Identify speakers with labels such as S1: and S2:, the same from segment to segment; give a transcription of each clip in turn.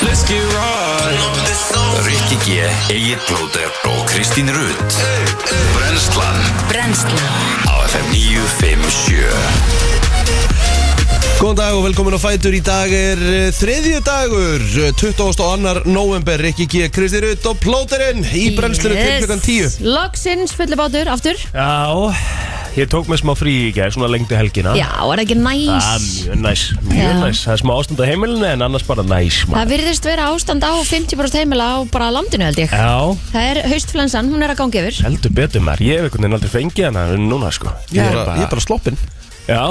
S1: Let's get right
S2: Rikki G, Egil Blóter og Kristín Rutt Brenslan
S3: Brennslan
S2: á FM 957
S4: Góðan dag og velkomin á Fætur Í dag er eh, þriðju dagur eh, 22. november Rikki G, Kristi Rutt og Plóterinn Í brennslunum til klukkan 10
S5: Loksins fullu bátur, aftur
S1: Já, ég tók mér smá frí í gær, svona lengdu helgina
S5: Já, er það ekki næs
S1: Það er mjög næs, mjög
S5: Já.
S1: næs Það er smá ástand á heimilinu en annars bara næs
S5: Það
S1: maður.
S5: virðist vera ástand á 50% heimila á bara landinu held ég
S1: Já,
S5: Það er haustflensan, hún er að gangi yfir
S1: heldur betur maður Ég hef einhvern veginn aldrei fengið hana en núna sko
S4: Ég er bara, ég er bara sloppinn
S1: Já,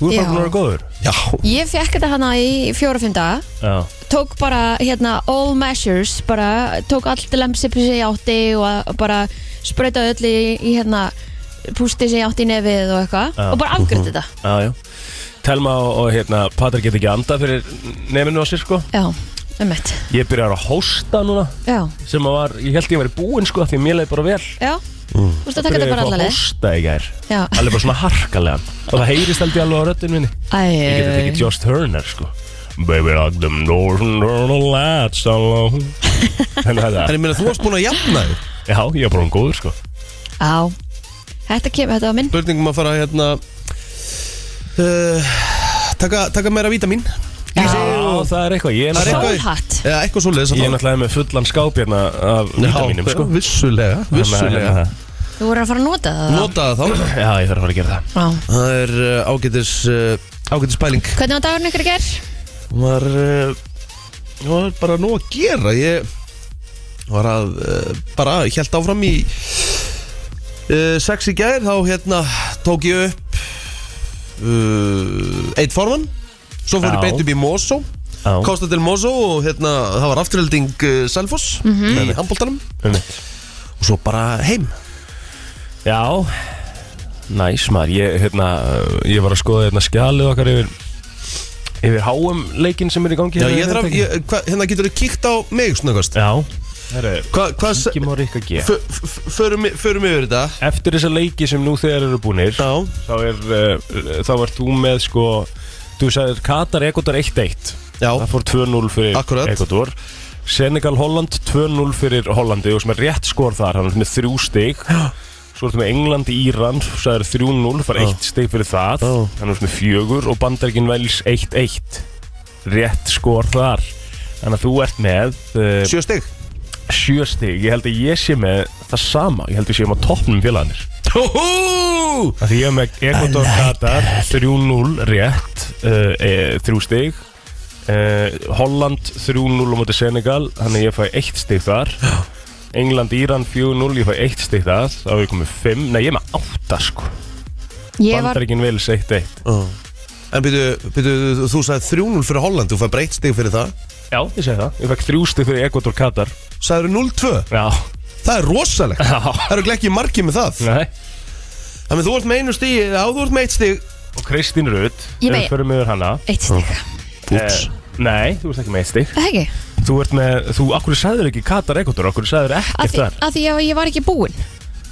S1: þú
S5: Já.
S1: er bara búin að vera góður
S4: Já,
S5: Ég fekk þetta hana í fjóra-fimm daga
S1: Já,
S5: Tók bara, hérna, all measures bara, tók allt lemsipi sem ég átti og að- bara spröytaði öll í, í hérna, pústi sem ég átti í nefið og eitthvað
S1: Já.
S5: og bara
S1: Mhm.
S5: afgriði þetta
S1: já, já Telma og, og hérna, Patrik get ekki anda fyrir nefninu á sér sko
S5: Já, um mitt
S1: Ég byrjar að hósta núna
S5: Já,
S1: sem að var, ég held ég væri búinn sko af því að mér leiði bara vel
S5: já, þú veist að taka þetta bara
S1: Byrjaði Mm. að fá að
S5: allaleg
S1: hósta í gær
S5: Já,
S1: alveg bara svona harkalega og það heyrist held ég alveg á röddinn minni ég get þetta
S5: æj,
S1: ekki Josh Turner sko Baby lock them doors and turn the lights alone Þannig að
S4: en
S1: það
S4: ég meina þú varst búin að jafna þig
S1: Já, ég er bara um góður sko
S5: á Þetta kemur, þetta var minn
S4: Spurningum að fara hérna uh, taka, taka meira vítamin
S1: Já, það er eitthvað Ég
S4: Það
S1: er
S4: er
S1: náttúrulega,
S4: eitthvað-
S5: Sólhatt
S4: Eða eitthvað svo leiðis
S1: ég er náttúrulega með fullan skáp hérna af vítaminum sko
S4: Vissulega, vissulega
S1: Þannig að- hérna-
S5: Þú voru að fara að nota það það?
S4: Nota það þá
S1: Já, ég þarf að fara að gera það
S5: Já.
S4: Það er uh, ágætis, uh, ágætis pæling
S5: Hvernig var dagurinn ykkur í gerð?
S4: var, uh, var bara nú að gera ég var að uh, bara hjælt áfram í uh, sex í gær þá hérna tók ég upp uh, eitt forman svo fór
S1: Já.
S4: ég beint upp í Mosó
S1: Já,
S4: Kosta til Mosó og hérna það var afturhelding uh, Selfoss í handbóltanum
S1: um mitt
S4: og svo bara heim
S1: Já Næs maður, ég, hérna, ég var að skoða hérna skjalið okkar yfir yfir háum leikin sem er í gangi
S4: Já,
S1: hérna
S4: ég
S1: í
S4: þarf,
S1: Reykjavík.
S4: ég, hva, hérna getur þú kíkt á mig snöggast
S1: Já Herru,
S4: Hvað, hvað, se-
S1: Kim og Rikka G
S4: f- f- förum í- förum yfir þetta
S1: Eftir þessa leiki sem nú þegar eru búnir
S4: Já,
S1: þá er uh, þá er þú með sko þú sagðir Katar Ekotor 1-1
S4: já,
S1: það fór 2-0 fyrir
S4: Akkurat.
S1: Ekotor Senegal Holland 2-0 fyrir Hollandi og sem er rétt skor þar hann er með þrjú stig svo ertu með England Íran sagðir 3-0 fær
S4: Já.
S1: eitt stig fyrir það
S4: Já.
S1: hann er með fjögur og Bandarkin Vels 1-1 rétt skor þar þannig að þú ert með uh,
S4: sjö stygg
S1: sjö stig, ég held að ég sé með það sama, ég held að ég sé með toppnum félagarnir
S4: Hú!
S1: Af því ég er með Ekvator Katar 3-0 rétt uh, e, þrjú stig uh, Holland 3-0 á móti Senegal, þannig að ég fæ eitt stig þar England Íran 4-0, ég fæ eitt stig þar þá er ég komið 5, nei ég er með 8 sko
S5: Ég var,
S1: Bandaríkin vel 1-1
S4: En byrju, byrju, þú sagði 3-0 fyrir Holland, þú fær breytt stig fyrir það
S1: Já, ég segi það, ég fæk þrjú stig fyrir Ekvator Katar
S4: Sagður 0-2,
S1: Já,
S4: það er rosalegt
S1: já,
S4: Það eru ekki ekki markið með það
S1: nei
S4: Þannig þú ert með einu stig, já þú ert með eitt stig
S1: Og Kristín Rutt,
S5: Ég
S1: ef
S5: megi-
S1: við förum yfir hana
S5: eitt stík
S1: eh, Nei, þú ert ekki með eitt stig
S5: Það ekki?
S1: Þú ert með, þú, akkur sæður ekki Katar Ekotur, akkur sæður
S5: Af
S1: ekkert
S5: því,
S1: þar
S5: af því ég, ég var ekki búinn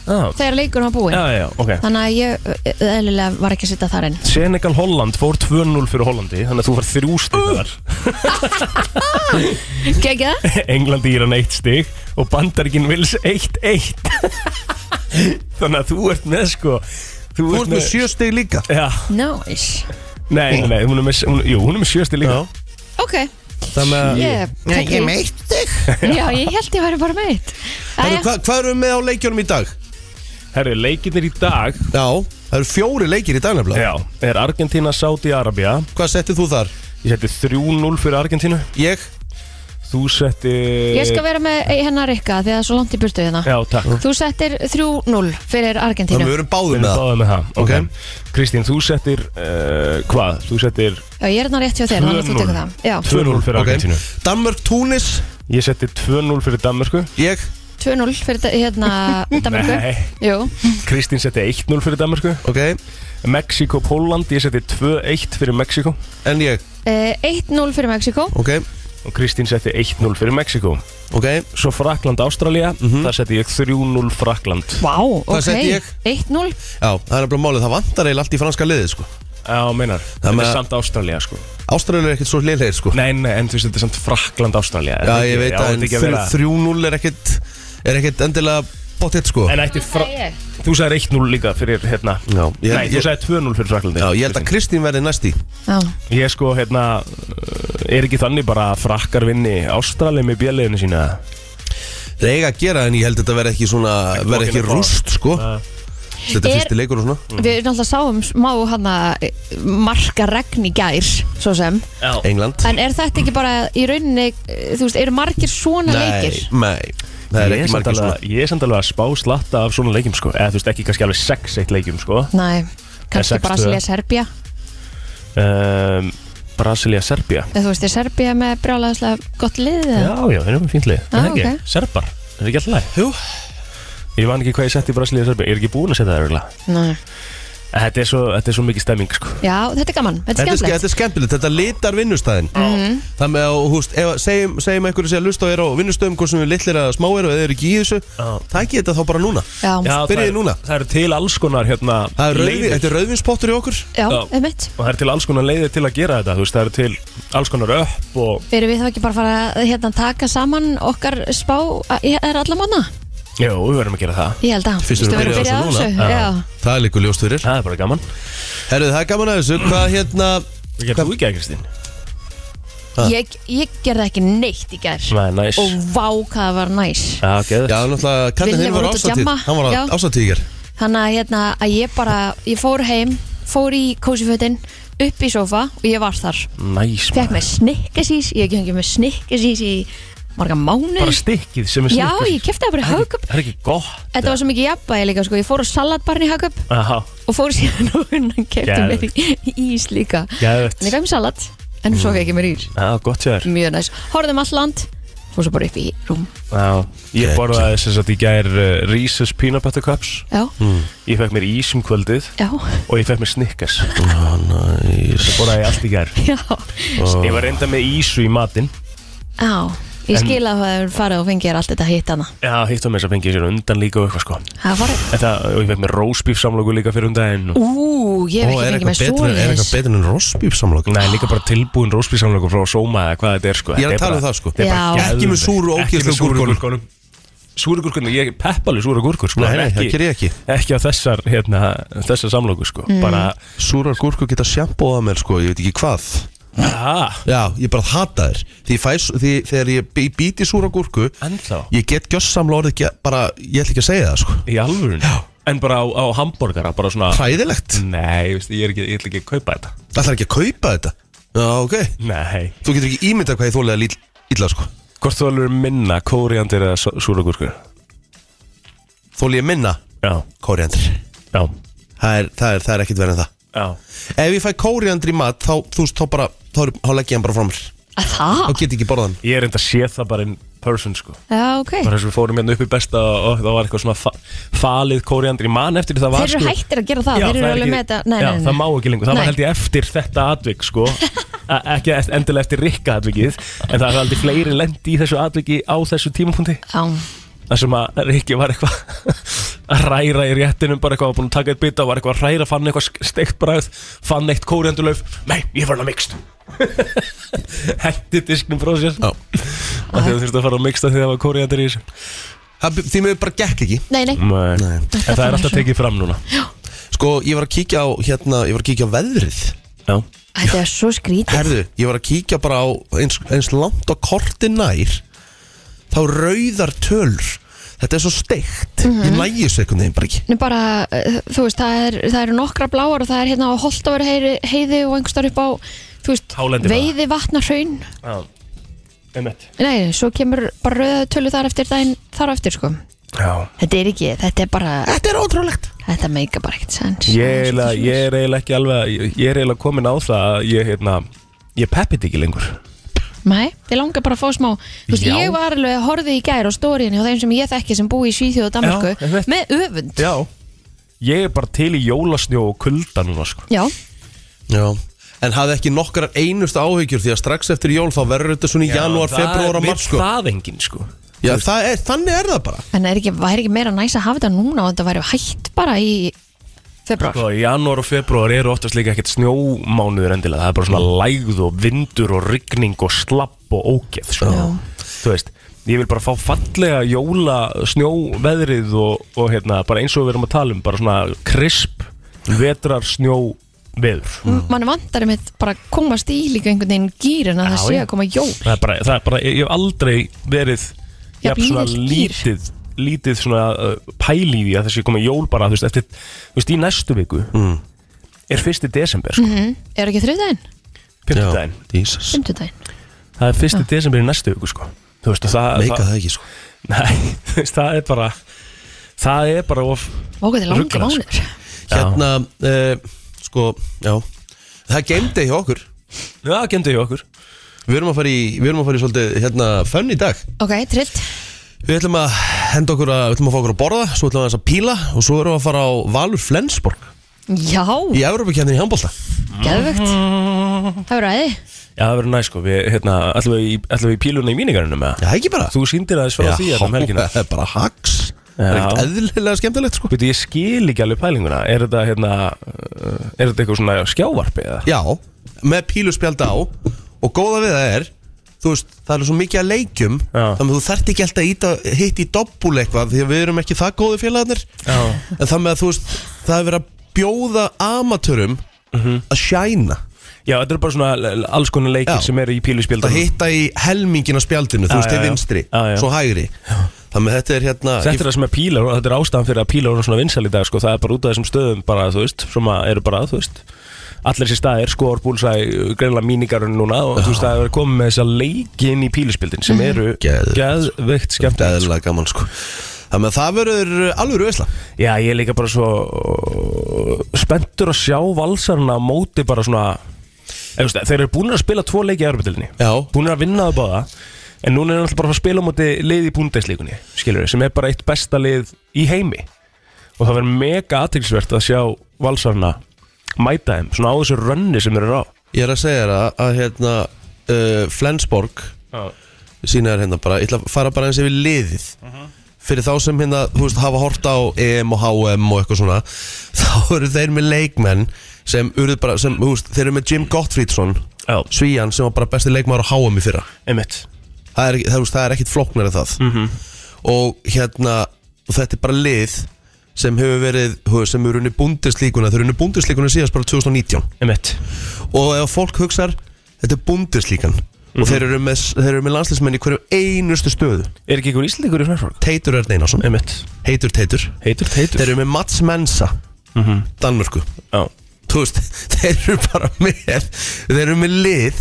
S1: Já,
S5: Þegar leikur var búinn
S1: já, já, ok
S5: Þannig að ég ö, ö, eðlilega var ekki að sitta þar inn
S1: Senegal Holland fór 2-0 fyrir Hollandi Þannig að þú fær þrjú stig
S4: Uh.
S1: þar
S5: Gekja?
S1: England Íran eitt stig Og Bandarkin Vils 1-1 Þannig að þú ert með sko
S4: Þú ert með sjö stig líka
S1: Já,
S5: Nice
S1: nei, nei, nei, hún er með, hún, jú, hún er með sjö stig
S4: Já.
S1: líka
S5: Ok,
S4: Þannig að
S5: ég,
S4: Nei, ég er með eitt stig
S5: Já, ég held ég væri bara meitt
S4: Þannig,
S5: Æja,
S4: hva, Hvað erum við með á leikjunum í dag?
S1: Herru, leikinir í dag
S4: Já, það eru fjóri leikir í dag nefnilega
S1: Já, er Argentina Saudi Arabia
S4: Hvað settið þú þar?
S1: Ég setti 3-0 fyrir Argentínu
S4: Ég?
S1: Þú setti
S5: ég skal vera með eh, hennar Rikka Því að það er svo langt í burtu hérna
S1: Já, takk
S5: Þú settir 3-0 fyrir
S4: Þannig
S5: Argentínu
S4: við erum báðum
S1: Við
S4: með
S1: erum
S4: það
S1: báðið með það
S4: Ok.
S1: okay. Kristín, þú settir uh, Hvað? Þú settir
S5: Já, ég er hérna rétt hjá þér, þannig að þú
S1: 2-0.
S5: tekur það Já,
S1: 2-0 fyrir
S4: Ok.
S1: Argentínu
S4: Danmörk, Túnis,
S1: Ég setti 2-0 fyrir Danmarku
S4: ég
S5: 2-0 fyrir da- hérna Danmarku
S1: Nei.
S5: Jú,
S1: Kristín setti 1-0 fyrir Danmarku
S4: Ok,
S1: Mexiko, Póland, ég setti 2-1 fyrir Mexiko
S4: en ég
S5: Eh, 1-0 fyrir Mexiko
S4: Ok,
S1: Og Kristín setti 1-0 fyrir Mexiko
S4: ok
S1: Svo Frakland, Ástralja
S4: Mhm.
S1: Það setti ég 3-0 Frakland
S5: Vá, ok
S4: setti ég?
S5: 1-0
S4: Já, það er nefnilega málið, það vantar eiginlega allt í franska liðið sko
S1: Já, meinar Þetta
S4: Þannig
S1: er
S4: að-
S1: samt Ástralja, sko
S4: Ástralja er ekkert svo liðlegir sko
S1: Nei, nei, en þú veist, þetta er samt Frakland Ástralja
S4: Já, ég veit að
S1: En,
S4: en þrjú- 3-0 er ekkert er ekkert endilega bóttið sko
S1: en ætti fra...
S5: Nei, ég.
S1: Þú sagði 1-0 líka fyrir, hérna
S4: Já, ég-
S1: Nei, þú
S4: ég-
S1: sagði 2-0 fyrir Fraklandi
S4: Já, ég held að Kristín verði næst í
S5: Já,
S1: Ég sko, hérna uh, Er ekki þannig bara að frakkar vinni Ástralja með bjöliðinu sína
S4: Það eiga að gera en ég held að þetta verði ekki svona verði ekki
S1: walk in the
S4: rúst sko
S1: Nei.
S4: Þetta er
S5: Er-
S4: fyrsti leikur og svona
S5: við náttúrulega sáum smá hana eh, marka regn í gær, svo sem
S1: Já
S4: England
S5: En er þetta ekki bara í rauninni, eh, þú veist, eru margir svona leikir?
S4: nei Það er
S1: ég
S4: ekki
S1: samt
S4: margir sko. svona
S1: alveg- Ég er samt alveg að spá slatta af svona leikjum sko Eða þú veist ekki kannski alveg 6-1 leikjum sko
S5: Nei, kannski
S1: sex, tvö.
S5: Brasilia Serbia
S1: um, Brasilia Serbia
S5: Eða þú veist, er Serbia með brjálæðislega gott lið?
S1: Já,
S5: eða?
S1: já, þeir eru með fínt lið
S5: Já,
S1: Er það ekki?
S5: ok.
S1: Serbar, er það ekki alltaf læg?
S4: Jú.
S1: Ég man ekki hvað ég setti í Brasilia Serbia Ég er ekki búin að setja það örgulega
S5: Nei.
S1: Þetta er svo, þetta er svo mikið stemming sko
S5: Já, þetta er gaman, þetta er
S4: Þetta er, ske- þetta
S5: skemmtilegt Mhm.
S4: er skemmtilegt, þetta litar vinnustæðin mm. Þannig að, þú veist, ef, segjum, segjum einhverju sem lust á er á vinnustöðum hvort sem við litlir að smá eru eða eru ekki í þessu
S1: Já.
S4: Tækið þetta þá bara núna
S5: Já,
S1: Já,
S4: Byrjið
S1: það er-
S4: núna.
S1: Það eru til alls konar hérna
S4: Það er rauðvin,
S1: leiðir.
S4: þetta er rauðvinspottur í okkur
S5: já,
S1: Já.
S5: einmitt
S1: Og það er til alls konar leiðir til að gera þetta Þú veist, það eru til alls konar upp og
S5: Erum við þá ekki bara að fara að hérna, taka saman okkar spá að- er alla mánu?
S1: Jú, við verðum að gera það
S5: Ég held að
S4: Fyrst erum við
S5: Veistu,
S4: byrjað á þessu
S5: byrjað
S1: núna?
S5: Já.
S4: Það er líka ljóst fyrir
S1: Það er bara gaman
S4: Herruð, það er gaman að þessu, hvað hérna
S1: Hvað gerðu þú ekki að Kristín?
S4: Ha.
S5: Ég, ég gerði ekki neitt í gær
S1: Nei, næs
S5: og vá hvað það var næs
S1: Já, geður
S4: Já, náttúrulega, kallið
S5: Villi
S4: þinn
S5: var
S4: var
S5: út að
S4: ásatíð
S5: djamma.
S4: Hann var
S5: Já.
S4: ásatíðir
S5: þannig að, hérna, að ég bara ég fór heim, fór í kósifötin upp í sofa og ég var þar
S1: Næs
S5: fekk
S1: maður.
S5: mér snikkasís, ég hef ekki hengið mér snikkasís í marga mánu
S1: Bara stikkið sem er
S5: Já,
S1: snikkað.
S5: ég kefti það bara í
S1: Það er
S5: hagköp
S1: ekki- Það er ekki gott
S5: Þetta var svo mikið jafnbæði líka sko. Ég fór á salatbarn í hagköp
S1: Aha,
S5: og fór síðan og hennan kefti mér
S1: Geðveikt. Mm.
S5: í ís líka
S1: geðvett
S5: En ég fæði mér salat, en svo fekk ég mér ís
S1: Já, gott sér
S5: Mjög næs, horfðum all land Fór svo bara upp í rúm
S1: Já, ég borðaði sem sagt í gær uh, Reese's Peanut Butter Cups
S5: Já,
S1: Ég fekk mér ís um kvöldið
S5: já,
S1: og ég fekk mér Snickers Ég borðaði allt í gær
S5: já
S1: Ég var reynda með ísu í matinn
S5: Já, ég
S1: En-
S5: skil að það er farið og fengið þér allt þetta hitt hana
S1: Já, hitt á mér sem fengið sér undan líka og eitthvað sko
S5: Það var,
S1: En það, og ég fekk mér roastbeef samlóku líka fyrir um daginn og...
S5: ú, ég hef
S4: Ó,
S5: ekki
S4: er
S5: fengið mér
S4: eitthvað betur en- er eitthvað
S5: svoleiðis
S4: betur en rosbífsamlokk
S1: Nei, líka bara tilbúin roastbeef samlóku frá Soma eða hvað þetta er sko
S4: Ég er
S1: Þetta
S4: að tala um
S1: bara-
S4: það, sko.
S1: þetta er bara
S5: Já.
S1: geðveikt.
S4: Ekki með súru og
S1: Ekki
S4: ógeðslegu
S1: með súru
S4: gúrkunum.
S1: gúrkunum. Súru gúrkunum, ég peppa alveg súru gúrkur sko
S4: Nei,
S1: en
S4: nei, það ger ég ekki.
S1: Ekki á þessar, hérna, þessar samlóku sko Bara,
S4: Súrar gúrku geta sjampóða mér sko, ég veit ekki hvað
S1: aha,
S4: Já, ég bara hata þér Því ég fæs, því, Þegar ég bí- bít í súra gúrku
S1: ennþá
S4: Ég get gjössamlega orðið ge- bara, ég ætla ekki að segja það sko
S1: Í alvörun? En bara á, á hambúrgara, bara svona
S4: Hræðilegt,
S1: Nei, veist, ég, er ekki, ég ætla ekki að kaupa þetta
S4: ætlar ekki að kaupa þetta Já, ok,
S1: Nei
S4: þú getur ekki ímyndað hvað ég þólega líl, illa sko
S1: Hvort þú alveg minna kóriandir eða súlagúrkur?
S4: Þólega ég minna
S1: Já,
S4: kóriandir
S1: já,
S4: það er, það, er, það er ekkit verið en það
S1: já
S4: Ef ég fæ kóriandir í mat, þá, þú veist, þá bara þá, er- þá legg ég hann bara frá mér
S5: Að Það?
S4: Þá get ég ekki borðað hann
S1: Ég er enda að sé það bara in person sko
S5: Já, ok
S1: Bara þess að við fórum hérna upp í besta og, og það var eitthvað svona fa falið kóriandir í mann eftir því það
S5: Þeir
S1: var
S5: eru
S1: sko
S5: hættir að gera það,
S1: Já,
S5: þeir eru
S1: er
S5: alveg
S1: ekki-
S5: með þetta Nei,
S1: já,
S5: nei, nei.
S1: það má ekki lengur, það
S5: Nei.
S1: var held ég eftir þetta atvik sko A- ekki eft- endilega eftir rikka atvikið en það er aldrei fleiri lendi í þessu atviki á þessu tímapunkti
S5: Já,
S1: þar sem að Rikki var eitthvað að ræra í réttinum bara eitthvað, var búin að taka eitt bita var eitthvað að ræra, fann eitthvað steikt bræð fann eitt kóriandulauf, nei, ég var að mikst hætti disknum frá sér
S4: Já.
S1: og þegar þurfti að fara að miksta þegar það var kóriandur í þessu
S4: Það- Því mér bara gekk ekki
S5: nei, nei
S1: nei. en það er alltaf tekið fram núna
S4: Sko, ég var að kíkja á, hérna, ég var að kíkja á veðrið
S1: já,
S5: Þetta er svo skrítið
S4: Herðu, ég var að kíkja bara á eins, eins langt og korti nær Þá rauðar tölur Þetta er svo steikt Ég nægir þessu einhvern veginn bara ekki
S5: Nú bara, uh, þú veist, það, er, það eru nokkra bláar og það er hérna á Holtaveri heiði, heiði og einhvers þar upp á, þú veist,
S1: Hálendi bara.
S5: veiði vatnarhraun.
S1: já, einmitt
S5: Nei, svo kemur bara rauða tölu þar eftir daginn þar á eftir, sko.
S1: já.
S5: Þetta er ekki, þetta er bara,
S4: Þetta er ótrúlegt
S5: þetta meika bara ekkert sens.
S1: Ég, er eiginlega- ég er eiginlega ekki alveg ég, ég er eiginlega komin á það að ég, hérna, ég peppit ekki lengur
S5: Nei, ég langar bara að fá smá, þú veist,
S1: Já.
S5: ég var alveg að horfið í gær á stóriðinni og þeim sem ég þekki sem búi í Svíþjóð og Danmarku
S1: Já, einmitt.
S5: með öfund.
S1: já, ég er bara til í jólasnjó og kulda núna sko
S5: Já,
S4: Já En hafði ekki nokkrar einustu áhyggjur Því að strax eftir jól þá verður þetta svona í janúar,
S1: Það
S4: februar og
S1: vill
S4: mars sko.
S1: það enginn sko
S4: Já, það er, þannig er það bara
S5: en er ekki, væri ekki meira næs að hafa þetta núna og þetta væri hægt bara í februar
S1: Sko, janúar og februar eru oftast líka ekkert snjómánuður endilega Það er bara svona lægð og vindur og rigning og slapp og ógeð sko. Þú veist, ég vil bara fá fallega jóla snjóveðrið og, og hérna, bara eins og við erum að tala um Bara svona krisp vetrar snjóveður
S5: mann vantar um bara að komast í líka einhvern veginn gýrin að það
S1: Já,
S5: sé
S1: já.
S5: að koma jól
S1: það er, bara, það er bara, ég hef aldrei verið
S5: Já,
S1: jafn svona
S5: lítill gír.
S1: lítið lítið svona uh, pæli í því að þessi komið jól bara, þú veist, eftir, þú veist, í næstu viku mm. er fyrsti desember, sko,
S5: mm, er ekki þriðdægin?
S1: fimmtudaginn
S4: Jesus
S5: Fymtudægin?
S1: það er fyrsti desember í næstu viku, sko þú veist, og það,
S4: Meika það ekki sko
S1: nei, þú veist, það er bara það er bara of
S5: Ógæði langi
S1: Ruglað, sko.
S5: mánuður
S4: Hérna, uh, sko, já Það geimdi hjá okkur
S1: Já, það gendur hjá okkur
S4: Við erum að fara í, við erum að fara í svolítið, hérna, fönn í dag
S5: Ok, trillt
S4: Við ætlum að henda okkur að, við ætlum að fá okkur að borða Svo ætlum við aðeins að píla Og svo erum við að fara á Valur Flensborg
S5: Já,
S4: Í Evrópakefnin í handbólta
S5: geðvögt Það verður aði
S1: Já, það verður næ, sko, við, hérna, ætlum við, í- ætlum við í píluna í míningarinu með
S4: Já, ekki bara
S1: Þú sýndir aðeins frá því hérna um helgina
S4: það er bara haks Það er
S1: Já.
S4: ekkert eðlilega skemmtilegt sko
S1: Veitu, ég skil ekki alveg pælinguna Er þetta, hérna, uh, er þetta eitthvað svona skjávarpi eða?
S4: Já, með píluspjald á Og góða við það er Þú veist, það er svo mikið að leikjum
S1: Já.
S4: Þannig að þú þarft ekki alltaf að íta- hitta í doppul eitthvað Því að við erum ekki það góði félagarnir
S1: Já.
S4: En það með að þú veist Það er verið að bjóða amatörum Að shæna
S1: Já, þetta eru bara svona l- l- alls konar leikir
S4: Já.
S1: sem eru í
S4: Að
S1: píluspjöldunum
S4: hitta í helmingin á spjaldinu Þú
S1: Já,
S4: veist,
S1: já,
S4: til
S1: já.
S4: vinstri,
S1: Já, já.
S4: svo hægri Það með þetta er hérna
S1: Þetta er það sem er pílar og þetta er ástæðan fyrir að pílar eru svona vinsal í dag sko. Það er bara út af þessum stöðum bara, þú veist sem að eru bara, þú veist Allir þessi staðir, sko, skor, búlsæ, greinlega mínigarun núna og þú veist það er komið með þessa leikin í píluspjöldin sem eru
S4: Geðveikt.
S1: geðveikt skemmt
S4: Eðlilega gaman sko Það með að það verður alveg rauðisla
S1: Já, ég er líka bara svo spenntur að sjá valsarna á móti bara svona eða, veist, þeir eru búin að spila tvo leiki í erfbyrðilni
S4: Já.
S1: búin að vinna það báða en núna er náttúrulega bara að fara að spila á móti lið í búndeslíkunni skilur við, sem er bara eitt besta lið í heimi og það verður mega aðtilsvert að sjá valsarna mæta þeim, svona á þessu rönni sem þeir eru á
S4: Ég er að segja þér að, að hérna, uh, Flensborg sína þér hérna bara, ég ætla að fara bara eins yfir liðið fyrir þá sem hérna, þú veist, hafa hort á EM og HM og eitthvað svona þá eru þeir með leikmenn sem, urðu bara, sem þú veist, þeir eru með Jim Gottfriedson
S1: Já,
S4: Svíjan sem var bara besti leikmaður á HM í fyrra
S1: einmitt
S4: það er, ekki- það, þú veist, það er ekkit flóknar en það -hmm. og hérna og þetta er bara lið sem hefur verið, þú veist, sem eru unni búndislíkuna þeir eru unni búndislíkuna síðast bara 2019
S1: einmitt,
S4: og ef fólk hugsar þetta er bundeslíkan og þeir eru, með, þeir eru með landslismenn í hverju einustu stöðu
S1: er ekki ykkur íslendingur í Frankfurt?
S4: Teitur Erna Einarsson,
S1: Einmitt,
S4: heitur Teitur
S1: heitur, heitur
S4: þeir eru með Mats Mensa Danmörku
S1: Já,
S4: þú veist, þeir eru bara með þeir eru með lið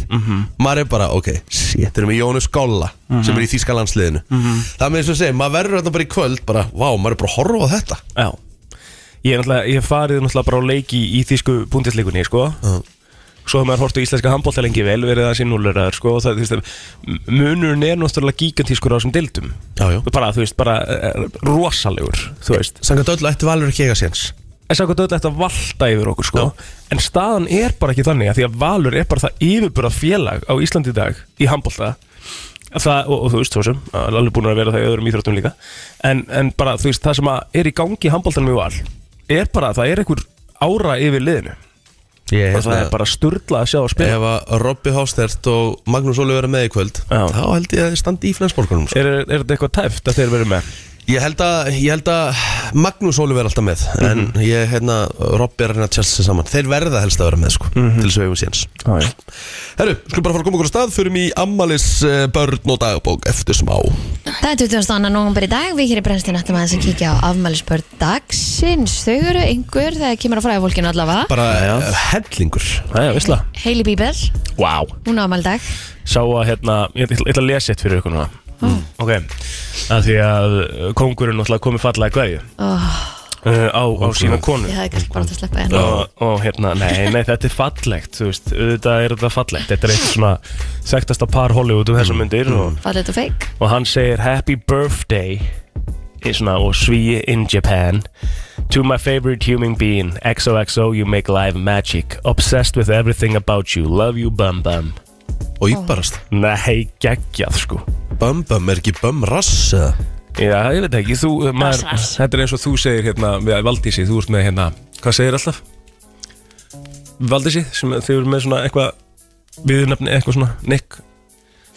S4: maður er bara, ok, shit, þeir eru með Jónus Golla sem er í Þíska landsliðinu það með þess að segja, maður verður þarna bara í kvöld bara, vá, maður er bara að horfa á þetta
S1: Já Ég er náttúrulega, ég hef farið náttúrulega bara á leiki í þýsku búndisleikunni, sko
S4: Já.
S1: Svo hefur maður hort á íslenska handbólta lengi vel verið það sinn núleraður, sko og það, þú veist, m- Munurinn er náttúrulega gigantískur á þessum dildum
S4: já, já
S1: Bara, þú veist, bara eh, rosalegur, þú veist
S4: Sangat öll ætti Valur ekki eiga séns
S1: En sagði hvað þetta valda yfir okkur, sko En staðan er bara ekki þannig að því að Valur er bara það yfirburða félag á Íslandi í dag í handbólta Það, og, og þú veist þó sem, alveg búin að vera það í öðrum íþróttum líka en, en bara þú veist, það sem að er í gangi í handbóltanum í val er bara, það er einhver ára yfir liðinu
S4: ég,
S1: og það er bara sturla að sjá að spila
S4: Ef að Robby Hástert og Magnús Óli vera með í kvöld
S1: Já.
S4: Þá held ég að þið standi í Flensborgunum sko.
S1: Er, er þetta eitthvað tæft að þeir verið með?
S4: ég, held að, ég held að Magnús Óli vera alltaf með
S1: Mhm.
S4: En ég, hérna, Robby er að reyna að tjálsa sig saman Þeir verða helst að vera með, sko
S1: Mhm.
S4: Til þess að við hefum séns
S1: Já, já
S4: Herru, skulum bara fara að koma okkur á stað Förum í Ammalis eh, börn og dagbók Eftir smá
S5: Það er 22. annan nógumber í dag, við hér í brennstinn ætlum aðeins að kíkja á afmælisbörn dagsins. Þau eru einhver, það kemur á fræðafólkinu allavega.
S4: Bara eh, hellingur
S1: Það er vissla
S5: Hailey Bíbel,
S1: Vá wow.
S5: hún á afmælidag.
S1: sá að hérna, ég ætla ég ætla að lesa eitt fyrir ykkur núna ok, að því að uh, kóngurinn náttúrulega komið fallega hverju
S5: Oh,
S1: uh, á, á sína konu
S5: ég hafði kannski bara átt að sleppa henni.
S1: og, og hérna, nei, nei, þetta er fallegt þú veist, auðvitað er þetta fallegt þetta er eitt svona þekktasta par Hollywood um þessum myndir og,
S5: Fallið og feik.
S1: og hann segir happy birthday í svona, og svíi in Japan to my favorite human being XOXO, you make live magic obsessed with everything about you love you bum bum
S4: Og íbarast
S1: nei, geggjað sko
S4: Bömm bömm er ekki bömm rass eða?
S1: eh, Já, ég veit ekki, þú, maður, þetta er eins og þú segir hérna með Valdísi, þú ert með hérna Hvað segir alltaf? Valdísi, sem þið eru með svona eitthvað viðurnefni, eitthvað svona Nick,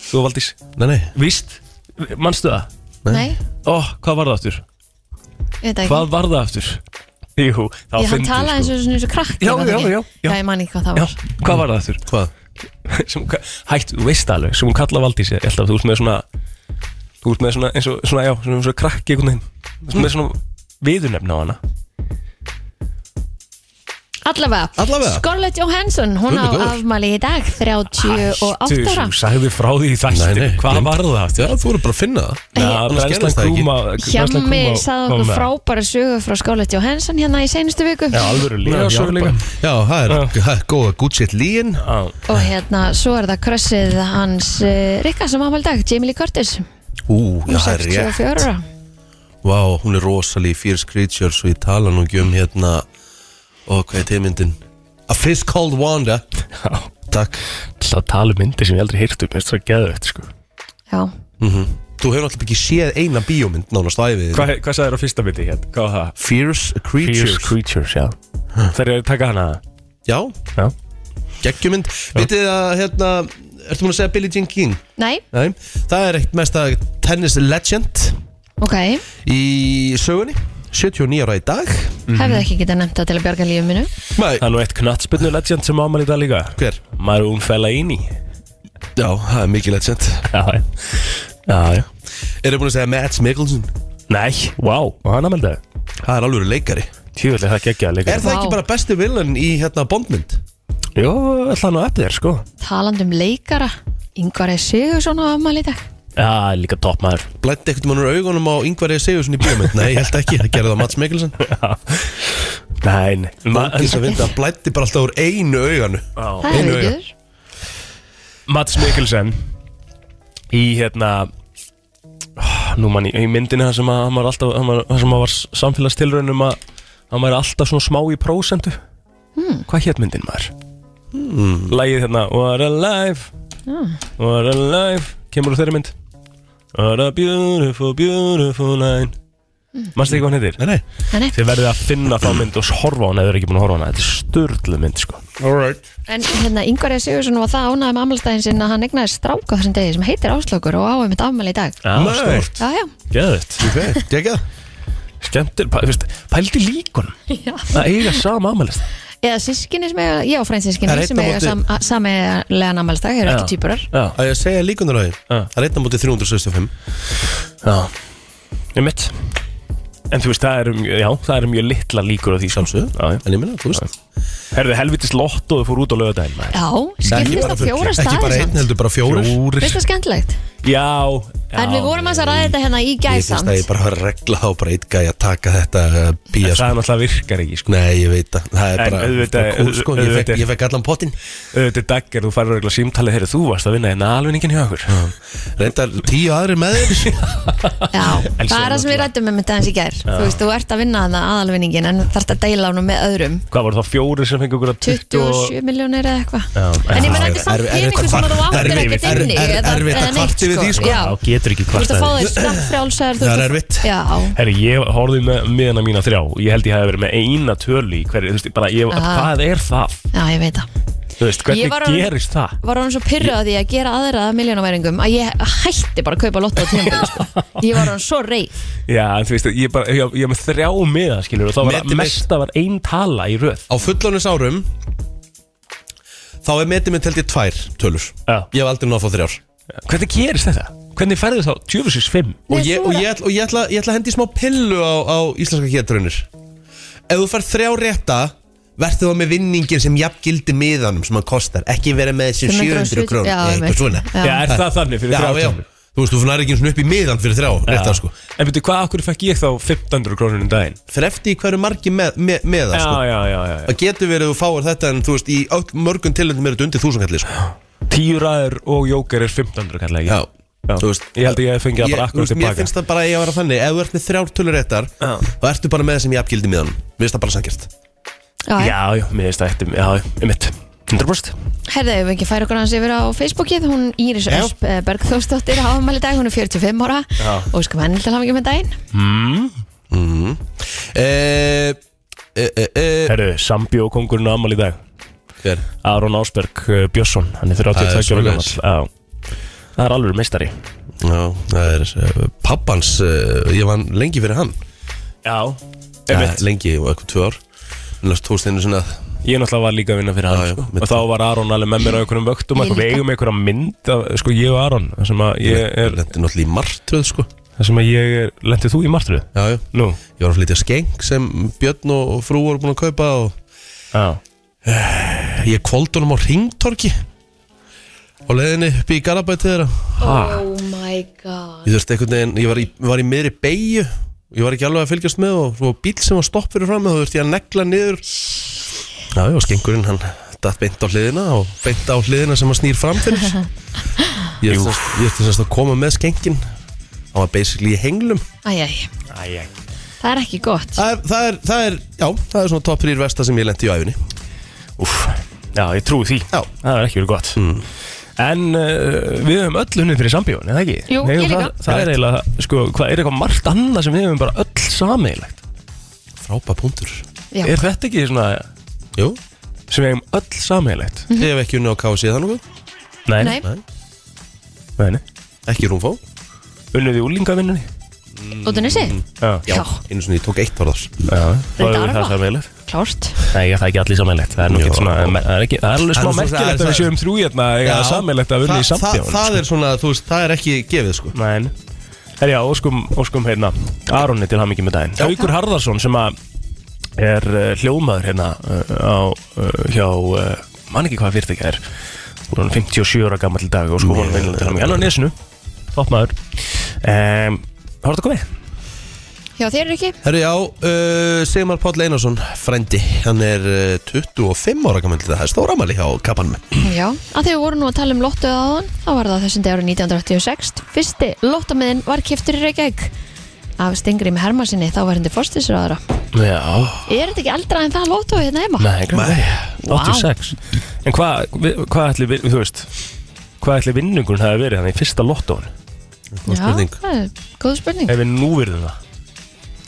S1: þú og Valdís
S4: Nei, nei,
S1: Víst, manstu það?
S5: Nei,
S1: Ó, hvað var það aftur?
S5: ég veit það ekki
S1: Hvað var það aftur? Jú,
S5: Ég
S1: þá
S5: hann
S1: fyndið,
S5: talaði eins
S1: sko.
S5: og svona eins og krakki
S1: Já,
S5: var það
S1: já,
S5: ekki?
S1: já, já.
S5: Já, ég man ekki hvað það
S1: Já,
S5: var
S1: hvað var það aftur?
S4: hvað?
S1: sem, hún ka- hætt, þú veist það alveg, sem hún kalla Valdísi ég held að þú ert með svona þú ert með svona, eins og, svona, já, svona, svona krakki einhvern veginn, þú ert með svona viðurnefni á hana
S5: Allavega,
S4: Allavega.
S5: Scarlett Johansson, hún
S4: Guð
S5: á
S4: minn góður.
S5: afmæli í dag 38 ára
S1: þú sagði frá því í
S4: Nei,
S1: þætti
S4: nei,
S1: hvað
S4: gleymd.
S1: var það?
S4: Já, þú eru bara að finna það
S1: Na,
S4: annars
S1: brennslan
S4: gerðist það ekki.
S1: krúma Brennslan
S5: Hjemmi
S1: Krúma
S5: sagði
S1: kom
S5: okkur
S1: með.
S5: frábæra sögu frá Scarlett Johansson hérna í seinustu viku
S1: já, alvöru líka
S4: Já,
S1: sögu líka.
S4: Já, það er,
S1: Já.
S4: það er góða gútsett líin
S1: Já,
S5: og hérna, svo er það krössið hans uh, Rikka sem afmæli í dag, Jamie Lee Curtis
S4: Ú, já,
S5: hún
S4: það er rétt
S5: 64 ára
S4: Vá, hún er rosalí Fierce Creatures og ég tala nú ekki um hérna Og hvað er tegmyndin? A Fist Called Wanda
S1: já.
S4: Takk
S1: Til að tala um myndi sem ég aldrei heyrtu um, það er geðvægt sko.
S5: Já,
S4: Þú hefur alltaf ekki séð eina bíómynd nánast æfið
S1: Hvað, hvað sagði þér á fyrsta myndi hérna? Hvað var það?
S4: Fierce Creatures
S1: Fierce Creatures, já Það er að taka hana
S4: Já,
S1: Já,
S4: geggjumynd Vitið þið að hérna Ertu múin að segja Billie Jean King?
S5: nei,
S4: Nei, það er eitt mesta tennis legend
S5: ok
S4: Í sögunni 79 ára í dag
S5: hefði ekki getað nefnt það til að bjarga lífið minu
S4: Nei,
S1: það er nú eitt knattspinnu legend sem ámæli þetta líka um
S4: hver?
S1: Marún Fellaini
S4: Já, það er mikið legend
S1: Já, já. já, já.
S4: Eru búin að segja Mads Mikkelsen?
S1: Nei, vá, og hann að melda
S4: Það er alveg leikari
S1: Tjóðilega það geggja að leika
S4: Er það
S5: Vá.
S4: ekki bara besti villan í hérna bondmynd?
S1: Jó, ætla hann á eftir þér, sko
S5: talandum um leikara, Ingvar E. Sigursson á afmæli í dag
S1: Já, líka topp maður
S4: Blætti ekkert mannur augunum á Ingvar E. Sigursson í bíómynd? Nei, ég held ekki, það gerði það Mads Mikkelsen
S1: Nein
S4: Þess að vinda, blætti bara alltaf úr einu auganu
S5: það er
S4: einu auga.
S5: auður
S1: Mats Mikkelsen Í hérna ah, Nú mann, í, í myndinu það sem að hann var alltaf hann var, Það sem að var samfélagstilraunum að Hann var alltaf svona smá í prósentu Hvað hétt myndin maður? Hmm. Lægið hérna What alive What alive Kemur úr þeirri mynd What a beautiful, beautiful line mm. Manstu ekki hvað hann heitir?
S4: Nei, nei
S5: Nei, nei.
S1: Þið verðið að finna þá mynd og horfa á hana eða þið eru ekki búin að horfa á hana Þetta er störlu mynd sko
S5: En hérna, Ingvar E. Sigursson var það ánægði með afmælstæðin sinna hann egnaði stráka þessum degi sem heitir Áslaugur og áið mitt afmæli í dag
S1: Já,
S4: Mörgt.
S5: Já, já,
S1: Geðvitt
S4: Ok, geggjað
S1: Skemmtir, pæ, veist, pældi líkun
S5: já.
S1: að eiga sama amalist
S5: Eða sískinni sem eiga, ég
S4: Það
S5: og
S4: er
S5: frænsinnskinni
S4: einn
S5: sem
S4: á
S5: eiga
S4: móti-
S5: sam, samilegan afmælstæð, þeir eru ekki týpurar
S1: Já,
S4: Að ég að segja líkundunaröðin
S1: Já.
S4: Það er einn á móti 365
S1: já Ég mitt En þú veist, það eru, já, það eru mjög litla líkur á því sko.
S4: Sjálfsögðu.
S1: Já, já
S4: En ég minna, þú veist
S1: Herðu, helvitis lottóðu fór út á lögadaginn maður.
S5: Já,
S4: Ekki
S5: skiptist
S4: bara
S5: á fjóra
S4: Ekki bara
S5: staði
S4: einn,
S5: samt
S4: heldur bara fjórir
S1: Fjórir
S5: Veist það skemmtilegt?
S1: Já, já
S5: En við vorum að ræða þetta hérna í
S4: Ég finnst
S5: gæsamt
S4: að ég bara hafa regla á bara eitt gæja að taka þetta uh, bíja
S1: Það
S4: sko.
S1: er náttúrulega virkar ekki sko.
S4: Nei, ég veit það Það er
S1: En
S4: bara,
S1: auðvitað-
S4: bara kúl, sko. ég,
S1: auðvitað-
S4: fekk, ég fekk allan potinn
S1: Auðvitað daggar, þú farir regla símtalið Herðu, þú varst að vinna en alvinningin hjá okkur
S4: Reyndar tíu aðri með þér
S5: Já,
S1: En
S5: það er það sem
S1: svo
S5: við
S1: náttúrulega-
S5: rættum með þetta eins í gær Þú veist, þú ert að vinna þannig aðalvinningin en þarft að deila honum með öðrum
S1: Hvað voru þá fjórir sem fengi okkur að
S5: 27 miljónir eða eitthvað
S1: Já,
S5: En ég menn
S4: Já,
S5: þetta er samt
S4: erfitt að kvarta-
S5: peningur sem þú áttir
S4: erfitt-
S5: ekkert inni
S4: erfitt-
S5: eða-
S4: erfitt að
S5: eða neitt,
S4: kvarta yfir því, sko.
S5: Já,
S1: Já, getur ekki
S5: Þú ert að fá
S1: kvartaði
S5: þér skattfrjálsar þú
S4: Það er
S5: ert að-
S4: erfitt.
S5: Já,
S1: Herri, ég horfði með miðana mína þrjá og Ég held ég hafi verið með eina tölu í hverju Þú veist, bara ég,
S5: Aha.
S1: hvað er það?
S5: já, ég veit það
S1: Þú veist,
S5: Ah. Ég
S1: hvernig
S5: var orðin-
S1: gerist það?
S5: Var hann svo pyrrað því að gera aðra að miljónaværingum að ég hætti bara að kaupa lotta á tímabili sko. Ég var hann svo reið
S1: Já, en þú veist, ég, bara, ég, ég var með þrjá miða, skilur Og þá var
S4: Meti
S1: mesta var ein tala í röð
S4: Á fullanus árum Þá er metið mitt held ég tvær tölur
S1: Já.
S4: Ég hef aldrei náð að fá þrjár
S1: Hvernig gerist þetta? Hvernig færðu þá tjöfusins fimm?
S4: Og
S5: Nei,
S4: ég,
S5: þú
S4: og
S5: er-
S4: ég, ætla, og ég, ætla, ég ætla að hendi smá pillu á, á íslenska getraunir Ef þú fær þrjá rétta Vertu þá með vinningin sem jafn gildi miðanum sem hann kostar Ekki vera með þessum 700
S5: 570
S4: krónur
S5: já,
S4: eða eitthvað
S5: einmitt.
S4: svona
S1: Já, er það þannig fyrir þrjá
S4: já.
S1: tölur?
S4: Þú veist, þú fannar ekki einu sinni upp í miðan fyrir þrjá rétta sko
S1: En veitu, hvað, okkur fekk ég þá 1500 krónunum um daginn?
S4: Fyrir eftir í hverju margi með, með, með það
S1: Já,
S4: sko
S1: já, já, já, já.
S4: Það getur verið að þú fáir þetta en þú veist í öll, mörgum tilöndum er þetta undir þúsungalli sko.
S1: Tíu ræður og jóker er 1500 kallega ekki?
S4: Já, þú veist
S1: Ég held að ég hef fengið það bara
S4: þú
S1: akkur
S4: veist, Mér
S1: tilbaka
S4: finnst það bara að ég að vera þannig Ef þú ert með þrjár tölur réttar
S1: Já.
S4: þá ertu bara með það sem ég apgildi miðanum Mér finnst það bara sankjart
S5: Já,
S1: Já, já, mér finnst það eftir, já, já, um 100%
S5: herðu, ef við ekki færa okkur hans yfir á Facebookið Hún Íris
S4: Já.
S5: Ösp eh, Bergþórsdóttir áfamæli dag, hún er 45 ára
S1: Já.
S5: um og sko henni til hafa ekki með daginn
S4: e e, e, e,
S1: Herru, sambjókongurinn á amal í dag
S4: Hver?
S1: Aron Ásberg uh, Björnsson Hann er
S4: Það er
S1: 32 ára
S4: svoleiðis.
S1: gammal Það er alveg meistari
S4: Já, það er uh, pappans uh, Ég vann lengi fyrir hann
S1: Já,
S4: ja,
S1: einmitt
S4: Lengi og eitthvað tvö ár En löst tókst einu sinna
S1: Ég náttúrulega var líka að vinna fyrir
S4: Já,
S1: hann
S4: já,
S1: sko.
S4: mitt.
S1: Og þá var Aron alveg með mér á einhverjum vögtum
S5: Ég
S1: eitthvað. Við
S5: líka.
S1: eigum einhverja mynd af, Sko ég og Aron þar sem að ég er,
S4: Þetta er náttúrulega í martröð sko
S1: þar sem að ég er Lendið þú í martröð?
S4: Já, já
S1: Nú,
S4: Ég var að flytja skeng sem Björn og og frú voru búin að kaupa og
S1: já
S4: ég kvóld honum á ringtorki á leiðinni upp í Garabæti þeirra
S5: Oh my god
S4: Ég þurfti einhvern veginn, ég var í, var í miðri beigju ég var ekki alveg að fylgjast með og svo var bíl sem var stopp fyrir fram og þú þurfti ég að negla niður Já, já, skengurinn hann datt beint á hliðina og beint á hliðina sem hann snýr fram fyrir Ég
S1: Jú.
S4: þurfti semst að koma með skengin hann var basically í henglum
S5: Æj, æj,
S1: Æ, æ
S5: það er ekki gott
S4: Það er, það er, það er já, það er svona top 3 versta sem ég lendi í æfinni
S1: Úf, já, ég trúi því
S4: Já. Mm.
S1: Það er ekki verið gott En uh, við höfum öll unnið fyrir sambjón, eða ekki?
S5: Jú,
S1: Við
S5: ég
S1: eigum
S5: líka.
S1: það, það er eiginlega, sko, hvað er eitthvað margt annað sem við höfum bara öll sameigilegt
S4: Frápa punktur
S5: Já.
S1: Er þetta ekki svona
S4: Jú,
S1: sem við höfum öll sameigilegt?
S4: Ég hef ekki unni á KFC það nokkuð
S1: Nei,
S5: Nei,
S4: Nei.
S1: nei, nei.
S4: Ekki rúmfó
S1: Unnið í úlingavinnunni?
S4: Mm,
S5: út af nessi
S1: Já,
S5: Já,
S4: Einu svona ég tók eitt varðar
S1: já Það
S5: Reyndar
S1: er
S5: var.
S1: það sameigilegt
S5: klárt
S1: Nei, ég, það er ekki allir sameigilegt Það er nú
S4: Jú.
S1: ekki svona, það er, ekki, það er
S4: Það
S1: alveg
S4: er nú
S1: smá
S4: svo- það
S1: merkilegt
S4: er-
S1: að við séum þrjú hérna eða sameigilegt að unnið í sko. sambjón
S4: það, það er svona, þú veist, það er ekki gefið sko
S1: Nei, herjá, óskum, óskum hérna Aronni til hamingi með daginn Haukur Harðarsson sem að er uh, hljómaður hérna uh, á, uh, hjá, uh, man ekki hvað fyrirtækja er hún er 57 ára gammal í dag og sko hún er til hamingi hann er á nesinu, toppmaður um, Hárðu að koma við?
S5: Hjá þér ekki?
S4: Herru já, uh, Sigmar Páll Einarsson, frendi Hann er uh, 25 ára gammal Það er stóra mæli hjá kappanum
S5: Já, að þegar við vorum nú að tala um lottu aðan þá var það á þessum dagur 1986 fyrsti lottamiðin var keftur í Reykjavík af Stingrím Hermansinni þá var hindi fórstisraðara
S1: Já,
S5: Er þetta ekki eldra en það lottu hérna heima?
S1: nei,
S4: Nei.
S1: grann 86 En hvað, við- hvað ætli, við- þú veist hvað ætli vinnungurinn hafi verið þannig í fyrsta lottóin
S4: góð spurning.
S5: Já, það er góð spurning
S1: ef við nú virðum það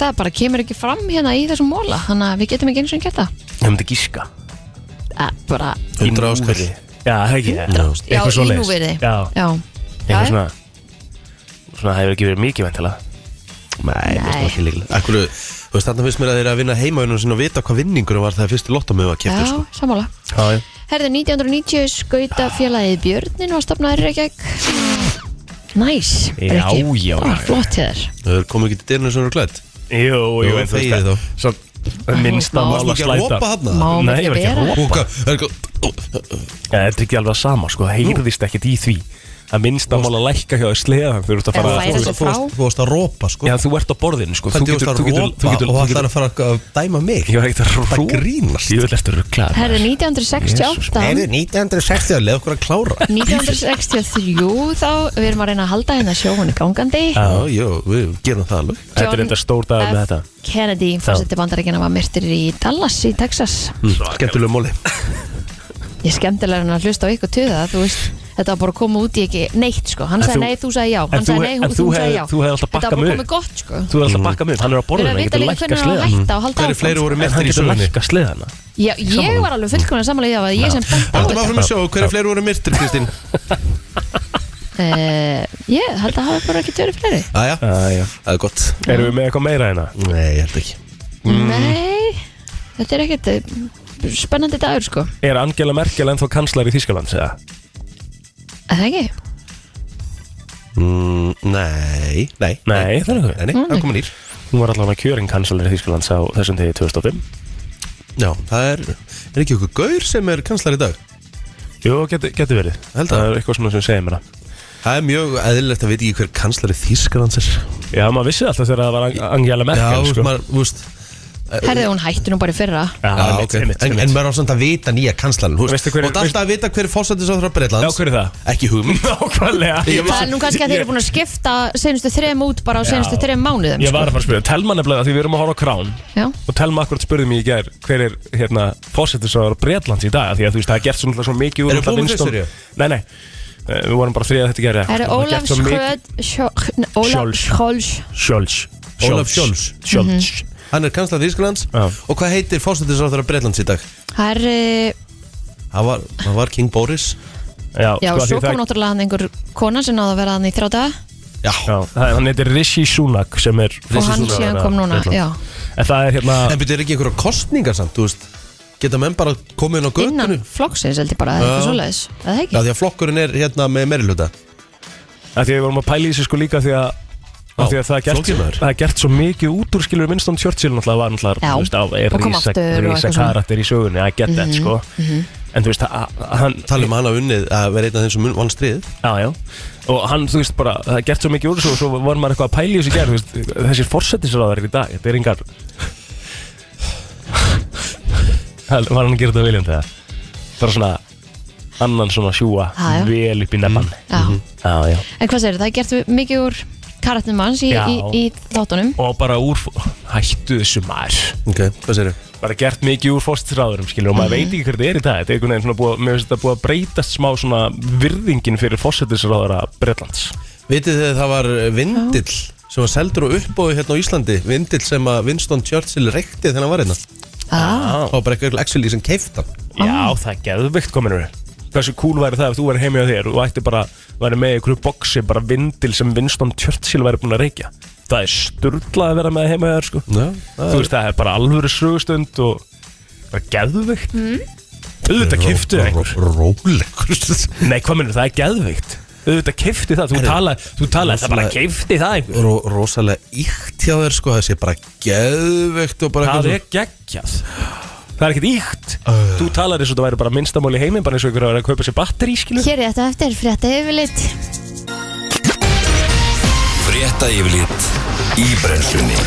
S5: Það bara kemur ekki fram hérna í þessum móla þannig að við getum ekki eins og gert það
S1: Ég myndi gíska
S5: Eh, bara,
S4: 100 áskall
S1: Já, það ekki
S4: áskall.
S5: Já,
S1: Eitthvað
S5: í
S1: svoleiðis.
S5: núverði
S1: Já,
S5: Já,
S1: eitthvað svona Svona hefur ekki verið mikið vantala
S4: Nei,
S5: Nei.
S4: það er ekki líklega Akkur, þú veist, þarna finnst mér að þeir eru að vinna heimaunum sinna og vita hvað vinningur var það fyrsti lottamöðu að
S5: já
S4: kefta sko.
S5: sammála
S1: Já,
S5: Herðu, 1990 skauta félagið Björnin var stopnaður í Reykjavík Næs,
S1: Já,
S5: Breki.
S1: já,
S5: Það var
S1: já.
S5: flott hjá þér
S4: Þau eru komið ekki til dyrinu sem eru klætt
S1: Jú, jú,
S4: Jú,
S1: en þú
S4: þegið
S1: veist
S4: þá.
S1: það Svo minnsta
S5: Má
S1: mál
S4: Varstu ekki
S1: að
S4: að
S1: slæta
S4: ropa þarna?
S5: Má
S1: Nei,
S5: ekki
S1: ég var ekki að
S5: vera.
S1: ropa.
S4: Bóka, er eitthvað
S1: Já, þetta er ekki alveg sama, sko, það heyrðist ekkert í því að minnsta mál að lækka hjá þér sleðan þú ert að
S5: Já,
S1: fara
S5: það er
S1: þú
S5: þessi
S1: veist-
S5: frá.
S4: Þú varst að rópa sko
S1: Já, þú ert á borðinu, sko
S4: Þú getur, þú getur, þú getur, þú getur að fara að dæma mig
S1: Ég var ekkert að ropa
S4: Það grínast.
S1: Ég vil eftir rugglaður
S5: Herðu,
S1: Jesus,
S5: 1968
S4: 1960 að leða okkur að klára
S5: 1963 þá við erum að reyna að halda hérna sjóhunni gangandi
S4: Já, já, við gerum það alveg
S1: Þetta er enda stór dagur
S5: F.
S1: með þetta
S5: Kennedy, fórseti bandaríkjana var myrtir í Dallas í Texas
S4: Mm. Skemmtilegu móli
S5: Ég er skemmtilega en að hlusta á ykkur tuða þú veist, þetta var bara að koma út í ekki neitt sko. hann
S1: En
S5: sagði
S1: þú-
S5: nei, þú sagði já
S1: en
S5: hann
S1: þú-
S5: sagði nei,
S1: en
S5: hún,
S1: þú
S5: þú sagði
S1: hefði-
S5: já
S1: þú hefði alltaf
S5: þetta
S1: bakkað
S5: var
S1: mig
S5: bara
S1: upp.
S5: komið gott sko.
S1: Þú er alltaf að bakka mig upp, hann er á
S5: við
S1: borðinu,
S5: erum að
S1: hann
S5: vita
S1: getur
S5: líka
S1: lækka
S5: hvernig hann var að
S1: sleðan
S5: hætta og halda
S4: Hverju fleiri
S5: áfram
S4: voru
S5: sko.
S1: En
S4: mittir í
S1: hann getur
S4: sögunni?
S1: lækka sleðana
S5: Já, ég var alveg fullkomlega samanlega að ég sem bent á
S4: Haldum
S5: þetta
S4: áfram að sjá, hverju fleiri voru myrtir, Kristín?
S5: Eh, ég held að hafa bara ekki törið fleiri
S4: Æja,
S1: Æja,
S4: það er gott
S1: erum við með eitthvað meira hérna?
S4: Nei, ég held ekki
S1: Mm.
S5: nei, þetta er ekkert eh, spennandi dagur sko
S1: Er Angela Merkel ennþá kanslar í Þískaland, segja?
S5: Er það ekki?
S4: Mm, Nei, nei
S1: Nei, það er eitthvað
S4: Nei, nei, það er komin nýr
S1: Hún var allavega kjörin kanslari Þýskalands á þessum tegi 2005
S4: Já, það er, er ekki okkur gaur sem er kanslar í dag
S1: Jú, getur geti verið
S4: Held að.
S1: Það er eitthvað svona sem hérna. segir mér það
S4: Það er mjög eðlilegt að veit ekki hver kanslari Þýskalands er
S1: Já, maður vissi alltaf þegar það var Ang- Angela
S4: Já,
S1: Merkel
S4: sko.
S1: sko.
S4: maður, þú veist
S5: Herðið hún hætti nú bara í fyrra
S1: Eh, Já,
S4: Já,
S1: einmitt,
S4: ok
S1: einmitt,
S4: En,
S1: einmitt.
S4: en maður á samt að vita nýja kanslarin Þú veist,
S1: Veistu hver er-
S4: og það er alltaf að vita hver fósættis á þrjá
S1: Já,
S4: Breitlands
S1: hver er það?
S4: Ekki hugmynd
S1: Nákvæmlega Ég
S5: Það
S1: var-
S5: er nú kannski að þeir
S1: ég-
S5: eru búin að skipta senustu þrem út bara á senustu
S1: Já.
S5: þrem mánuðum
S1: Ég var að
S5: sko.
S1: fara að spyrja Telma nefnilega því við erum að horfa á krán
S5: Já.
S1: Og Telma akkurat spurði mér í gær Hver er hérna fósettisáður Breitlands í dag Því að þú veist það er gert svona, svona mikið úr
S4: Erum við
S1: alltaf
S4: búin með
S1: Winston-
S4: þessu, Ríó?
S1: Nei, nei Eh, Við vorum bara þrið að þetta gera
S5: Það eru Ólaf Skröð Sjó- n- Ólaf
S1: Scholz.
S5: Scholz
S1: Scholz
S4: Ólaf Scholz.
S5: Mhm.
S1: Scholz
S4: Hann er kanslar Þýskalands
S1: Já.
S4: Og hvað heitir fórsættisráður af Breitlands í dag?
S5: Það er, eh,
S4: Það var, það var King Boris
S1: Já,
S5: já,
S1: sko,
S5: svo
S1: því
S5: kom
S1: það,
S5: náttúrulega hann einhver kona sem náða að vera hann í þrjá daga
S4: Já,
S1: já, það- hann heitir Rishi Sunak sem er
S5: og hann síðan kom núna, já,
S1: En það er hérna
S4: En byrjuðu ekki einhverja kostningar samt, þú veist Geta menn bara komið inn á
S5: innan
S4: göttinu
S5: flokksins held ég bara, eða eitthvað svoleiðis, eða
S4: Já,
S5: ekki?
S4: því að flokkurinn er hérna með meriluta
S1: að Því að við vorum að pæla í þessu sko líka því að
S4: Já,
S1: Af því að það er, gert,
S4: flókið maður.
S1: það er gert svo mikið út úr skilur Winston Churchill náttúrulega var náttúrulega
S5: Já,
S1: þú veist, á, er
S5: og kom
S1: rísa,
S5: aftur og
S1: rísa
S5: eitthvað svona. Mhm,
S1: karakter í sögunni I get that sko en þú veist að, að hann
S4: Talum hann um að unnið að vera einn af þeim sem vann stríð
S1: já, já. og hann þú veist bara það er gert svo mikið úr þessu og svo var maður eitthvað að pæla í þessu í gær, þú veist, þessir forsættisráðar í dag þetta er engar Það var hann að gera þetta viljum þegar bara svona annan svona sjúa
S5: Já, já.
S1: vel upp í nefnan
S5: Já,
S1: já, já.
S5: en hvað segir það, er gert mikið úr karatnum manns í,
S1: Já.
S5: í, í þáttunum
S1: og bara úr hættu þessu maður
S4: Ok, hvað séru?
S1: bara gert mikið úr fóstisráðurum skilur og
S5: Mm.
S1: maður veit ekki hvernig þetta er í dag þetta er einhvern veginn svona búið, mér finnst þetta búið að breytast smá svona virðingin fyrir fóstisráðara Bretlands
S4: Vitið þið að það var vindill sem var seldur og uppbóðu hérna á Íslandi Vindill sem að Winston Churchill reykti þegar hann var hérna Það
S5: Já,
S4: var bara eitthvað actually sem keift hann Ah.
S1: já það er geðvikt kominur hversu cool væri það ef þú væri heimi á þér og ætti bara, væri með í einhverju boksi bara vindil sem Winston Churchill væri búin að reykja það er sturlað að vera með heima á þér sko
S4: Já, það
S1: þú
S4: er
S1: veist það er bara alvöru sögustund og bara geðvikt
S4: Mhm.
S1: mm. auðvitað kiftu einhver
S4: Rólegur
S1: Nei, hvað minnur, það er geðvikt Auðvitað keifti það, þú
S4: Herru,
S1: tala, þú tala Það
S4: rosalega-
S1: bara keifti það einhver
S4: Ró, Rósalega íkt hjá þér sko Það sé bara geðveikt og bara
S1: Það
S4: eitthvað
S1: er geggjað Það er ekkert íkt Þú talar eins og það væri bara minnstamál í heiminn Bara eins og einhver að vera að kaupa sér batteri skilu
S5: hér er þetta eftir frétta yfirleitt
S2: Frétta yfirlit í brennslunni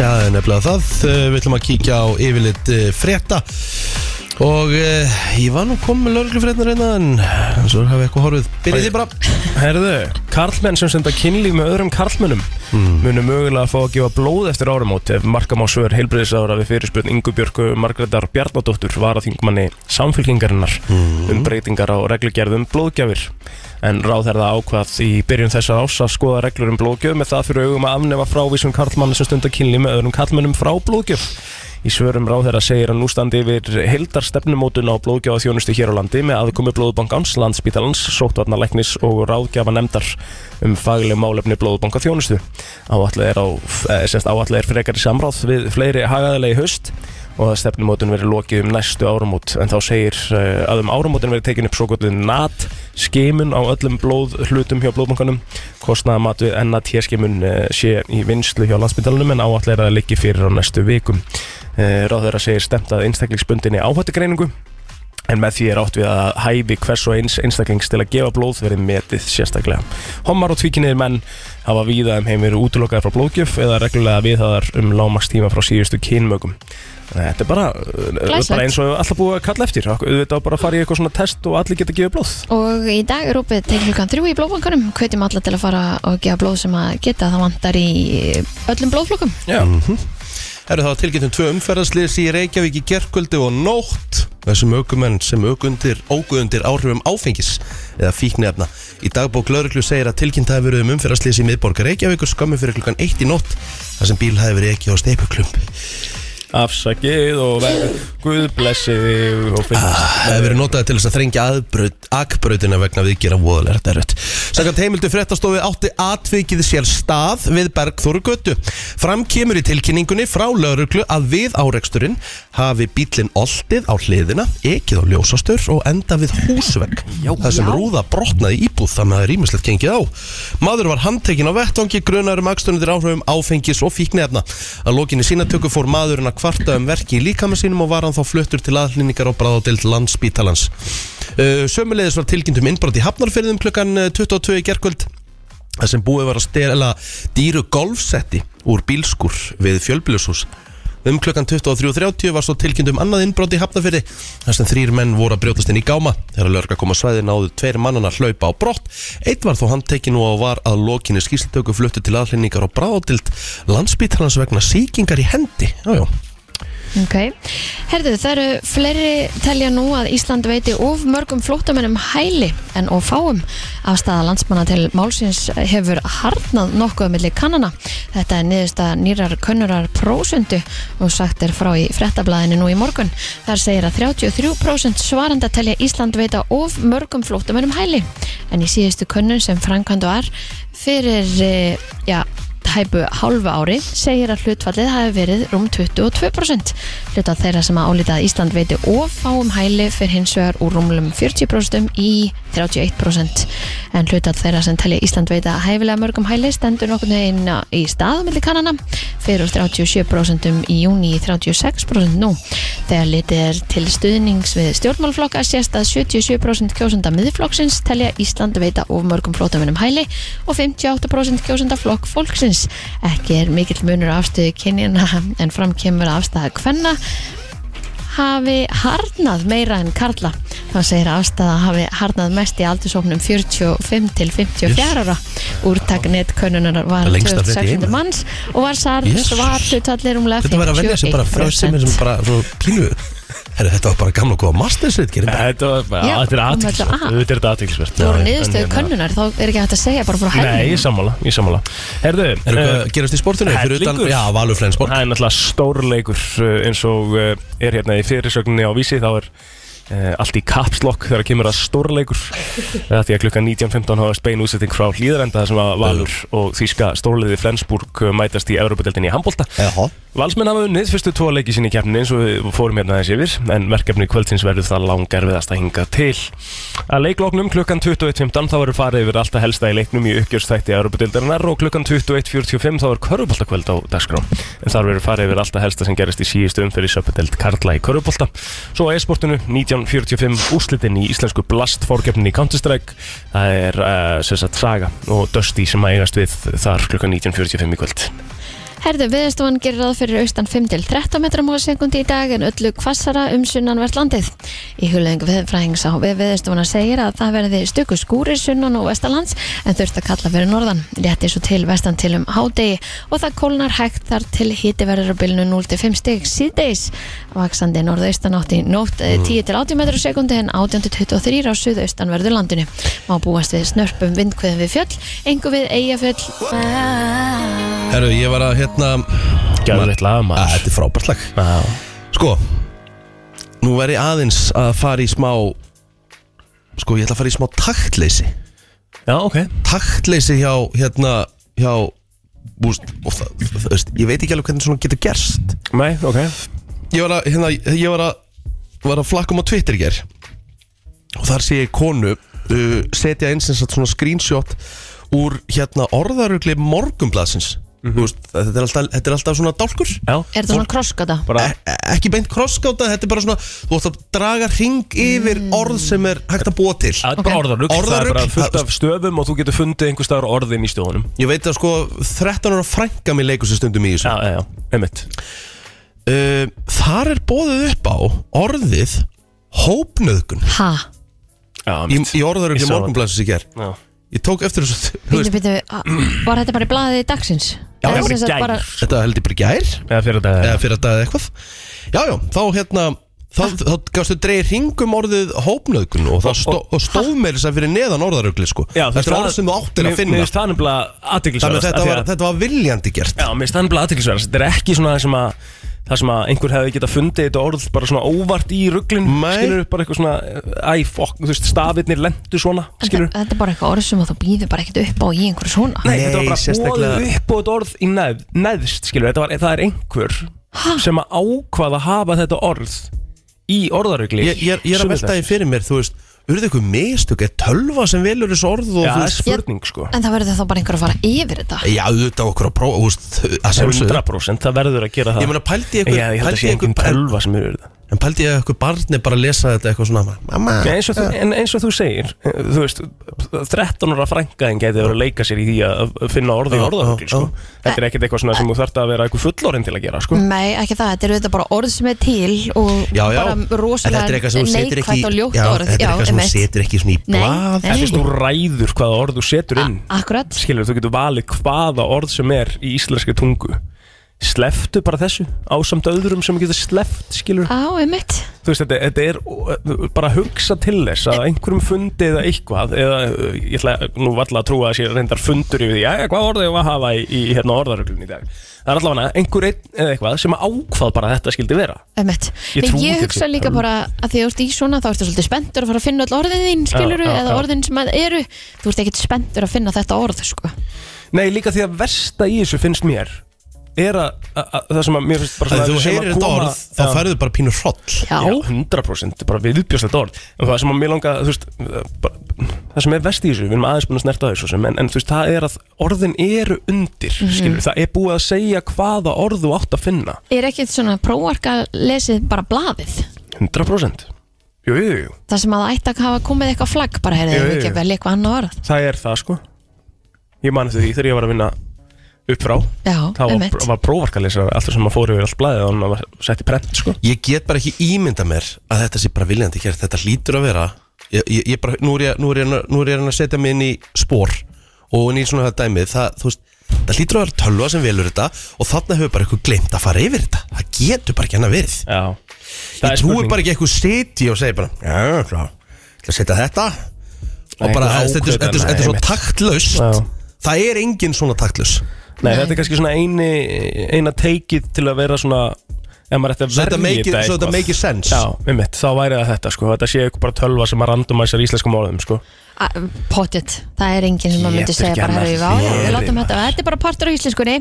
S4: Já, það er nefnilega það. Eh, Við ætlum að kíkja á yfirleitt eh, frétta og uh, ég var nú komið með lörglufrétnar hérna en svo hafið eitthvað horfið. Byrjið þið bara.
S1: Herðu, karlmenn sem senda kynlíf með öðrum karlmennum Munu mögulega að fá að gefa blóð eftir áramót Ef markam á svör heilbriðisára við fyrirspurn Ingu Björku Margreðar Bjarnadóttur Var að þingmanni samfylkingarinnar Um breytingar á reglugerðum blóðgjafir En ráðherða ákvað í byrjun þessar ás að skoða reglur um blóðgjöf með það fyrir augum að afnefa frávísum karlmann sem stunda kynlíf með öðrum karlmennum frá blóðgjöf Í svörum ráðherra segir að nú standi yfir heildar stefnumótun á blóðgjáða þjónustu hér á landi með aðkomi blóðbankans, landsbítalans, sóttvarnalæknis og ráðgjafa nefndar um fagleg málefni blóðbanka þjónustu. Áallega er, á, eh, semst, áætlað er frekari samráð við fleiri hagaðalegi haust og að stefnumótun verið lokið um næstu áramót en þá segir uh, að um áramótin verið tekin upp svo gotið NAT skimun á öllum blóð hlutum hjá blóðbankanum kostnaðamat við NAT skimun uh, sé í vinslu hjá landsbyndalunum en áallega er að það liggi fyrir á næstu vikum uh, ráðherra segir stemt að einstaklingsbundinni áhættugreiningu en með því er átt við að hæfi hvers og eins einstaklings til að gefa blóð verið metið sérstaklega. Hommar og tvíkinniðir menn hafa víða um heim verið útlokaðar frá blóðgjöf eða reglulega viðhaðar um lámastíma frá síðustu kynmögum. Þetta er bara, uh,
S5: Glæsilegt.
S1: bara eins og alltaf búið að kalla eftir. Auðvitað á bara að fara í eitthvað svona test og allir geta gefið blóð.
S5: Og í dag er opið til klukkan þrjú í blóðbankanum Hvetjum alla til að fara og gefa blóð sem að geta Það vantar í öllum blóðflokkum
S1: Já. Mm -hmm.
S4: Eru það tilgjöndum tvö umferðarsliðs í Reykjavík í gerkvöldu og nótt. Þessum aukumenn sem aukundir, óguðundir áhrifum áfengis eða fíknefna. Í dagbók lörglu segir að tilgjönd hafi verið um umferðarsliðs í miðborgar Reykjavík og skömmu fyrir klukkan 1 í nótt þar sem bíl hafi verið ekki á steipuklump.
S1: Afsakið og verður guðblessið og finnst.
S4: Það hefur verið notað til þess að þrengja aðbraut, akbrautina vegna viðgera voðalegt erut. Sankant heimildu fréttastofi átti atvikið sér stað við Bergþóru götu. Fram kemur í tilkynningunni frá lauruglu að við áreksturinn hafi bílinn oltið á hliðina, ekið á ljósastur og enda við húsvegg. Það sem rúða brotnaði í íbúð þannig að það er ímislegt gengið á. Maður var handtekinn á vettvangi grunar um akstunundir áhrifum áfengis og fíknefna. Að lokinni sínatöku fór maðurinn að kvarta um verki í líkama sínum og var hann þá fluttur til aðlýningar og bráðadild landsbítalans. Uh, Sömulegis var tilkynnt um innbrot í Hafnarfyrðum klukkan eh, 22 í gerkvöld þar sem búið var að stela dýru golfsetti úr bílskur við fjölbílushús. Um klukkan 23.30 var svo tilkynnt um annað innbrot í Hafnafyrði þar sem þrýr menn voru að brjótast inn í gáma. Þegar lörga kom að svæði náðu tveir mannana hlaupa á brott. Eitt var þó handtekinn og var að lokinni skýrslitöku fluttu til aðhlýningar og bráðild landsbítalans vegna sýkingar í hendi. Jájá. Já.
S5: Ok, herðu það eru fleiri telja nú að Ísland veiti of mörgum flóttamennum hæli en of fáum. Afstæða landsmanna til málsins hefur harnað nokkuð millir kannana. Þetta er niðursta nýrar könnurar prósundu og sagt er frá í frettablaðinu nú í morgun. Þar segir að 33% svaranda telja Ísland veita of mörgum flóttamennum hæli. En í síðustu könnun sem framkvæmdu var fyrir, eh, já, tæpu hálfu ári segir að hlutfallið hafi verið rúm 22%. Hluta þeirra sem að álita að Ísland veiti of fáum hæli fyrir hins vegar úr rúmlum 40% í 31%. En hluta þeirra sem telja Ísland veita hæfilega mörgum hæli stendur nokkurnu einn í staðumildi kannana fyrir úr 37% í júni í 36% nú. Þegar litið er til stuðnings við stjórnmálflokka sést að 77% kjósenda miðflokksins telja Ísland veita of mörgum flótamennum hæli og 58% kjósenda flokk fólksins. Ekki er mikill munur á afstöðu kynjana en fram kemur að afstæða kvenna hafi harnað meira en karla. Það segir að afstæða hafi harnað mest í aldursóknum 45 til 54 ára. Úrtaknet könnunar var
S4: Það er lengsta frétt í
S5: 2700
S4: heimi.
S5: manns og var sar
S4: Jesus.
S5: svar hlutvallir umlega 51%.
S4: Þetta verður að velja sem bara frösið sem bara svo pínu Herru, þetta var bara gamla og góða mastersrið gerir bara
S1: Þetta var-
S5: Já,
S1: já, þetta er
S5: hún var
S1: aðtilsvert
S5: þetta að-
S1: Þetta er aðtilsvert
S5: Þú voru niðurstöðu könnunar, þá er ekki hægt að segja bara frá
S1: Nei, ég
S5: hægum.
S1: sammála, ég sammála Herðu,
S4: Er
S1: eh,
S4: eitthvað að gerast í sportinu? Fyrir utan,
S1: hellingur.
S4: já, Valur Flensborg
S1: Það er náttúrulega stórleikur uh, eins og uh, er hérna í fyrirsögninni á vísi þá er uh, allt í kapslokk þegar kemur að stórleikur þetta því að klukkan 19.15 hafa spein útsetting frá hlýðarenda þar sem að Valur og þýska stórleiði Flensburg uh, mætast í Európa-deltinni í handbólta
S4: Jaha.
S1: Valsmenn hafa unnið fyrstu tvo leiki sinni í keppninni eins og við fórum hérna aðeins yfir en verkefni kvöldsins verður það langerfiðast að hinga til. Að leikloknum klukkan 21.15 þá verður farið yfir alltaf helsta í leiknum í uppgjörstætti Europadildarinnar og klukkan 21.45 þá er körfuboltakvöld á dagskrá en þar verður farið yfir alltaf helsta sem gerist í síðustu umfyrir söpudeld Karla í körfubolta svo að e-sportinu 1945 úslitin í íslensku blast fórgefnin í Counter-Strike það er uh, sem sagt Saga og Dusty sem að eigast við þar klukkan 19.45 í kvöld
S5: Herðu, viðstofan gerir ráð fyrir austan 5 til 13 metrum á sekundi í dag en öllu kvassara um sunnanvert landið. Í hulöðing viðfræðings á við viðstofana segir að það verði stöku skúrir sunnan og vestalands en þurft að kalla fyrir norðan. Rétti svo til vestan til um hádegi og það kólnar hægt þar til hiti verður á bylnu 0 til 5 stig síðdeis. Vaksandi norðaustan átti nótt eh, 10 til 80 metrum á sekundi en 18 til 23 á suðaustan verður landinu. Má búast við snörpum vindkveðum við fjöll, engu við eigafjöll.
S4: Herru, ég var að hérna
S1: Gæðveitt laga
S4: Að,
S1: maður
S4: Ah, Þetta er frábært lag
S1: Já.
S4: Sko Nú verð ég aðeins að fara í smá Sko, ég ætla að fara í smá taktleysi
S1: Já, ok
S4: Taktleysi hjá, hérna, hjá Búst, og það, það, það, veist, ég veit ekki alveg hvernig svona getur gerst
S1: Nei, ok
S4: Ég var að, hérna, ég var að, var að flakka um á Twitter í ger Og þar sé ég konu uh, Setja eins og svona screenshot Úr, hérna, orðarugli morgumblaðsins Þú veist, þetta er alltaf, þetta er alltaf svona dálkur
S1: Já,
S5: Er það svona krossgata?
S1: bara
S4: E- ekki beint krosskáta, þetta er bara svona þú ætti að draga ring yfir
S1: Mm.
S4: orð sem er hægt að búa til
S1: Það er bara
S5: Ok.
S1: orðarugl, það er
S4: Orðarugl,
S1: bara fullt
S4: það-
S1: af stöfum og þú getur fundið einhvers staðar orðin í stöðunum
S4: ég veit að sko 13 ára frænka mér leikur sér stundum í þessu
S1: Já, já, já, einmitt
S4: uh, þar er bóðið upp á orðið hópnöðgun
S5: Ha?
S1: Já,
S4: í,
S1: einmitt
S4: í orðarugli
S1: Ég sá
S4: morgunblæsins í ger
S1: Já.
S4: ég tók eftir þessu þú
S5: Býtu,
S4: veist,
S5: býtu, a- var þetta bara í blaðið í dagsins?
S1: Já,
S5: Eða
S1: það var
S5: sem
S1: í
S5: sagt
S1: gær.
S5: bara-
S4: þetta heldur bara í gær
S1: Eða fyrir þetta
S4: eða fyrir að dagið eitthvað jájá, þá hérna þá, þá gafstu dreigir hringum um orðið hópnöðgun og það stó, og stóð meira þess að fyrir neðan orðarugli sko. það er orð sem þú áttir að finna
S1: Mér finnst það
S4: Þannig
S1: nefnilega
S4: að
S1: aðtiklisverðast
S4: þetta var, þetta var viljandi gert
S1: Já, mér finnst það nefnilega aðtiklisverðast Þetta er ekki svona það sem að Það sem að einhver hefði getað fundið þetta orð bara svona óvart í ruglinn
S4: Nei.
S1: Skilur bara eitthvað svona Æ, fokk, þú veist, stafirnir lendu svona Skilur
S5: Þetta þetta er bara eitthvað orð sem að þú býður bara ekkert upp á í einhverju svona
S1: Nei, þetta
S4: Nei,
S1: var bara
S4: sérstaklega-
S1: boðið upp á þetta orð í neð, neðst, skilur, þetta var, það er einhver sem að ákvaða að hafa þetta orð í orðarugli
S4: Ég, ég, er- ég er að velta því fyrir mér, þú veist Urðu eitthvað mistök, er tölva sem velur þessu orð og þú
S1: Já, það er
S4: veist
S1: spurning, sko
S5: En það verður þá bara einhver að fara yfir þetta
S4: Já, auðvitað okkur að prófa, þú veist að sjálfsögðu.
S1: 100% það verður að gera það
S4: Ég meina, pældi ég
S1: Ég,
S4: eitthvað-
S1: ég held að
S4: pældi
S1: sé
S4: ég
S1: engin
S4: eitthvað-
S1: tölva sem eru það
S4: En pældi ég að eitthvað barni bara að lesa þetta eitthvað svona Mamma,
S1: Nei, eins og, þú, en eins og þú segir, eh, þú veist 13 ára frænkaðin geti verið að leika sér í því að finna orði í
S4: Já,
S1: orðarugli,
S4: já,
S1: sko
S4: já.
S1: Þetta er ekkert eitthvað svona sem þú þarft að vera eitthvað fullorinn til að gera,
S4: Mm.
S1: sko
S5: Nei, ekki það, þetta eru þetta bara orð sem er til og
S4: Hm. já, já
S5: bara
S4: En þetta er
S5: rosalega
S4: eitthvað sem þú setur ekki
S5: neikvætt
S4: í-
S5: og ljótt
S4: já,
S5: orð
S4: Þetta er eitthvað sem þú
S5: einmitt.
S4: setur ekki svona í
S5: Nei,
S4: blað
S5: nei.
S1: En fyrst þú ræður hvaða orð þú setur inn
S5: Akkurat
S1: skilur, þú getur valið hvaða orð sem er í íslenski tungu sleftu bara þessu ásamt öðrum sem geta sleft skilur
S5: Á, einmitt
S1: þú veist, þetta, þetta er bara að hugsa til þess að einhverjum fundi eða eitthvað eða uh, ég ætla nú varla að trúa að sé reyndar fundur yfir því jæja, hvað orðið ég var að hafa í, í hérna orðaröglun í dag það er allavega einhver einn eða eitthvað sem að ákvað bara að þetta skildi vera
S5: Emmett.
S1: Ég
S5: Ég,
S1: trúi
S5: ég
S1: þessu.
S5: hugsa líka bara að því að þú ert í svona þá ertu svolítið spenntur að fara að finna all orðin þín skiluru
S1: já,
S5: eða
S1: já.
S5: orðin sem að eru þú ert ekkert spenntur að finna þetta orð sko.
S1: nei, líka því að versta í þessu finnst mér er að, að, að það sem að mér finnst bara
S4: Þegar
S1: svona-
S4: þú
S1: sem að
S4: heyrir þetta
S1: koma-
S4: orð, þá
S1: Já.
S4: færðu bara pínu hroll
S5: Já,
S1: Já, 100% þetta er bara viðbjóðslegt orð en það sem að mér langa, þú veist bara, það sem er vest í þessu, við erum aðeins búin að snerta þessu sem, en, en þú veist, það er að orðin eru undir,
S5: Mhm.
S1: mm það er búið að segja hvaða orð þú átt að finna
S5: er ekki svona prófarka lesið bara blaðið
S1: 100% Jú, jú, jú,
S5: þar sem að það ætti að hafa komið eitthvað flagg bara heyrðu
S1: Jú,
S5: við
S1: jú,
S5: ekki
S1: jú.
S5: að velja eitthvað annað orð
S1: það er það sko Ég man eftir því þegar ég var að vinna upp frá
S5: Já,
S1: þá var,
S5: einmitt.
S1: var prófarkalesar alltaf sem að fóru yfir allt blæðið og hann var sett í prent sko
S4: Ég get bara ekki ímynda mér að þetta sé bara viljandi hér Þetta hlýtur að vera ég, ég, ég bara, nú, er ég, nú, er ég, nú er ég að reyna að setja mig inn í spór og inn í svona þetta dæmið það, þú veist, það hlýtur að vera tölva sem velur þetta og þarna hefur bara eitthvað glemt að fara yfir þetta Það getur bara ekki hann að verið
S1: Já
S4: Ég trúi bara ekki eitthvað seti og segi bara Já, klá, ætla að setja þetta Og
S1: Nei,
S4: bara,
S1: eitthvað
S4: þetta er- þetta er
S1: ákveðna,
S4: þetta er svo
S1: einmitt. Já.
S4: taktlaust Það er enginn svona taktlaust
S1: Nei,
S5: Nei.
S1: þetta er kannski svona eini, eina teikið til að vera svona ef maður ætti að
S4: Svo þetta
S1: verja
S4: make it-
S1: þetta
S4: svo þetta
S1: eitthvað.
S4: make it sense.
S1: Já, með mitt, þá væri það þetta sko Þetta sé eitthvað bara tölva sem að randomæsar íslenskum orðum sko
S5: A- Pottet, það er enginn sem að myndi
S1: Getur
S5: segja
S1: ekki
S5: bara
S1: annað
S5: heyrðu við á
S1: verið,
S5: við látum
S1: maður.
S5: þetta, þetta er bara partur á íslenskunni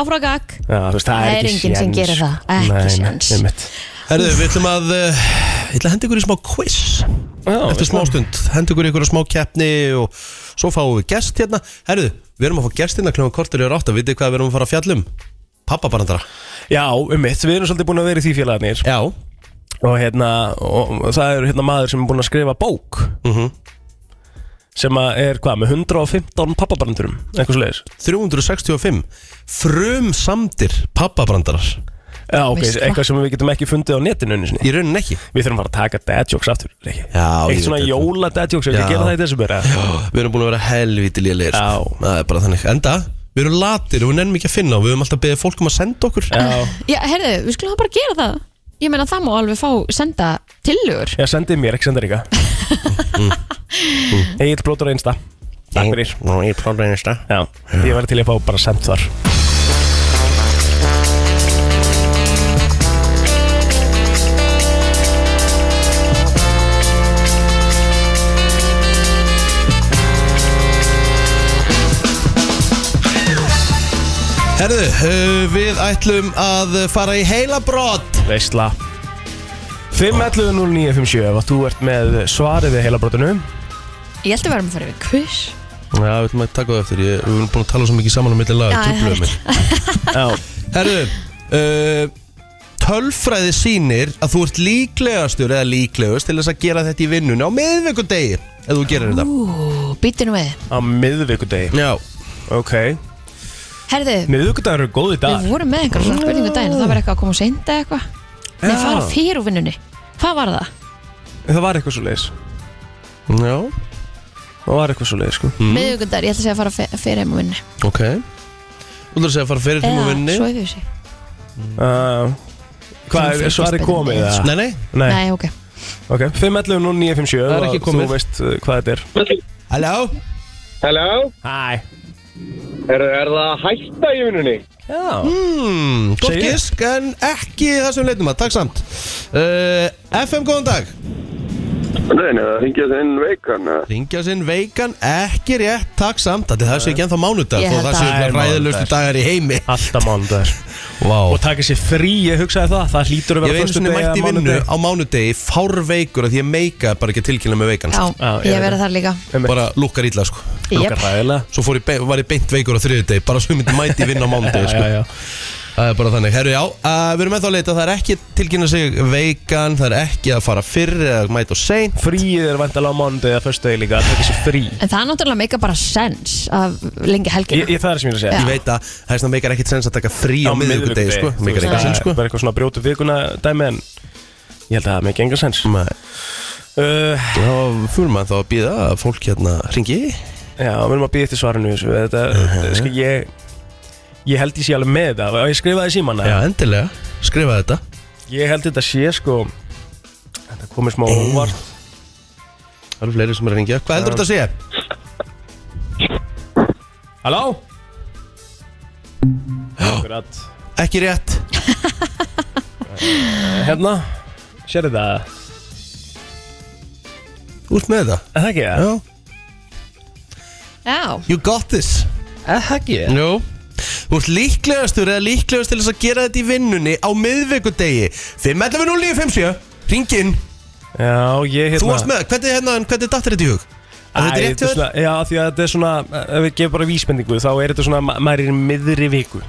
S5: áfragak
S1: Já, þú veist, það,
S5: Það
S1: er
S5: er
S1: ekki
S5: enginn sem
S1: séns.
S5: gerir það, ekki séns.
S1: Nei, með mitt
S4: Herðu, við ætlum að uh, Ég ætla að henda ykkur í smá quiz Eftir smá stund, henda ykkur í ykkur smá keppni Og svo fáum við gest hérna Herðu, við erum að fá gest hérna kljóðan kortur í rátt Að vitið hvað við erum að um? fara að fjallum Pappabarandara
S1: Já, um mitt, við erum svolítið búin að vera í því félagarnir
S4: Já
S1: og, hérna, og það eru hérna maður sem er búin að skrifa bók sem að er hvað, með 115 pappabarandurum eitthvað svoleiðis
S4: 365 Frum samdir pappabrandarar
S1: Já, ok,
S5: Veistu hvað?
S1: eitthvað sem við getum ekki fundið á netinu einu sinni.
S4: Í raunin ekki
S1: Við þurfum bara að taka dad jokes aftur Rikki.
S4: Já, ég
S1: Eitt svona
S4: veit þetta.
S1: jóla dad jokes, við
S4: Já.
S1: gera það í þessu bara
S4: Við erum búin að vera helviti lélegir
S1: Já.
S4: sko. Það er bara þannig Enda, við erum latir og við nennum ekki að finna og Við höfum alltaf beðið fólk um að senda okkur
S1: Já,
S5: Já, heyrðu, við skulum bara gera það Ég meina það má alveg fá senda tillögur
S1: já sendið mér, ekki senda Ríka Egil blótur á einsta Takk fyrir
S4: Nú, ég prófaði einasta
S1: Já, ég var til að fá bara sent þar
S4: Herðu, uh, við ætlum að fara í heilabrott
S1: Veistla 5.11.09.57 ef að þú ert með svarið við heilabrótinu
S5: Ég held að við erum að fara yfir quiz
S4: Já, við ætlum að taka það eftir, ég, við erum búin að tala svo mikið saman um milli laga,
S5: Já,
S4: trúbluðum mér
S1: Já,
S4: Herðu, uh, tölfræði sýnir að þú ert líklegastur eða líklegust til þess að gera þetta í vinnunni á miðvikudegi ef þú gerir þetta
S5: Ú, býttu nú við
S1: á miðvikudegi
S4: Já,
S1: Ok,
S5: Herðu,
S1: miðvikudagur eru góði dag
S5: við vorum með einhverjum svona spurningu daginn og það var eitthvað að koma og senda eitthvað Nei,
S1: Já. Hmm?
S5: fara fyrir úr vinnunni Hvað var það?
S1: Það var eitthvað svo leiðis
S4: já,
S1: Það var eitthvað svo leiðis sko
S5: Mm. ég ætla að segja að fara fe- fyrir heim og vinnu
S4: ok Þú ætlum að segja að fara fyrir tíma á vinnunni
S5: svo yfir sig
S1: uh, Hvað er svarið komið? eða?
S4: Nei, nei,
S1: Nei,
S5: Nei, ok
S1: ok 5.11.09.57
S4: Það er ekki komið.
S1: Þú veist uh, hvað þetta er
S4: halló
S3: Hello?
S1: Hæ
S3: Er, er það að hætta í vinnunni?
S1: Já
S4: hmm, Gott
S1: Segir.
S4: gisk, en ekki það sem við leitum að, takk samt uh, FM, góðan dag
S3: Nei, nei, það hringja þinn veikan. eða?
S4: Ringja sinn veikan, ekki rétt, takk samt Ætli Það sé ekki ennþá mánudag
S5: Ég
S4: Þó það
S5: held að-
S4: sé
S1: Það er
S4: ræðilustu
S1: mánudagur.
S4: dagar í heimi
S1: Alltaf mánudagur
S4: wow.
S1: Og taka sér frí, ég hugsaði það Það hlýtur að
S4: Ég
S1: vera
S4: veit svona
S1: föstudegi
S4: mætti í
S1: eða
S4: vinnu
S1: mánudegi.
S4: á mánudegi Fár veikur að því ég meika bara ekki að tilkynna með veikan sko.
S5: Já,
S1: Já, ég
S5: ég
S1: veit
S5: verði þar líka
S1: Einmitt.
S4: Bara lukkar illa sko
S1: Lukkar
S5: Jep.
S1: hræðilega
S4: Svo fór ég, be- var ég beint veikur á þriðudegi Bara svo ég myndi mæti í vinnu á mánudegi sko.
S1: já
S4: Það er bara þannig, herru já, uh, við erum ennþá að leita Það er ekki að tilkynna sig veikan Það er ekki að fara fyrr eða mæta og sein
S1: Fríið er vantalega á mánudag eða föstudegi líka að taka sér frí
S5: En það er náttúrulega meika bara sens að lengi helgina
S1: Ég, ég það er sem ég er að segja
S5: Já.
S4: Ég veit að það er svona meikar ekkert sens að taka frí á, á miðvikudegi
S1: miðvikudegi,
S4: sko.
S1: þú
S4: Meikar
S1: veist,
S4: ekkert sens sko
S1: Það er eitthvað svona brjótu vikuna dæmi en Ég held að það með engan sens
S4: Nei.
S1: uh,
S4: Já, fyrir maður þá að býða að fólk hérna ringi Mhm.
S1: Já, við erum að býða eftir svarinu í þessu Þetta, uh -huh. sko, ég Ég held ég sé alveg með það og ég skrifaði síman
S4: Já, endilega, skrifa þetta
S1: Ég held þetta sé sko Þetta komið smá
S4: Eh.
S1: óvart
S4: Það eru fleiri sem er að ringja Hvað heldur þetta að segja?
S1: Halló? Akkurat
S4: Ekki rétt
S1: Hérna, sér þetta Er
S4: Úrt með þetta
S1: það ekki það?
S4: Já
S5: Já,
S4: You got this
S1: Er það ekki það?
S4: Jú Þú ert líklegastur eða líklegast til þess að gera þetta í vinnunni á miðvikudegi 5.11.09.57 Ringinn
S1: Já, ég hérna
S4: Þú varst með, hvernig, hérna, hvernig dattir þetta í hug?
S1: Æ,
S4: Að þetta er rétt hjá
S1: þetta er
S4: þér?
S1: svona, Já, því að þetta er svona Ef við gefum bara vísbendingu Þá er þetta svona ma- Maður er í miðri viku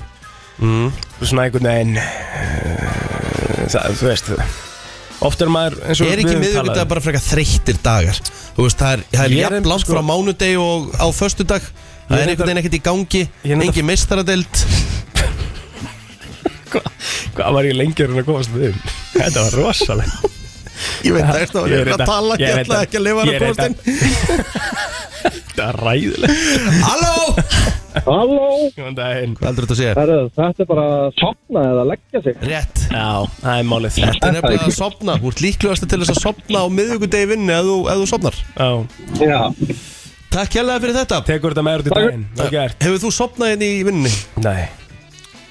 S1: mm.
S4: Mhm.
S1: Svona einhvern veginn eh, Það, þú veist Oft er maður eins og
S4: Er ekki
S1: við höfum talað
S4: miðvikudag
S1: um.
S4: bara frekar þreyttir dagar? Þú veist, það er, það er
S1: Ég er
S4: jafn
S1: einmitt,
S4: langt
S1: sko-
S4: frá mánudeg og á föstudag
S1: Ég
S4: Það
S1: er
S4: er
S1: reyndar-
S4: einhvern veginn ekkert í gangi
S1: Ég er reyndar-
S4: Engin meistaradeild
S1: Hvað var ég lengur en að komast við um? Þetta var rosalegt
S4: Ég veit það, ég er
S1: Ég
S4: að
S1: reyndar-
S4: tala Ég
S1: ég
S4: ætla
S1: reyndar-
S4: ekki að lifa
S1: ég
S4: hann að
S1: reyndar-
S4: postin
S1: Þetta var ræðilegt
S4: Halló!
S6: Halló,
S1: Góðan daginn
S4: Hvað heldur þetta að segja?
S6: herru, þetta er bara að sopna eða leggja sig
S4: Rétt
S1: Já, það er málið Já,
S4: Þetta er nefnilega að sopna Þú ert líklegast til þess að sopna á miðvikudegi í vinnunni ef þú, ef þú sopnar
S6: Já,
S4: Takk hérlega fyrir þetta
S1: tekur þetta með úr til daginn Það gert
S4: Hefur þú sopnað hérna í vinnunni?
S1: Nei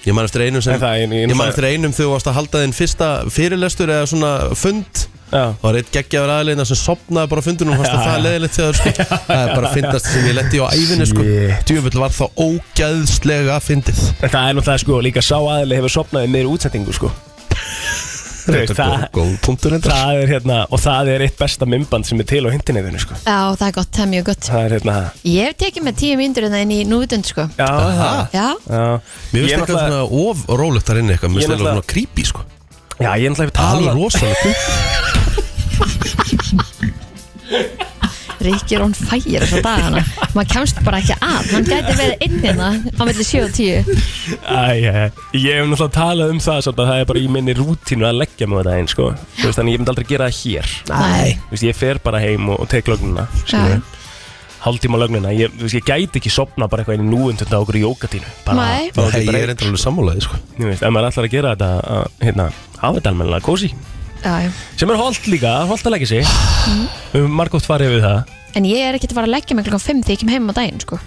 S4: Ég man eftir einum sem
S1: Nei, það er-
S4: Ég,
S1: ég-
S4: man eftir einum þegar þú varst að halda þinn fyrsta fyrirlestur eða svona fund
S1: Já
S4: Það var eitt geggjaður aðleina sem sopnaði bara á fundunum og fannst að það er leðilegt þegar sko. Það er bara að fyndast sem ég letti á ævinni sko.
S1: Shit.
S4: Djöfull var það ógæðslega fyndið
S1: En það er náttúrulega sko líka sá aðli hefur sopnaði meir útsendingu sko Þú
S4: Þetta
S1: veist,
S4: er
S1: það,
S4: góð- góð punktur endur
S1: það er hérna og það er eitt besta mymband sem er til á hintinniðinu sko
S5: já, það er gott, það er mjög gott
S1: Það er hérna það
S5: Ég hef tekið með tíu myndur en það inn í núvitund sko
S1: Já, það
S5: Já,
S4: Mér
S1: Já, Ég
S4: finnst eitthvað
S1: náttúrulega-
S4: svona of rólegt þar inni eitthvað Mér
S1: Ég
S4: finnst eitthvað
S1: náttúrulega-
S4: svona creepy sko
S1: já, ég er náttúrulega hef
S4: Alveg
S1: talað
S4: rosalegt
S5: Ríkir on fire þessa dagana Maður kemst bara ekki að Hann gæti verið inn hérna á milli 7 og 10
S1: Æ, ég ég hef náttúrulega talað um það svolítið að það er bara í minni rútínu að leggja mig á þetta einn sko Þú veist, þannig ég myndi aldrei gera það hér
S5: Nei
S1: Þú veist, ég fer bara heim og, og tek lögnuna
S5: Já.
S1: Haldtíma lögnuna, ég, þú veist, ég gæti ekki sopna bara eitthvað inn í núundönda á okkur jókatínu Bara-
S5: Nei.
S1: þá
S4: Nei,
S1: er þetta
S4: Ég
S1: bara
S4: er endur alveg sammálaði sko
S1: Þú veist, ef maður ætlar að gera þetta að, hérna, hafa þetta almennilega kósi
S5: Já, já.
S1: sem er holdt líka, holdt að leggja sig
S5: Mm.
S1: við höfum margótt farið við það
S5: En ég er ekkert að fara að leggja mig klokkan 5 þegar ég kem heim á daginn sko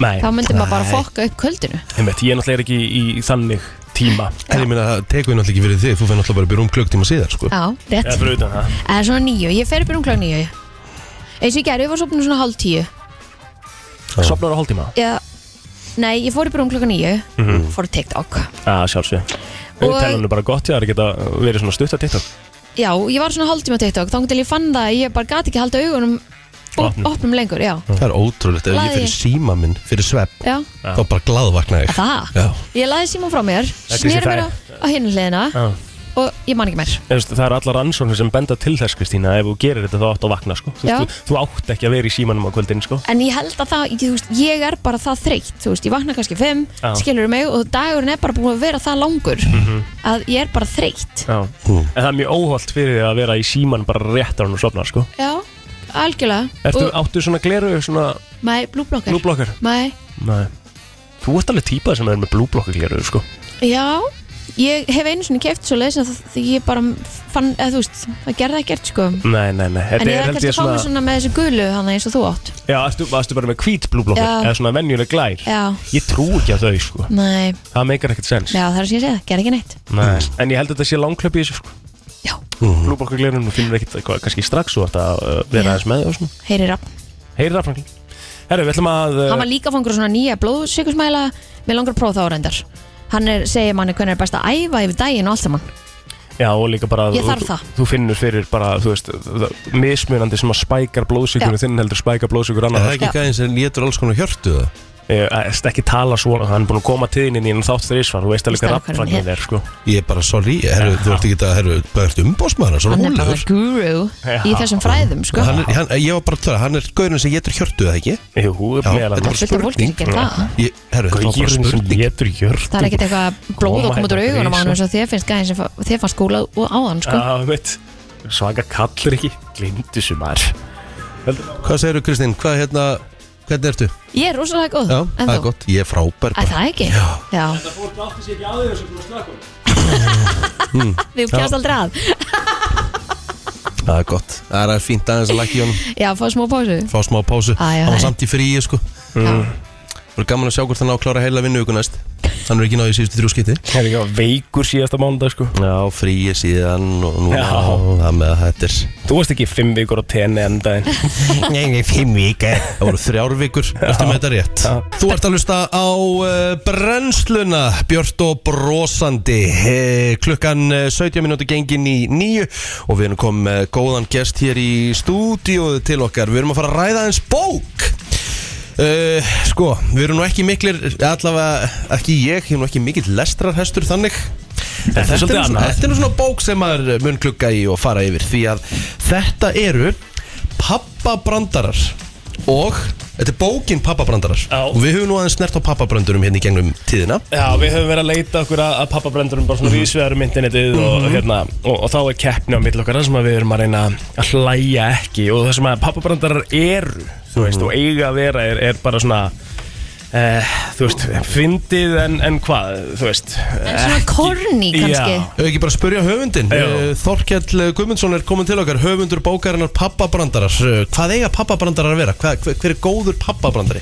S1: Nei,
S5: Þá myndi maður bara fokka upp kvöldinu
S1: einmitt, ég er náttúrulega ekki í, í þannig tíma
S4: En ég meina, það tekur við náttúrulega ekki fyrir þig Þú fær náttúrulega bara að byrja um klöktíma síðar sko
S5: Já, rétt
S1: Eða fyrir utan það
S5: Það er svona nýju, ég fer upp í runglega nýju Eins og ég gerði, ég var sopnum svona hálf tíu
S1: Sopnar á hálftíma?
S5: Já, nei, ég fór upp í runglega nýju mm
S1: Mhm.
S5: -hmm. Fór á TikTok
S1: Já, sjálfsög
S5: Og-
S1: Við telum nú bara gott, já, það geta verið svona stutt að TikTok
S5: Já, ég var svona hálftíma á TikTok Þá til ég fann það að ég bara gati ekki halda augunum
S1: Opnum.
S5: Opnum lengur, já,
S4: Það er ótrúlegt Ef ég
S5: Lagi.
S4: fyrir síma minn, fyrir svepp
S5: já
S4: Þá bara glaðvakna ég
S5: Það?
S4: Já.
S5: Ég laði síman frá mér,
S1: er
S5: snýr
S1: þessi
S5: mér á, á hinn hliðina
S1: Já.
S5: og ég man ekki mér.
S1: Þú veist, Það er allar ansóknir sem benda til þess, Kristína ef þú gerir þetta þá átt að vakna, sko Þú,
S5: Já.
S1: veist, þú, þú átt ekki að vera í símanum á kvöldin, sko
S5: En ég held að það, ég, þú veist, ég er bara það þreytt, þú veist, ég vakna kannski fimm,
S1: Já. Mhm.
S5: skilur mig og dagurinn er bara búin að vera það langur að ég er bara þreytt.
S1: Já
S4: Hm.
S1: En það er mjög óholt fyrir því að vera í síman bara rétt á hann og sopna, sko
S5: Já, algjörlega.
S1: Ertu,
S5: og,
S1: Áttu svona gleru, svona
S5: mæ, blúblokkar.
S1: blúblokkar?
S5: Mæ,
S1: Nei Þú ert alveg típað sem er með blúblokkagleru sko.
S5: já, ég hef einu svona keft svo leiðis að það- því ég bara fann, eða þú veist, það gerði ekkert sko.
S1: Nei, nei, nei
S5: En ég er ekkert að fá mig svona með þessu gulu hana eins og þú átt.
S1: Já, ertu, varstu bara með hvít blúblokkar
S5: Já.
S1: Eða svona venjuleg glær
S5: Já,
S1: Ég trú ekki að þau sko.
S5: nei,
S1: Það meikar ekkert sens
S5: já, það er sem ég segja, gerði ekki neitt.
S1: Nei. En ég held að þetta sé langklöp í þessu sko.
S5: Já,
S1: Mhm. Blúblokkaglerun og finnur ekkert eitthvað, kannski strax Þú ert að uh, vera
S5: Já.
S1: aðeins með þau
S5: heyri rafn.
S1: Heyri það, Franklin Herru, við ætlum að uh,
S5: Hann var líka fangur á svona nýja blóðsikursmæla Mér langar að prófa það á reyndar Hann er, segir manni hvernig er best að æfa yfir daginn og allt saman
S1: Já, og líka bara að
S5: Ég þarf
S1: þú-
S5: það.
S1: Þú finnur fyrir bara, þú veist það- Mismunandi sem að spækar blóðsíkunni
S5: Já.
S1: Þinn heldur spækar blóðsíkur
S4: Er
S1: annar
S4: það ekki eitthvað eins en létur alls konar hjörtu það?
S1: Ég æst Eh, ekki tala svona, hann er búin að koma tíðin inn í hann þátt þrísvar, þú veist alveg hvað
S5: Veist alveg hvernig
S1: rafnfrangin er, sko.
S4: Ég er bara, sorry, herru, þú ert ekki að, herru, hvað ert umbásmaður, svo
S5: Hann er bara
S4: rólegur
S5: guru í
S1: Já.
S5: þessum fræðum sko.
S4: hann er, hann, Ég var bara að tala, hann er gaurin sem getur hjörtu það ekki?
S1: Jú,
S4: Já,
S1: meðal
S4: þetta
S1: annars. sko.
S5: Fullt af fólki sem gerir það.
S4: Ég, herru, þetta var bara
S1: Gaurinn sem
S4: spurning
S1: getur hjörtum.
S5: Það er ekkert eitthvað blóð að koma út úr augunum á hann eins og þér finnst gæðin sem fa- þér fannst skóla á hann sko.
S1: Já, veit, svaka kallir ekki, glindu sem er.
S4: Hvað segirðu, Kristín, hvað hérna, Hvernig ertu?
S5: Ég er rosalega góð
S4: Já,
S5: en
S4: það er
S5: þú?
S4: gott, ég er frábær
S5: Að það ekki?
S4: Já.
S5: Já.
S1: Fólk átti sér ekki á því þessu búið slökkum
S5: Við kjast aldrei að
S4: Það er gott, það er fínt aðeins að lækja í honum
S5: Já, fá smá pásu
S4: Fá smá pásu,
S5: Æ, já,
S4: hann var
S5: hæ.
S4: samt í fríi sko
S5: Já.
S4: Það er gaman að sjá hvort hann á að klára heila vinnu ykkur næst Hann er ekki náðið í síðustu þrjú skipti
S1: Það er ekki að veikur síðasta mánudag sko
S4: Já, fríi síðan og nú
S1: Já.
S4: Það með að þetta er
S1: Þú varst ekki fimm vikur á tenni enn daginn
S4: Nei, nei, fimm vika Það voru þrjár vikur, ertu með þetta rétt Þú ert að hlusta á eh, brennsluna Björt og brosandi Eh, Klukkan eh, 17 minúti gengin í nýju Og við erum komið með góðan gest hér í stúdíu til okkar Við erum að fara að ræða eins bók Uh, sko, við erum nú ekki miklir allavega ekki ég, ég er nú ekki mikill lestrarhestur þannig En
S1: Þetta er svolítið
S4: nú-
S1: annað.
S4: Þetta er nú svona bók sem maður mun klukka í og fara yfir Því að þetta eru pappabrandarar Og þetta er bókin pappabrandarar
S1: Já.
S4: Og við höfum nú aðeins snert á pappabrandurum hérna í gengum tíðina
S1: Já, við höfum verið að leita okkur að, að pappabrendurum bara svona mm -hmm. vísvegarum internetið og, hérna, og, og þá er keppni á milli okkar þar sem að við erum að reyna að hlæja ekki og það sem að pappabrendarar eru þú veist, og eiga að vera er, er bara svona Uh, þú veist, fyndið en, en hvað, þú veist
S5: En svona
S1: ekki-
S5: corny kannski.
S1: Já,
S4: Ef ekki bara að spurja höfundin
S1: Já.
S4: Eh, Þorkell Guðmundsson er komin til okkar Höfundur bókarinnar pappabrandarar Eh, Hvað eiga pappabrandarar að vera? Hvað, hver, hver er góður pappabrandari?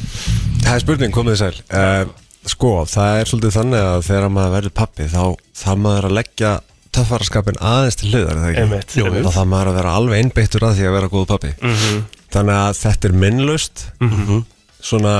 S7: Það er spurning, komið þið sæl uh, Sko, það er svolítið þannig að þegar maður verður pappi þá það maður að leggja töffaraskapin aðeins til hliðar er það ekki?
S1: Einmitt,
S7: Jú,
S1: einmitt. Mhm.
S7: og það maður að vera alveg einbeittur að því að vera góð pappi -hmm. þannig að þetta er minnlaust -hmm. svona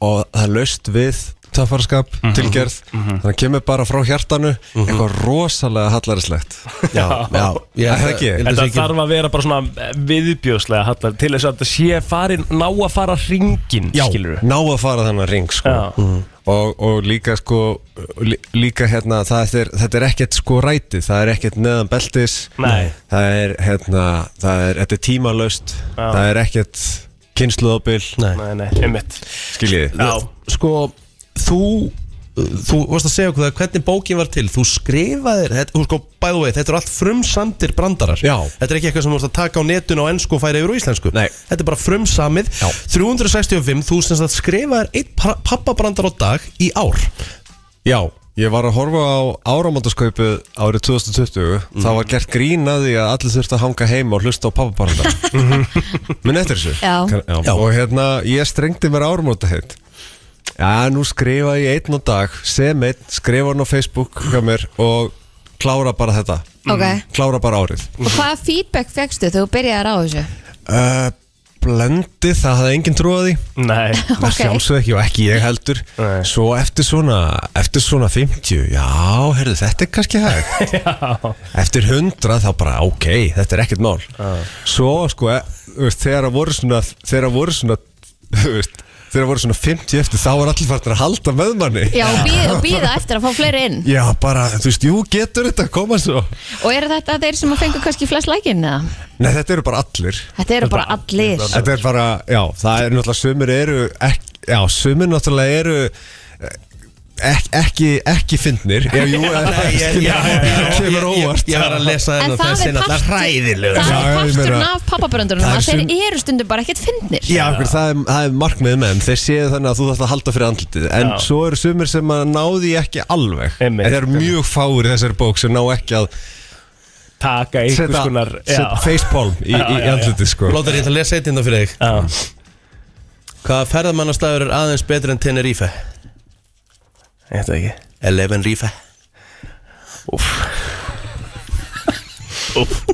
S7: og það er laust við töffaraskap,
S1: Mhm.
S7: tilgerð þannig að kemur bara frá hjartanu eitthvað rosalega hallarinslegt
S4: Já, já, já
S7: Er það ekki?
S4: ég held að
S1: Þetta
S4: sé ekki-
S1: þarf að vera bara svona eh, viðbjóðslega hallar, til þess að þetta sé farin ná að fara hringin, skilur
S7: ná að fara þannig að ring sko.
S1: Já.
S7: Mhm. og, og líka sko lí, líka hérna, það er, þetta er ekkert sko rætið, það er ekkert neðan beltis
S1: Nei.
S7: það er hérna það er, þetta er tímalaust
S1: Já.
S7: það er ekkert kynsluðabil
S4: Nei.
S1: Nei, nei, einmitt
S7: skiljiði
S1: Já,
S4: sko, þú þú varst að segja okkur það hvernig bókin var til þú skrifaðir, þetta, þú sko, by the way þetta eru allt frumsamdir brandarar
S7: Já.
S4: þetta er ekki eitthvað sem þú varst að taka á netun á ennsku og færa yfir á íslensku,
S7: Nei.
S4: þetta er bara frumsamið
S7: Já.
S4: 365, þú sem sagt skrifaðir eitt pappabrandar á dag í ár
S7: já, ég var að horfa á áramöndaskaupu árið 2020 það var gert grín að því að allir þurfti að hanga heima og hlusta á pappabaranda minn eftir þessu
S5: Já.
S7: Kann-
S4: Já.
S7: og hérna, ég strengdi mér áramönda heitt Já, nú skrifa ég einn og dag sem einn, skrifa hann á Facebook hjá mér og klára bara þetta
S5: Ok.
S7: klára bara árið
S5: Og hvaða feedback fegstu þegar þú byrjaðir á þessu?
S7: uh, Blendi, það hafði enginn trúið því
S1: nei
S7: Það sjálfsög ekki og ekki ég heldur
S1: Nei.
S7: Svo eftir svona, eftir svona 50 Já, herðu, þetta er kannski hægt Eftir 100 þá bara, ok, þetta er ekkert mál Svo, sko, e- þú veist, þegar að voru svona Þegar að voru svona, þú veist Þegar að voru svona 50 eftir, þá var allir farnir að halda með manni
S5: Já, og býða, og býða eftir að fá fleiri inn
S7: Já, bara, þú veist, jú, getur þetta að koma svo
S5: Og eru þetta þeir sem að fengu kannski flest lækinn eða?
S7: Nei, þetta eru bara allir
S5: Þetta eru bara allir
S7: Þetta er bara, já, það er náttúrulega Sumir eru, ek, já, sumir náttúrulega eru eh, ek, Ekki, ekki fyndnir Já, jú, eh,
S4: Nei, ég- ég-
S7: það kemur
S4: ég,
S7: óvart
S4: ég var að lesa
S5: En
S4: þennan
S5: það er
S4: alltaf
S5: partur-
S4: hræðilegur
S5: það
S7: Já,
S5: er
S7: ég
S5: parturinn
S7: meina-
S5: af pappabröndunum
S7: Það er
S5: að þeir
S7: sum-
S5: eru stundum bara ekkert fyndnir
S7: Já, okkur, það, er, það er markmið með þeim Þeir séu þannig að þú þarft að halda fyrir andlitið En
S1: Já.
S7: svo eru sumir sem að náði ekki alveg
S1: Einmitt,
S7: En þeir eru mjög fáir í þessari bók sem ná ekki að
S1: Taka einhvers
S7: setja
S1: konar
S7: setja
S1: já.
S7: facepalm í,
S1: Já,
S7: í, í
S1: já, já.
S7: andlitið sko.
S4: Lóta ég ætla að lesa eitt innan fyrir þig
S1: Já.
S4: Hvaða ferðamannastæður er aðeins betur en Tenerife?
S1: Ég veit það ekki
S4: Eleven Rife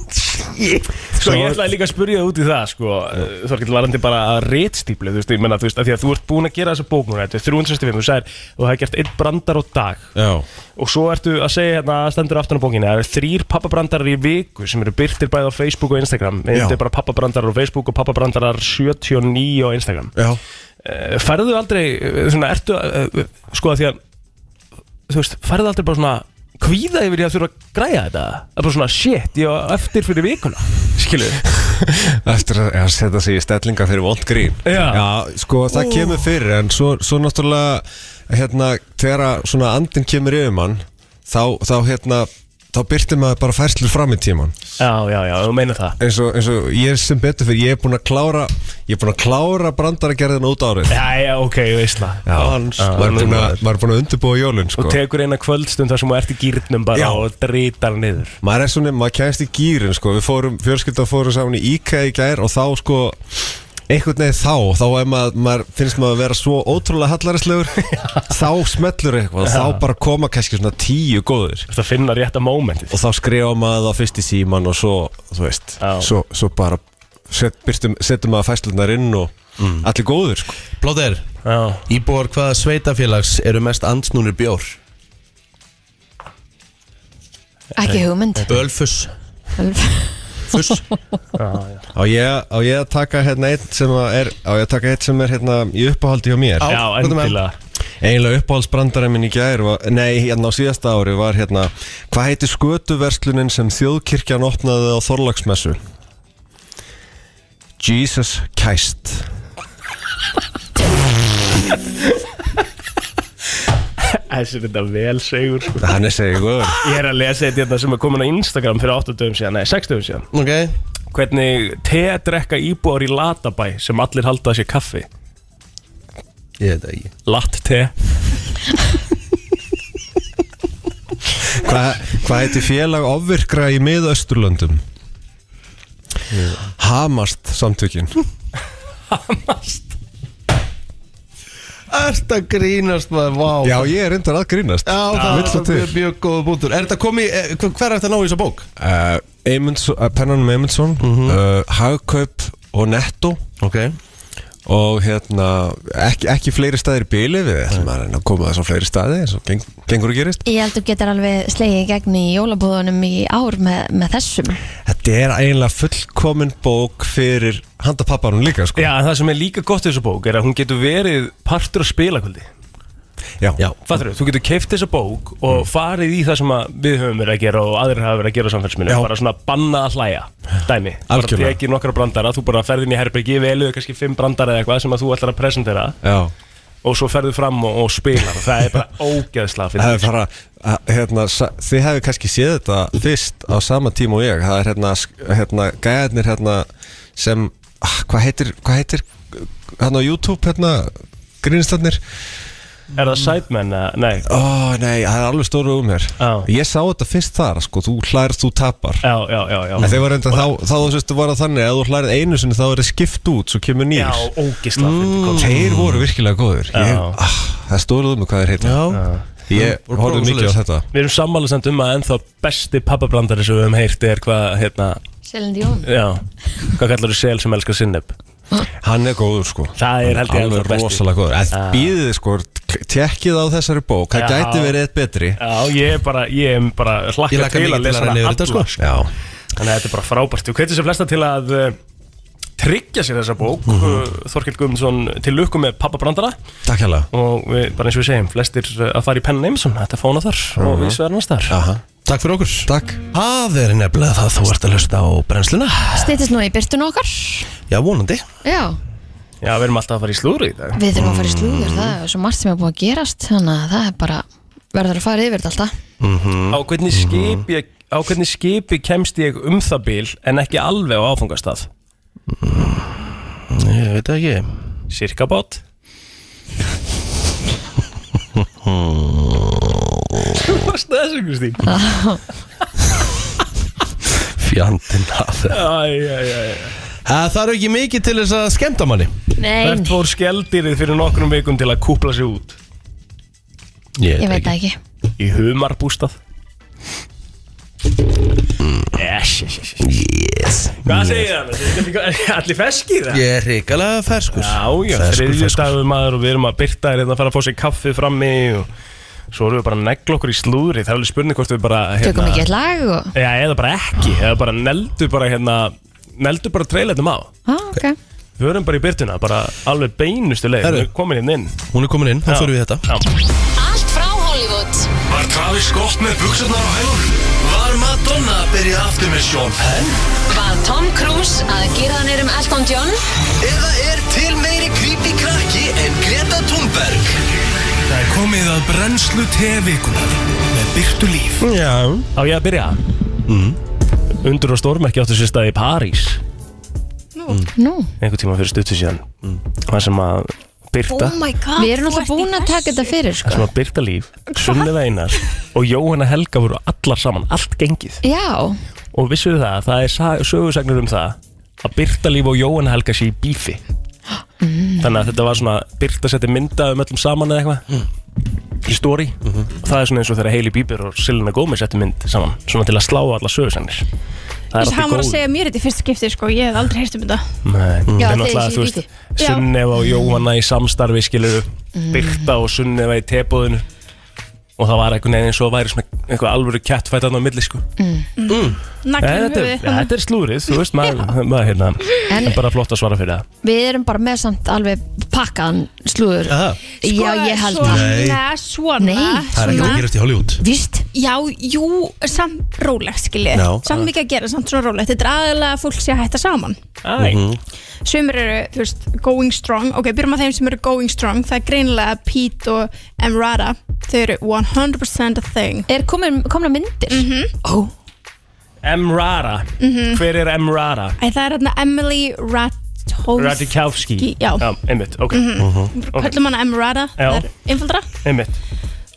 S1: Sko ég ætlaði líka að spurja það út í það sko Þorkill varandi bara að reitstíplu Þú veist, ég menna, þú veist, að því að þú ert búin að gera þessa bók núna Þetta er 365, þú sagðir og það er gert einn brandar á dag
S4: Já
S1: Og svo ertu að segja hérna, það stendur aftan á bókinni Það eru þrýr pappabrandarar í viku sem eru byrtir bæði á Facebook og Instagram Þetta er bara pappabrandarar á Facebook og pappabrandarar 79 á Instagram
S4: Já
S1: Eh, Færðu aldrei, eh, svona, ertu, eh, sko að því að Þú veist, færðu aldrei bara svona kvíða yfir ég að þurfa að græja þetta Það er bara svona shit, ég á eftir fyrir vikuna Skilur
S7: Eftir að já, setja sig í stellinga fyrir vond grín
S1: Já.
S7: sko það kemur fyrir En svo, svo náttúrulega hérna, Þegar að svona andin kemur yfir mann Þá, þá hérna þá byrti maður bara færslur fram í tíman
S1: Já, já, já, þú meina það
S7: eins og, eins og ég sem betur fyrir ég er búin að klára ég er búin að klára brandaragerðina út árið
S1: Já, já, ok, ég veist það
S7: Já,
S4: Hans,
S7: maður er búin að- maður er búin að undirbúa jólun sko.
S1: Og tekur eina kvöldstund þar sem þú ert í gýrnum bara
S7: Já.
S1: og drítar niður
S7: maður er svona, maður kæmst í gýrin sko. við fórum, fjölskylda fórum saman í IKEA í gær og þá sko einhvern veginn þá, þá er maður, maður finnst maður að vera svo ótrúlega hallarislegur þá smellur eitthvað, þá bara koma kannski svona tíu góður
S1: Þetta finna rétta mómentið
S7: og þá skrifa maður það fyrst í síman og svo, þú veist,
S1: Já.
S7: svo, svo bara set, byrtum, setjum maður fæslunar inn og
S1: Mm.
S7: allir góður sko.
S4: Blóðir,
S1: Já,
S4: íbúar hvaða sveitafélags eru mest ansnúnir bjór?
S5: Ekki hugmynd
S4: Ölfus Fuss
S7: á, ég, á ég að taka hérna einn sem að er á ég að taka einn sem er hérna í uppáhaldi hjá mér
S1: já
S4: hvað er með?
S1: endilega
S7: Eiginlega uppáhaldsbrandarinn minn í gær var, Nei, hérna á síðasta ári var hérna Hvað heitir skötuverslunin sem þjóðkirkjan opnaði á Þorlagsmessu? Jesus Christ
S1: Þessi er þetta vel segur sko.
S7: Hann er segið góður
S1: Ég er að lesa eitt hérna sem er komin á Instagram fyrir 8 dögum síðan, nei 6 dögum síðan
S4: Ok
S1: Hvernig te drekka íbúar í Latabæ sem allir halda að sé kaffi
S4: Ég veit það ekki
S1: Latt te
S7: Hvað hva heitir félag ofvirkra í miðausturlöndum? Hamast samtökin
S4: Ert að grínast maður, vá
S7: Já, ég er reyndar að grínast
S4: Já, það
S7: Vill
S4: er
S7: það
S4: mjög,
S7: til
S4: mjög góða búntur Er þetta komið, eh, hver hver er þetta að ná í þessa bók?
S7: uh, Eymundsson- uh, Pennanum Eymundsson
S4: Mhm.
S7: uh, Hagkaup og Netto
S4: Ok
S7: og hérna ekki, ekki fleiri staðir í bíli við ætlum að reyna að koma þess á fleiri staði eins og geng, gengur og gerist
S5: Ég held þú getur alveg slegið í gegn í jólabúðunum í ár með, með þessum
S7: Þetta er eiginlega fullkomin bók fyrir handa pappanum líka sko.
S1: Já, en það sem er líka gott í þessu bók er að hún getur verið partur á spilakvöldi
S7: Já. Já.
S1: Fattur þú, þú getur keift þessa bók og
S7: Mm.
S1: farið í það sem að við höfum verið að gera og aðrir hafa verið að gera á samfélsminu
S7: Já.
S1: bara svona banna að hlæja, dæmi bara
S7: Algjörlega.
S1: tekið nokkra brandara, þú bara ferðin í herbergi veluðu kannski fimm brandara eða eitthvað sem að þú ætlar að presentera
S7: Já.
S1: og svo ferðu fram og, og spilar og það er bara ógeðslega
S7: Það er
S1: fyrir
S7: bara, að, hérna, sa- þið hefur kannski séð þetta fyrst á sama tíma og ég það er hérna, sk- hérna gæðarnir hérna, sem, ah, hvað heitir hvað heitir, hérna á YouTube hérna, grínistarnir
S1: Er það sætmenn? eða- Nei,
S7: ó nei, það er alveg stóru um hér
S1: Já.
S7: ég sá þetta fyrst þar, sko, þú hlærst, þú tapar
S1: já, já, já, já.
S7: En þeir var reynda þá, þá þú veist, var það þannig að þú hlærið einu sinni þá er það skipt út, svo kemur
S1: Já,
S7: nýr.
S1: ógeðslega fyrir mm.
S7: Þeir voru virkilega góður. Ég,
S1: Já.
S7: ah, það stóluðu mig hvað þeir heita. Já. Ég
S4: Voru
S7: horfði
S4: prófum
S7: mikið á
S4: svoleiðis.
S7: þetta.
S1: Við erum sammála samt um að ennþá besti pappabrandari sem við höfum heyrt er hvað, hérna,
S5: Selindi Jón
S1: já, hvað kallar þú sel sem elskar sinneb?
S7: Hann er góður sko.
S1: Það er held ég ennþá
S7: Alveg
S1: besti.
S7: rosalega góður. En býðið sko, tekkið á þessari bók, það
S1: Já.
S7: gæti verið eitt betri.
S1: Já, ég er bara, ég er bara
S4: Ég
S1: hlakka
S4: laka
S1: til
S4: mikið
S1: að
S4: til
S1: lesa
S4: að
S1: hana
S4: reyna yfir
S1: alla
S4: þetta, sko.
S7: Já.
S1: Þannig að þetta er bara frábært Við hvetjum sem flesta til að uh, tryggja sér þessa bók
S4: Mhm.
S1: mm Þorkild Guðmundsson til lukku með pappa brandara
S7: Takk hérlega.
S1: og við, bara eins og við segjum, flestir uh, að fara í penna Eimsson, þetta fóna þar
S4: Mhm.
S1: og við sverðan hans þar
S7: Aha.
S4: Takk fyrir okkur
S7: Takk.
S4: Það er nefnilega það þú ert að hlusta á brennsluna
S5: Stýttist nú í byrtun okkar
S4: Já, vonandi
S5: Já,
S1: Já, við erum alltaf að fara í slúri í dag
S5: við þurfum að fara í slúður Það er svo margt sem er búið að gerast Þannig að það er bara verður að fara yfir þetta alltaf
S1: Á hvernig skipi, á hvernig skipi kemst ég um það bíl en ekki alveg á áfungastað?
S4: Ég veit það ekki
S1: Sirkabát? Þú varst þessu, Kristín
S4: Fjandinn að það
S1: Æ, æ, æ, æ.
S4: Það eru ekki mikið til þess að skemmta manni
S5: Nei,
S1: Hvert fór skeldýrið fyrir nokkrum vikum til að kúpla sig út?
S5: ég veit það ekki
S1: Í humarbústað? Yes, yes, yes, yes.
S4: Yes
S1: Hvað segir hann? Þetta er Allir feskir það?
S4: Ég er reikalega ferskur
S1: Já, já,
S4: Ferskur,
S1: þriðju
S4: ferskur.
S1: dagur maður og við erum að byrta þér hérna að fara að fá sér kaffi frammi og svo erum við bara að negla okkur í slúðri það er alveg spurning hvort við bara hérna,
S5: Tökum ekki eitt lag og
S1: Já, eða bara ekki, eða bara neldu bara hérna neldu bara treyletum á
S5: ah, okay.
S1: Við erum bara í byrtuna, bara alveg beinustu leið
S4: Herru.
S1: Við erum komin hérna inn
S4: Hún er komin inn, þá
S1: Já.
S4: fyrir við þetta
S1: Já,
S8: Allt frá Hollywood
S2: Var Travis Scott með buksurnar á hælunum? Var Madonna að byrja aftur með Sean Penn?
S8: Var Tom Cruise að gera hann um Elton John?
S2: Eða er til meiri creepy krakki en Greta Thunberg? Það er komið
S9: Komið að brennslu tevikunar með Byrtu Líf
S7: Já
S1: Á ég að byrja mm. Undur og storm ekki áttu sér stað í París
S5: Nú,
S1: einhvern tíma fyrir stuttu síðan
S4: Mm.
S1: það sem að Byrta
S10: my god
S5: við erum náttúrulega búin að taka þetta fyrir
S1: það
S5: sko.
S1: sem að Byrta líf, Sunnið Einar og Jóhanna Helga voru allar saman allt gengið
S5: Já,
S1: og vissuðu það, það er sa- sögusagnir um það að Byrta líf og Jóhanna Helga sé í bífi þannig að þetta var svona Byrta setti mynda um öllum saman eða eitthvað í stóri og það er svona eins og þegar Hailey Bieber og Selena Gomez setti mynd saman svona til að slá alla sögursagnir það
S10: Þessi, hann var að
S1: góðu.
S10: segja mér þetta í fyrst skipti sko, ég hef aldrei heyrst um þetta
S1: Nei,
S5: Já,
S1: það er
S5: þeir
S1: náttúrulega,
S5: séu
S1: þú veist,
S5: líkir.
S10: Já.
S1: Sunnefa og Jóhanna í samstarfi, skilur Birta og Sunnefa í tebúðinu og það var einhvern veginn eins og væri svona eitthvað alvöru kjattfætt aðna á milli, sko
S10: Naglinn
S1: En
S10: í
S1: þetta,
S10: höfuðið.
S1: er- ja, þetta er slúrið, þú veist, maður, maður hérna
S5: En-
S1: en bara flott að svara fyrir það
S5: við erum bara með samt alveg pakkaðan slúður
S4: Aha.
S5: Já,
S10: Sko,
S5: ég held
S10: svona,
S5: það
S4: Nei.
S10: Nei, svona,
S5: Nei.
S4: Það er ekki að gerast í Hollywood
S5: Víst,
S10: Já, jú, samt rólegt skiljið
S4: Já.
S10: Samt mikið að gera, samt svona rólegt Þetta er aðalega að fólk sé að hætta saman
S1: Æ,
S10: Mhm. Sumir eru, þú veist, going strong Ok, byrjum að þeim sem eru going strong Það er greinilega að Pete og Emrata Þau eru 100% a thing
S5: er komin, komna myndir mm Ó,
S1: Emrara,
S10: Mhm.
S1: hver er Emrara?
S10: Æ, það er hérna Emily Ratajkowski
S1: Radikowski
S10: Já. Mhm.
S1: einmitt, ok,
S10: Kallum hana Emrata, það
S1: Já.
S10: er einfaldra
S1: einmitt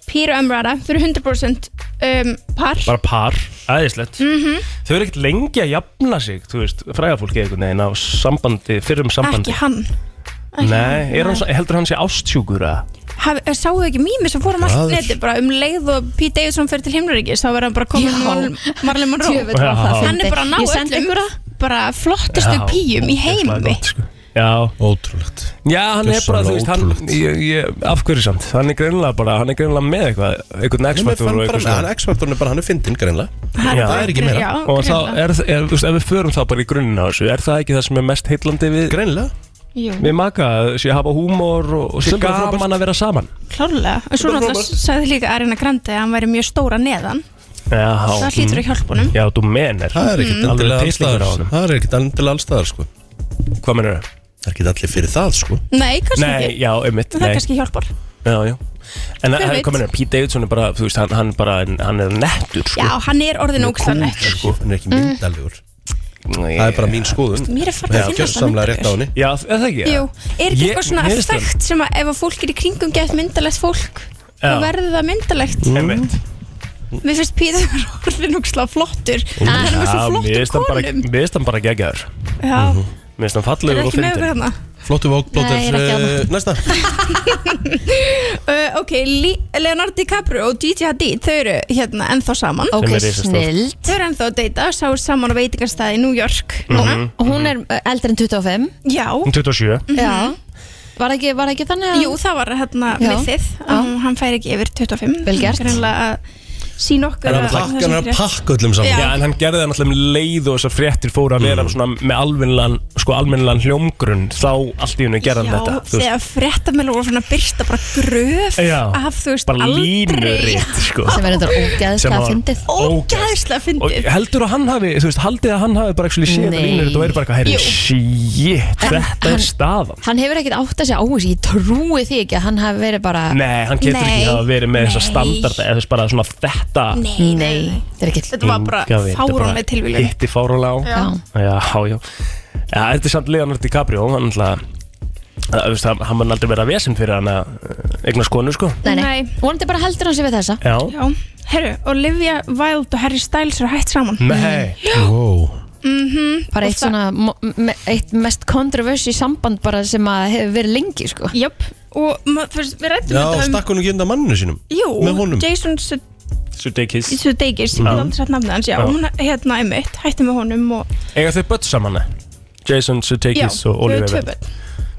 S10: Pete og Emrata, þau eru 100% um, par
S1: bara par, aðeinslegt
S10: Mhm.
S1: Þau eru ekkert lengi að jafna sig, þú veist, frægafólki einhvern veginn á sambandi, fyrrum sambandi
S10: Ekki hann Ekki
S1: Nei, er hann, svo- heldur hann sé ástsjúkur að
S10: Haf- Sáu þau ekki mými sem fórum allt neti bara um leið og Pete Davidson fyrir til himnaríkis þá verður hann bara
S5: Já.
S10: komið með Marley
S5: djöfull
S10: Monroe
S5: var það
S1: Já.
S10: hann
S5: fyndið.
S10: er bara að ná
S5: Ég sendi
S10: öllum
S5: ykkur það.
S10: bara flottustu píum í heimi
S1: sko. Já,
S4: Ótrúlegt
S1: já hann er bara,
S4: Gjörsamlega
S1: þú veist, hann
S4: ótrúlegt.
S1: ég, ég, af hverju samt, hann er greinilega bara hann er greinilega með eitthvað, einhvern
S4: Hann er
S1: X-Factor og eitthvað svona.
S4: X-faktorinn er bara, hann er fyndinn greinlega
S10: Hann-
S1: Já.
S4: Það er ekki meira.
S10: Já,
S1: og þá
S10: greinilega.
S1: er, er, þú veist, ef við förum þá bara í grunnina á þessu, er það ekki það sem er mest heillandi við,
S4: Greinlega
S10: Jú,
S1: við maka, að sé að hafa húmor og, og sé
S4: Sem bara
S1: gaman
S4: frábært.
S1: að vera saman
S10: klárlega og svo náttúrulega sagði líka Arina Grande að hann væri mjög stóra neðan
S1: Já,
S10: það hlýtur að hjálpa honum
S1: já, þú menir
S4: Það er
S5: Mm.
S4: ekkert endilega allstaðar
S1: Alveg titlingur á honum.
S4: Það er ekkert endilega allstaðar sko Það
S1: Hvað menur þau?
S4: er ekkert allir fyrir það sko
S10: Nei, kannski
S1: Nei,
S10: ekki
S1: já, einmitt,
S10: En það
S1: nei,
S10: kannski hjálpar
S1: já, já En eh,
S10: Hver veit?
S1: hvað menur, Pete Davidson er bara, þú veist, hann, hann bara hann er nettur, sko
S10: Já, hann er orðin ógstann eftir
S4: Sko, hann er ekki
S5: Mm.
S4: myndalegur Það er bara mín skoðun
S10: Mér er farin
S4: Já,
S10: að finnast það
S4: gjörsamlega rétt á
S10: myndarlegur.
S4: henni
S1: Já, er það ekki?
S10: Jú, er ekki
S1: Ég-
S10: eitthvað svona
S1: mér finnst það.
S10: effekt sem að ef að fólk er í kringum gett myndalegt fólk þá
S1: Já. Mm.
S10: verður það myndalegt
S1: Einmitt.
S10: Mér finnst Pítur orðin úkslega flottur Það er með svo
S1: Mm. Já, mér finnst
S10: flottur
S1: hann bara-
S10: konum
S1: Mér finnst hann bara geggjaður
S10: Já,
S1: Mér finnst hann
S10: það er
S1: fallegur og
S10: ekki með okkur
S1: fyndin
S10: hérna
S4: Flottu vók,
S5: Nei, ég
S4: blóttir
S5: er ekki
S4: eh, Næsta
S10: uh, Ok, Li- Leonardo DiCaprio og Gigi Hadid þau eru hérna ennþá saman
S5: ok,
S1: Sem er risastórt.
S5: snill
S10: Þau eru ennþá að deyta, sáu saman á veitingastæði í New York núna
S1: Mhm.
S5: Hún er uh, eldri en 25
S10: Já,
S1: Hún 27
S5: Já Var það ekki, var það ekki þannig
S1: Mhm.
S5: að
S10: jú það var hérna
S5: Já.
S10: mythið um, Hann fær ekki yfir 25
S5: Vel gert.
S10: Greinlega að sína okkur
S4: Hann er
S10: að-
S4: að pakka-
S10: það
S4: hann
S10: sé
S4: er að
S10: rétt.
S4: pakka öllum
S10: Já. Mm.
S4: saman
S1: Já, en hann gerði það náttúrulega um leið og þessar fréttir fóru að vera svona með alvinlan, sko alvinlan hljómgrunn þá allt í hennu gerði hann
S10: Já,
S1: þetta þú veist.
S10: þegar fréttamælu voru svona byrsta bara gröf
S1: Já.
S10: af þú veist
S1: Bara
S10: aldrei
S1: línuritt, sko
S5: sem er þetta
S1: Sem
S5: ógeðslega
S1: var-
S5: fyndið
S10: ógæðslega
S1: Og
S10: fyndið
S1: heldur að hann hafi, þú veist, haldið að hann hafi bara ekki séð
S5: Nei.
S1: línuritt og er bara eitthvað,
S10: Jú.
S1: herri, shit,
S5: En
S1: þetta
S5: hann-
S1: er staðan
S5: Hann hefur ekkert átt að segja á þessu Ég trúi því ekki að hann hafi verið bara
S1: Nei, hann getur
S10: Nei.
S1: ekki hafa verið með þessa
S10: Nei.
S1: standarda eða þú veist, bara svona þetta
S10: nei, nei, nei.
S5: þetta er ekki
S10: þetta var bara
S1: Enga veit, þetta bara
S10: fáránlega tilvílun
S1: Hitti fáránlega á
S5: Já,
S1: Já, já Já, þetta er samt Leonardo DiCaprio Hann alltaf Það, þú veist, hann- hann mun aldrei vera vesend fyrir hann að eh, eignast konu, sko
S5: nei, nei
S10: Nei.
S5: Vonandi bara heldur hann sér við þessa
S1: Já
S10: já, herru, Olivia Wilde og Harry Styles eru hætt
S1: Hm.
S10: saman Mhm.
S1: Nei
S4: Wow
S5: Bara eitt svona mo- me- Eitt mest kontroversi samband bara sem að hefur verið lengi sko
S10: jöp, og ma- þú veist, við rættum
S4: Já,
S10: þetta um
S4: stakk hún ekki undan manninu sínum Með
S10: Jú,
S4: honum
S10: Jason
S1: Sudeikis
S10: Sudeikis, ég hef aldrei satt nafnið hans, já,
S1: Já.
S10: hún hérna einmitt, hætti með honum og,
S1: Ega þau börn saman, ne? Jason
S10: já,
S1: Sudeikis og
S10: þau eru
S1: Olivia
S10: tvö
S1: Wilde
S10: börn.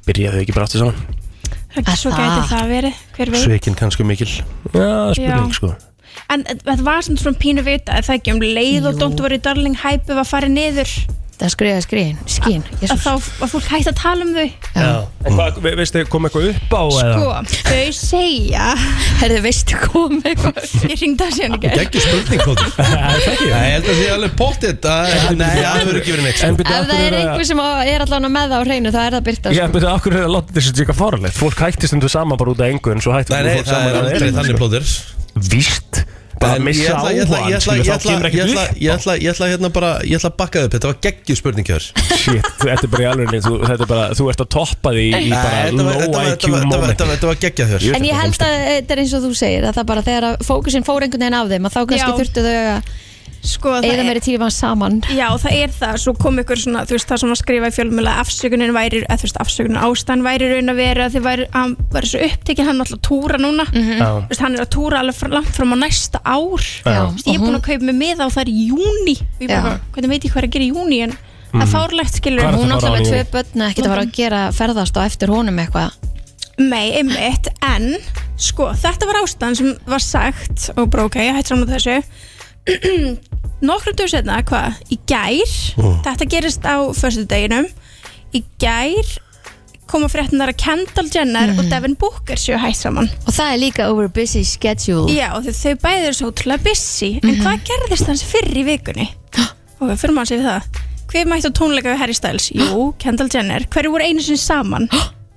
S1: Byrjaðu þau ekki bara aftur saman?
S10: Ekki, svo
S5: Að
S10: gæti
S5: það.
S10: það verið, hver veit
S4: Sveikin kannski mikil
S1: Já, spurning,
S10: Já.
S1: sko
S10: En þetta var samt svona pínu vita, er það ekki um leið og Don't Worry Darling hæpið var farið niður
S5: hægt að skriða skriðin skín,
S10: að þá að fólk hægt að tala um þau
S1: Já. En hvað, ve- veistu, kom eitthvað upp á
S10: sko, þau segja
S5: herðu veistu komið
S10: ég ringda síðan í gerð
S4: Ekki spurning kóttur Nei, ég held að sé alveg pottitt Nei, það verður ekki verið neitt sko.
S1: En byrju,
S5: ef
S1: sko.
S5: það
S1: af hverju
S5: er
S1: að-
S5: einhver sem á- er allavega með það á hreinu þá er það sko. byrta
S1: Já, betur, okkur er að láta þessu tíka fóralegt Fólk hættist um þau saman bara út af engu En svo hættum
S4: Nei, nei, það er aldrei þannig plóður
S1: Víst, bara
S4: En
S1: missa
S4: ætla- ég ætla- ég
S1: áhugan
S4: ætla-
S1: skilur,
S4: ég
S1: Þá
S4: ætla-
S1: kemur
S4: ég
S1: ekkert
S4: ætla-
S1: upp
S4: Ég ætla ég ætla hérna bara Ég ætla að bakka það upp Þetta var geggjur spurning hér
S1: Shit, þetta er bara í alveg þú, Þetta er bara, þú ert að toppa því í bara low IQ moment
S4: Þetta var geggja þér
S5: en ég held að þetta er eins og þú segir að það bara þegar að fókusin fór einhvern veginn af þeim að þá kannski
S10: Já.
S5: þurftu þau að
S10: sko, það
S5: eða
S10: er-
S5: meiri tíma saman
S10: Já, það er það, svo kom ykkur svona, þú veist, það sem var skrifað í fjölmjöla afsökunin væri, eða þú veist, afsökunin ástæðan væri raun að vera að þið væri, hann var svo upptekinn, hann er alltaf að túra núna,
S1: Já.
S10: þú veist, hann er að túra alveg fr- langt fram á næsta ár,
S1: Já.
S10: Þú veist, ég er búin að kaupa mig miða og það er í júni, og ég
S5: Já.
S10: bara, hvernig veit ég hvað er að gera í júni, en það er fárlegt, skilur,
S1: Mm. Hvað er
S5: hún alltaf
S1: þetta bara
S5: með
S1: á
S5: tvö
S1: því?
S5: börn ekkert að fara að gera ferðast og eftir honum eitthvað
S10: Nei, einmitt, en sko, þetta var ástæðan sem var sagt og bara ok, ég hætti saman með þessu nokkrum dögum setna hvað, í gær þetta gerist á föstudeginum í gær koma fréttinar að Kendall Jenner og Devin Booker séu hætt saman
S5: og það er líka over busy schedule
S10: Já, þau, þau bæði eru svo ótrúlega busy en hvað gerðist hans fyrr í vikunni? og fyrir maður sér við það hver mætti á tónleika við Harry Styles? Jú, Kendall Jenner hverju voru einu sinni saman?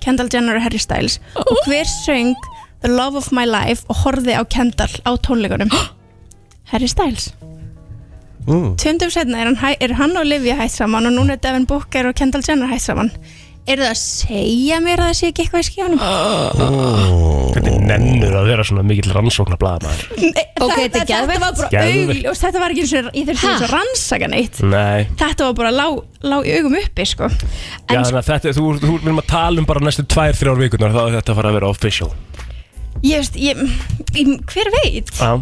S10: Kendall Jenner og Harry Styles og hver söng The Love of My Life og horfði á Kendall á tónleikunum? Harry Styles Tjöndum setna er hann, hæ- er hann og Livia hætt saman og núna er Devin Booker og Kendall Jenner hætt saman Er það að segja mér að það sé ekki eitthvað í skífanum?
S1: Hvernig nennur að vera svona mikill rannsókna blaðamaður
S10: Nei,
S5: Ok,
S10: það-
S5: þetta er
S10: þetta var bara
S1: Geðveikt.
S10: augljós, þetta var ekki eins og ég þurfti
S5: Ha?
S10: eins og rannsaka neitt
S1: Nei,
S10: þetta var bara lá, lá í augum uppi sko.
S1: já,
S5: En-
S1: þannig að þetta, þú, þú erum að tala um bara næstu tvær, þrjár vikunar Þá er þetta að fara að vera official
S10: ég veist, ég, ég, hver veit
S1: Já,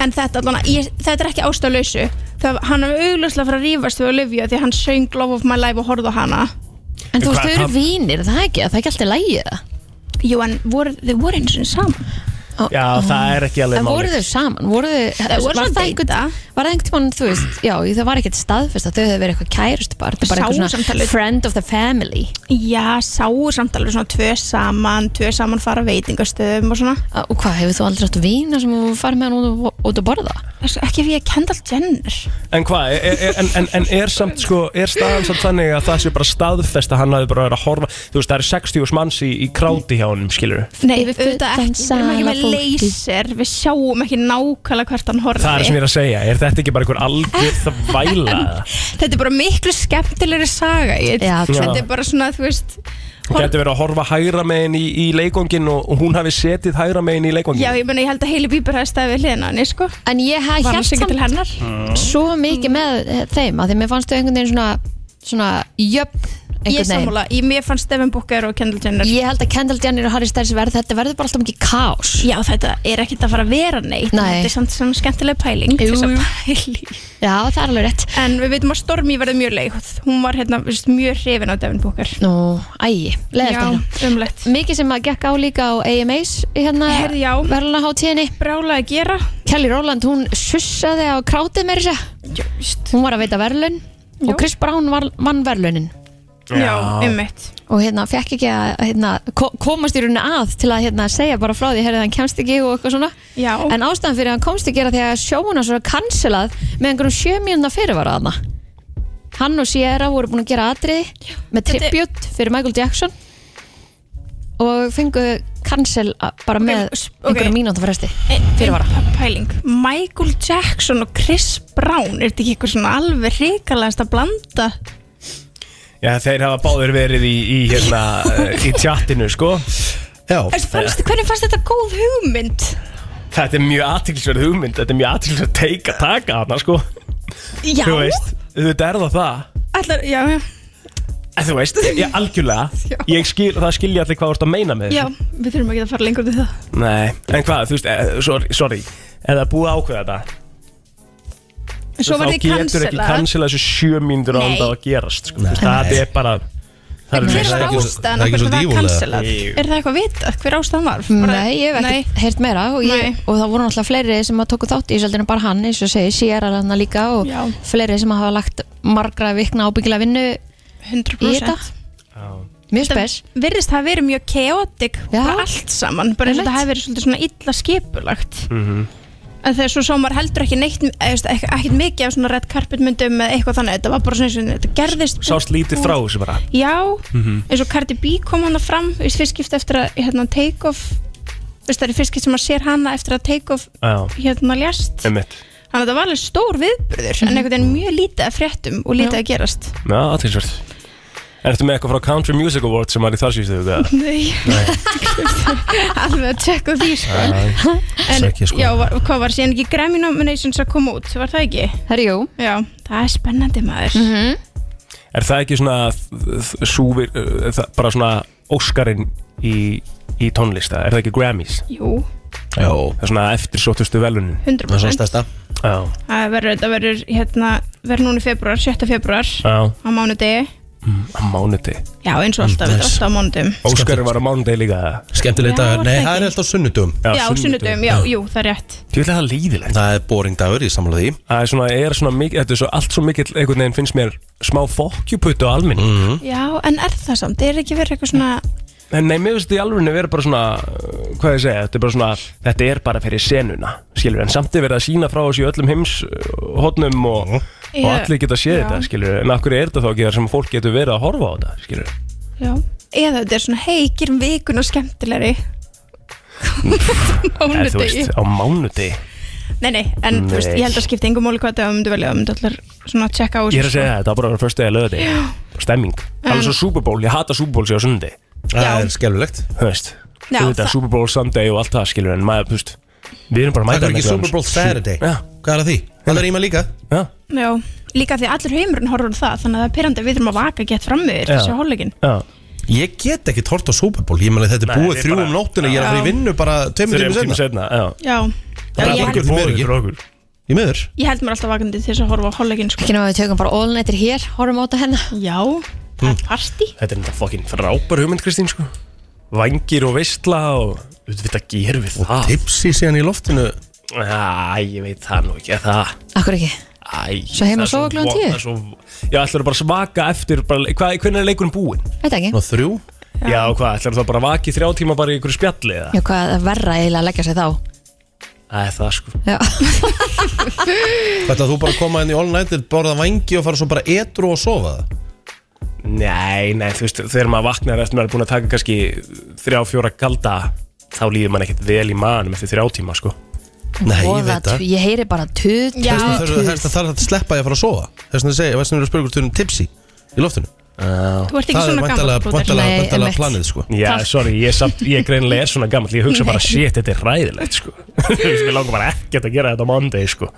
S10: en þetta, allana, ég, þetta er ekki ástæðlausu það, hann er augljóslega fyrir að rífast við Olivia því að hann söng Love of My Life og horfði á hana
S5: en þú veist
S1: Hvað-
S5: þau eru
S1: hvað-
S5: vínir, er það er ekki, það er ekki alltaf lægið
S10: jú, en voru, þau voru eins og saman
S1: já það er ekki alveg
S5: en
S1: máli
S5: voru þau saman, voru þau
S10: Þau voru
S5: var
S10: samt
S5: það einhvern-
S10: deyta.
S5: var það einhvern tímann, þú veist, já, það var ekkert staðfest að þau hefur verið eitthvað kærust bara, þetta er bara
S10: Sáu
S5: einhvern svona
S10: samtalið.
S5: friend of the family
S10: já, sáu samt alveg svona tvö saman tvö saman fara á veitingastöðum og svona
S5: Að- Ah, og hvað, hefur þú aldrei átt vína sem þú farið með hann út, og- út að borða?
S10: Þessu, ekki ef ég er Kendall Jenner
S1: En hvað, er, er, en, en, en er samt sko, er staðan samt þannig að það sé bara staðfest að hann hafi bara verið að horfa Þú veist, það eru 60 manns í, í kráti hjá honum, skilur
S5: Yfir fullan
S10: Nei, auðvitað ekki, við erum ekki
S5: sal af
S10: með
S5: fólki.
S10: laser Við sjáum ekki nákvæmlega hvert hann horfði
S1: Það er sem ég er að segja, er þetta ekki bara einhver algjör þvæla?
S10: Þetta er bara miklu skemmtilegri saga ég,
S5: Já,
S1: Já.
S10: Þetta er bara svona, þú veist
S1: Hún
S10: horf,
S1: geti verið að horfa hægra megin í, í leikongin og, og hún hafi setið hægra megin í leikongin
S10: Já, ég meina, ég held að heili bíbur hefði staðið við hliðina á henni, sko
S5: En ég hef
S10: Var hann
S5: hjælt
S10: sig til
S5: samt
S10: hennar
S1: Mm.
S5: svo mikið með eh, þeim að því mér fannst þau einhvern veginn svona, svona jöfn
S10: Ég er
S5: einhvern veginn.
S10: sammála, ég, mér fannst Stefan Booker og Kendall Jenner
S5: Ég held að Kendall Jenner og Harry Styles verð, þetta verður bara alltaf mikið kaos.
S10: Já, þetta er ekkert að fara að vera neitt en
S5: Nei.
S10: Þetta er samt svona skemmtileg pæling
S5: Jú,
S10: þessa
S5: jú.
S10: pæling.
S5: Já, það er alveg rétt.
S10: En við veitum að Stormi verði mjög leið Hún var hérna, þú veist, mjög hrifin á Devin Booker
S5: Nú, ægi, leðast
S10: Já,
S5: hérna.
S10: umlegt
S5: Mikið sem að gekk á líka á AMAs hérna
S10: Herri, já.
S5: verðlunaháttíðinni.
S10: Brála að gera
S5: Kelly Rowland, hún sussaði á krátið meira sér.
S10: Já, víst.
S5: Hún var að veita verðlun og
S10: Já.
S5: Chris Brown var, vann verðlunin.
S10: Já, einmitt
S5: og hérna fekk ekki að hérna, ko- komast í rauninni að til að hérna, segja bara frá því herrið hann kemst ekki og eitthvað svona
S10: Já.
S5: en ástæðan fyrir að hann komst ekki er að því að sjóuna svo er cancelað með einhverjum sjö mínuna fyrirvara aðna hann og Sierra voru búin að gera atrið með
S10: Þetta er-
S5: tribut fyrir Michael Jackson og fengu cancel a- bara með
S10: s- ok.
S5: einhverjum mínúta fresti
S10: fyrirvara pæling, Michael Jackson og Chris Brown er þetta ekki eitthvað svona alveg hrikalegast að blanda
S1: Já, þeir hafa báður verið í, í, hérna, eh, í tjattinu, sko
S4: Já,
S10: Þessi, fannst, hvernig fannst þetta góð hugmynd?
S1: Þetta er mjög aðtilsverð hugmynd, þetta er mjög aðtilsverð teika taka þarna, sko
S10: já,
S1: Þú veist, þetta er það það
S10: allar, já, já,
S1: En Þú veist, ég algjörlega
S10: Já.
S1: ég skil, Það skilja allir hvað þú ert að meina með þessu.
S10: já við þurfum ekki að fara lengur til það
S1: Nei, en hvað, þú veist, eh, sorry, sorry Ef það er búið að ákveða þetta
S10: en svo var
S1: Þá
S10: þið
S1: getur ekki
S10: cancelað
S1: cancela þessu sjö mínútur á
S10: Nei.
S1: þetta að gerast sko. Þú veist, Það er bara Það er
S10: Hver
S1: list
S10: var
S1: af fólk.
S10: ástæðan af hverju það var cancelað? Er það eitthvað vitað? Hver ástæðan var? Var það-
S5: Nei, ég hef ekkert heyrt meira og, ég, og það voru náttúrulega fleiri sem að tóku þátt í þessu heldur en bara hann, eins og segi, Sierra hann líka og fleiri sem að hafa lagt margra vikna ábyggilega vinnu
S10: 100%
S5: í þetta Mjög spes
S10: Virðist það hafi verið mjög keotik bara allt saman, bara eins og
S5: Einmitt.
S10: það hafi verið svolítið svona illa skipulagt
S1: Mhm.
S10: en þegar svo sá maður heldur ekki neitt eða, veist, ekk- ekkert mikið af svona red carpet myndum eða eitthvað þannig, þetta var bara svona eins og þetta gerðist
S1: Sást lítið frá þessu bara
S10: Já,
S1: Mhm.
S10: eins og Cardi B kom hana fram veist, fyrst skipt eftir að hérna, take off veist, það er fyrst skipt sem maður sér hana eftir að take off
S1: Já.
S10: hérna ljast
S1: Einmitt.
S10: þannig að þetta var alveg stór viðbröður en einhvern veginn mjög lítið að fréttum og lítið að gerast
S1: Já, aðtilsvörð Ertu með eitthvað frá Country Music Awards sem var í þar síðustu þetta?
S10: Nei, alveg að tjekka því sko.
S1: Já,
S10: En
S1: sækja, sko.
S10: já, var, hvað var síðan ekki Grammy nominations að koma út, var það ekki?
S5: Herjú
S10: Já, það er spennandi maður mm -hmm.
S1: Er það ekki svona þ- þ- súfir, uh, það- bara svona Óskarinn í, í tónlista? Er það ekki Grammys?
S10: Jú,
S1: Já Það er svona eftirsóttustu velunin
S10: 100%. Það er svona stærsta.
S1: Já,
S10: það verður, það verður hérna, verður núna í februar, 7. februar
S1: já,
S10: á mánudegi,
S1: Mm, á mánuti
S10: já eins og alltaf,
S1: Mm,
S10: þetta er
S1: nice.
S10: alltaf á mánudum
S1: Óskarinn var á mánuti líka
S4: Skemmtileg
S10: Já, dagur. var Nei, það það er ekki?
S4: alltaf sunnudum
S10: Já, já sunnudum, já, jú, það er rétt
S1: Ég vil að það líðilegt
S4: Það er boring dagur, ég samla því
S1: Það er svona, er svona mikið, þetta er svo allt svo mikill einhvern veginn finnst mér smá fokkjuputtu á alminni mm.
S10: Já, en er það samt, er ekki verið eitthvað svona
S1: En nei, mér finnst þetta í alveg vera bara svona uh, hvað ég segja, þetta er bara svona þetta er bara fyrir senuna, skilur en samt er verið að sína frá þessu í öllum heims uh, hotnum og,
S10: Ég-
S1: og allir geta séð
S10: já.
S1: þetta, skilur en af hverju er þetta þá ekki þar sem fólk getur verið að horfa á þetta, skilur
S10: Já, eða þetta er svona, hei, gerum vikuna skemmtilegri
S1: En þú veist,
S10: Mánudegi
S1: á mánuti
S10: Nei, nei, en þú veist,
S1: Nei.
S10: ég held að skipta engum móli hvað þetta myndu velja, það myndu allar svona að checka á
S1: Ég er að segja það, þetta var bara að vera fyrstu eða löði
S10: Já.
S1: Stemming, alveg svo Super Bowl, ég hata Super Bowl sér á sundi
S10: Já. er
S1: skelvilegt Þú veist,
S10: Já,
S1: þú veit að
S10: það-
S1: Super Bowl Sunday og allt það skilur en maður, þú veist, við erum bara að
S4: Það
S1: mæta
S4: er ekki
S1: þarna
S4: Super Bowl
S1: klukkan sjö.
S4: Saturday
S1: Já,
S4: Hvað er að því? Það er í maður líka
S1: Já
S10: Já, líka því að allur heimurinn horfur á það, þannig að það er pyrrandi að við þurfum að vaka gett fram með
S4: Já.
S10: þessu hálfleikin
S1: Já
S4: Ég get ekki tort á Super Bowl Ég meni þetta
S1: Nei,
S4: er
S1: þetta
S4: búið
S1: er
S4: þrjú
S1: bara-
S4: um nóttuna Ég er að fara í vinnu bara tveimur
S1: Þrem
S4: tímum
S1: tímum
S4: senna
S1: setna Já,
S10: Já,
S4: Það
S10: Já,
S4: er
S10: ég,
S4: ekki fyrir mig ekki Í miður
S10: ég held mér alltaf vakandi til þess að horfa á hálfleikin sko.
S5: Ekki náðu að við tökum bara all nighter hér, horfum á þetta hérna. hennar
S10: Já,
S4: Hm.
S10: það er party
S1: Þetta er enda fokkin frábær hugmynd Kristín sko Vangir og veistla og auðvitað gerum við það Og
S4: tipsi síðan í loftinu
S1: Æ, ég veit það nú ekki að það
S5: Akkur ekki
S1: Æ
S5: Svo heima
S1: það er
S5: að sofa klukkan
S1: vo-
S5: 10?
S1: það er svo- Já, ætlarðu bara að svaka eftir bara, hvað, Hvernig er leikurinn búinn?
S5: Veit ekki
S4: þrjú
S1: Já, hvað, ætlarðu þá bara að vaki þrjá tíma bara í einhverju spjalli eða?
S5: Já, hvað er verra eiginlega að leggja sig þá
S1: Það er það sko
S5: Já,
S4: Þetta að þú bara að koma inn í all night Borða vangi og fara svo bara etru og sofa það
S1: Nei, nei, þú veist, þegar maður vaknar eftir maður er búin að taka kannski þrjá, fjóra kalda þá líður maður ekkert vel í manum eftir þrjá tíma sko
S4: Nei, ég
S5: Voða
S4: veit það
S5: tu- ég heyri bara tut
S4: Þess vegna þarf- þess vegna þarf að sleppa ég að fara að sofa Þess vegna segja, þess vegna eru að spyrja hvort þú erum tipsi í loftinu
S1: Þú
S10: ert ekki
S4: Það er
S10: svona
S4: væntanlega-
S10: gamall, Plóter.
S4: væntanlega-
S10: Nei,
S4: væntanlega
S10: einmitt.
S4: planið sko
S1: Já, sorry, ég, er samt, ég greinilega er svona gammal Ég hugsa bara,
S4: Nei.
S1: shit, þetta er ræðilegt sko. Þú veist, Mér langar bara ekkert að gera þetta á mánudegi sko.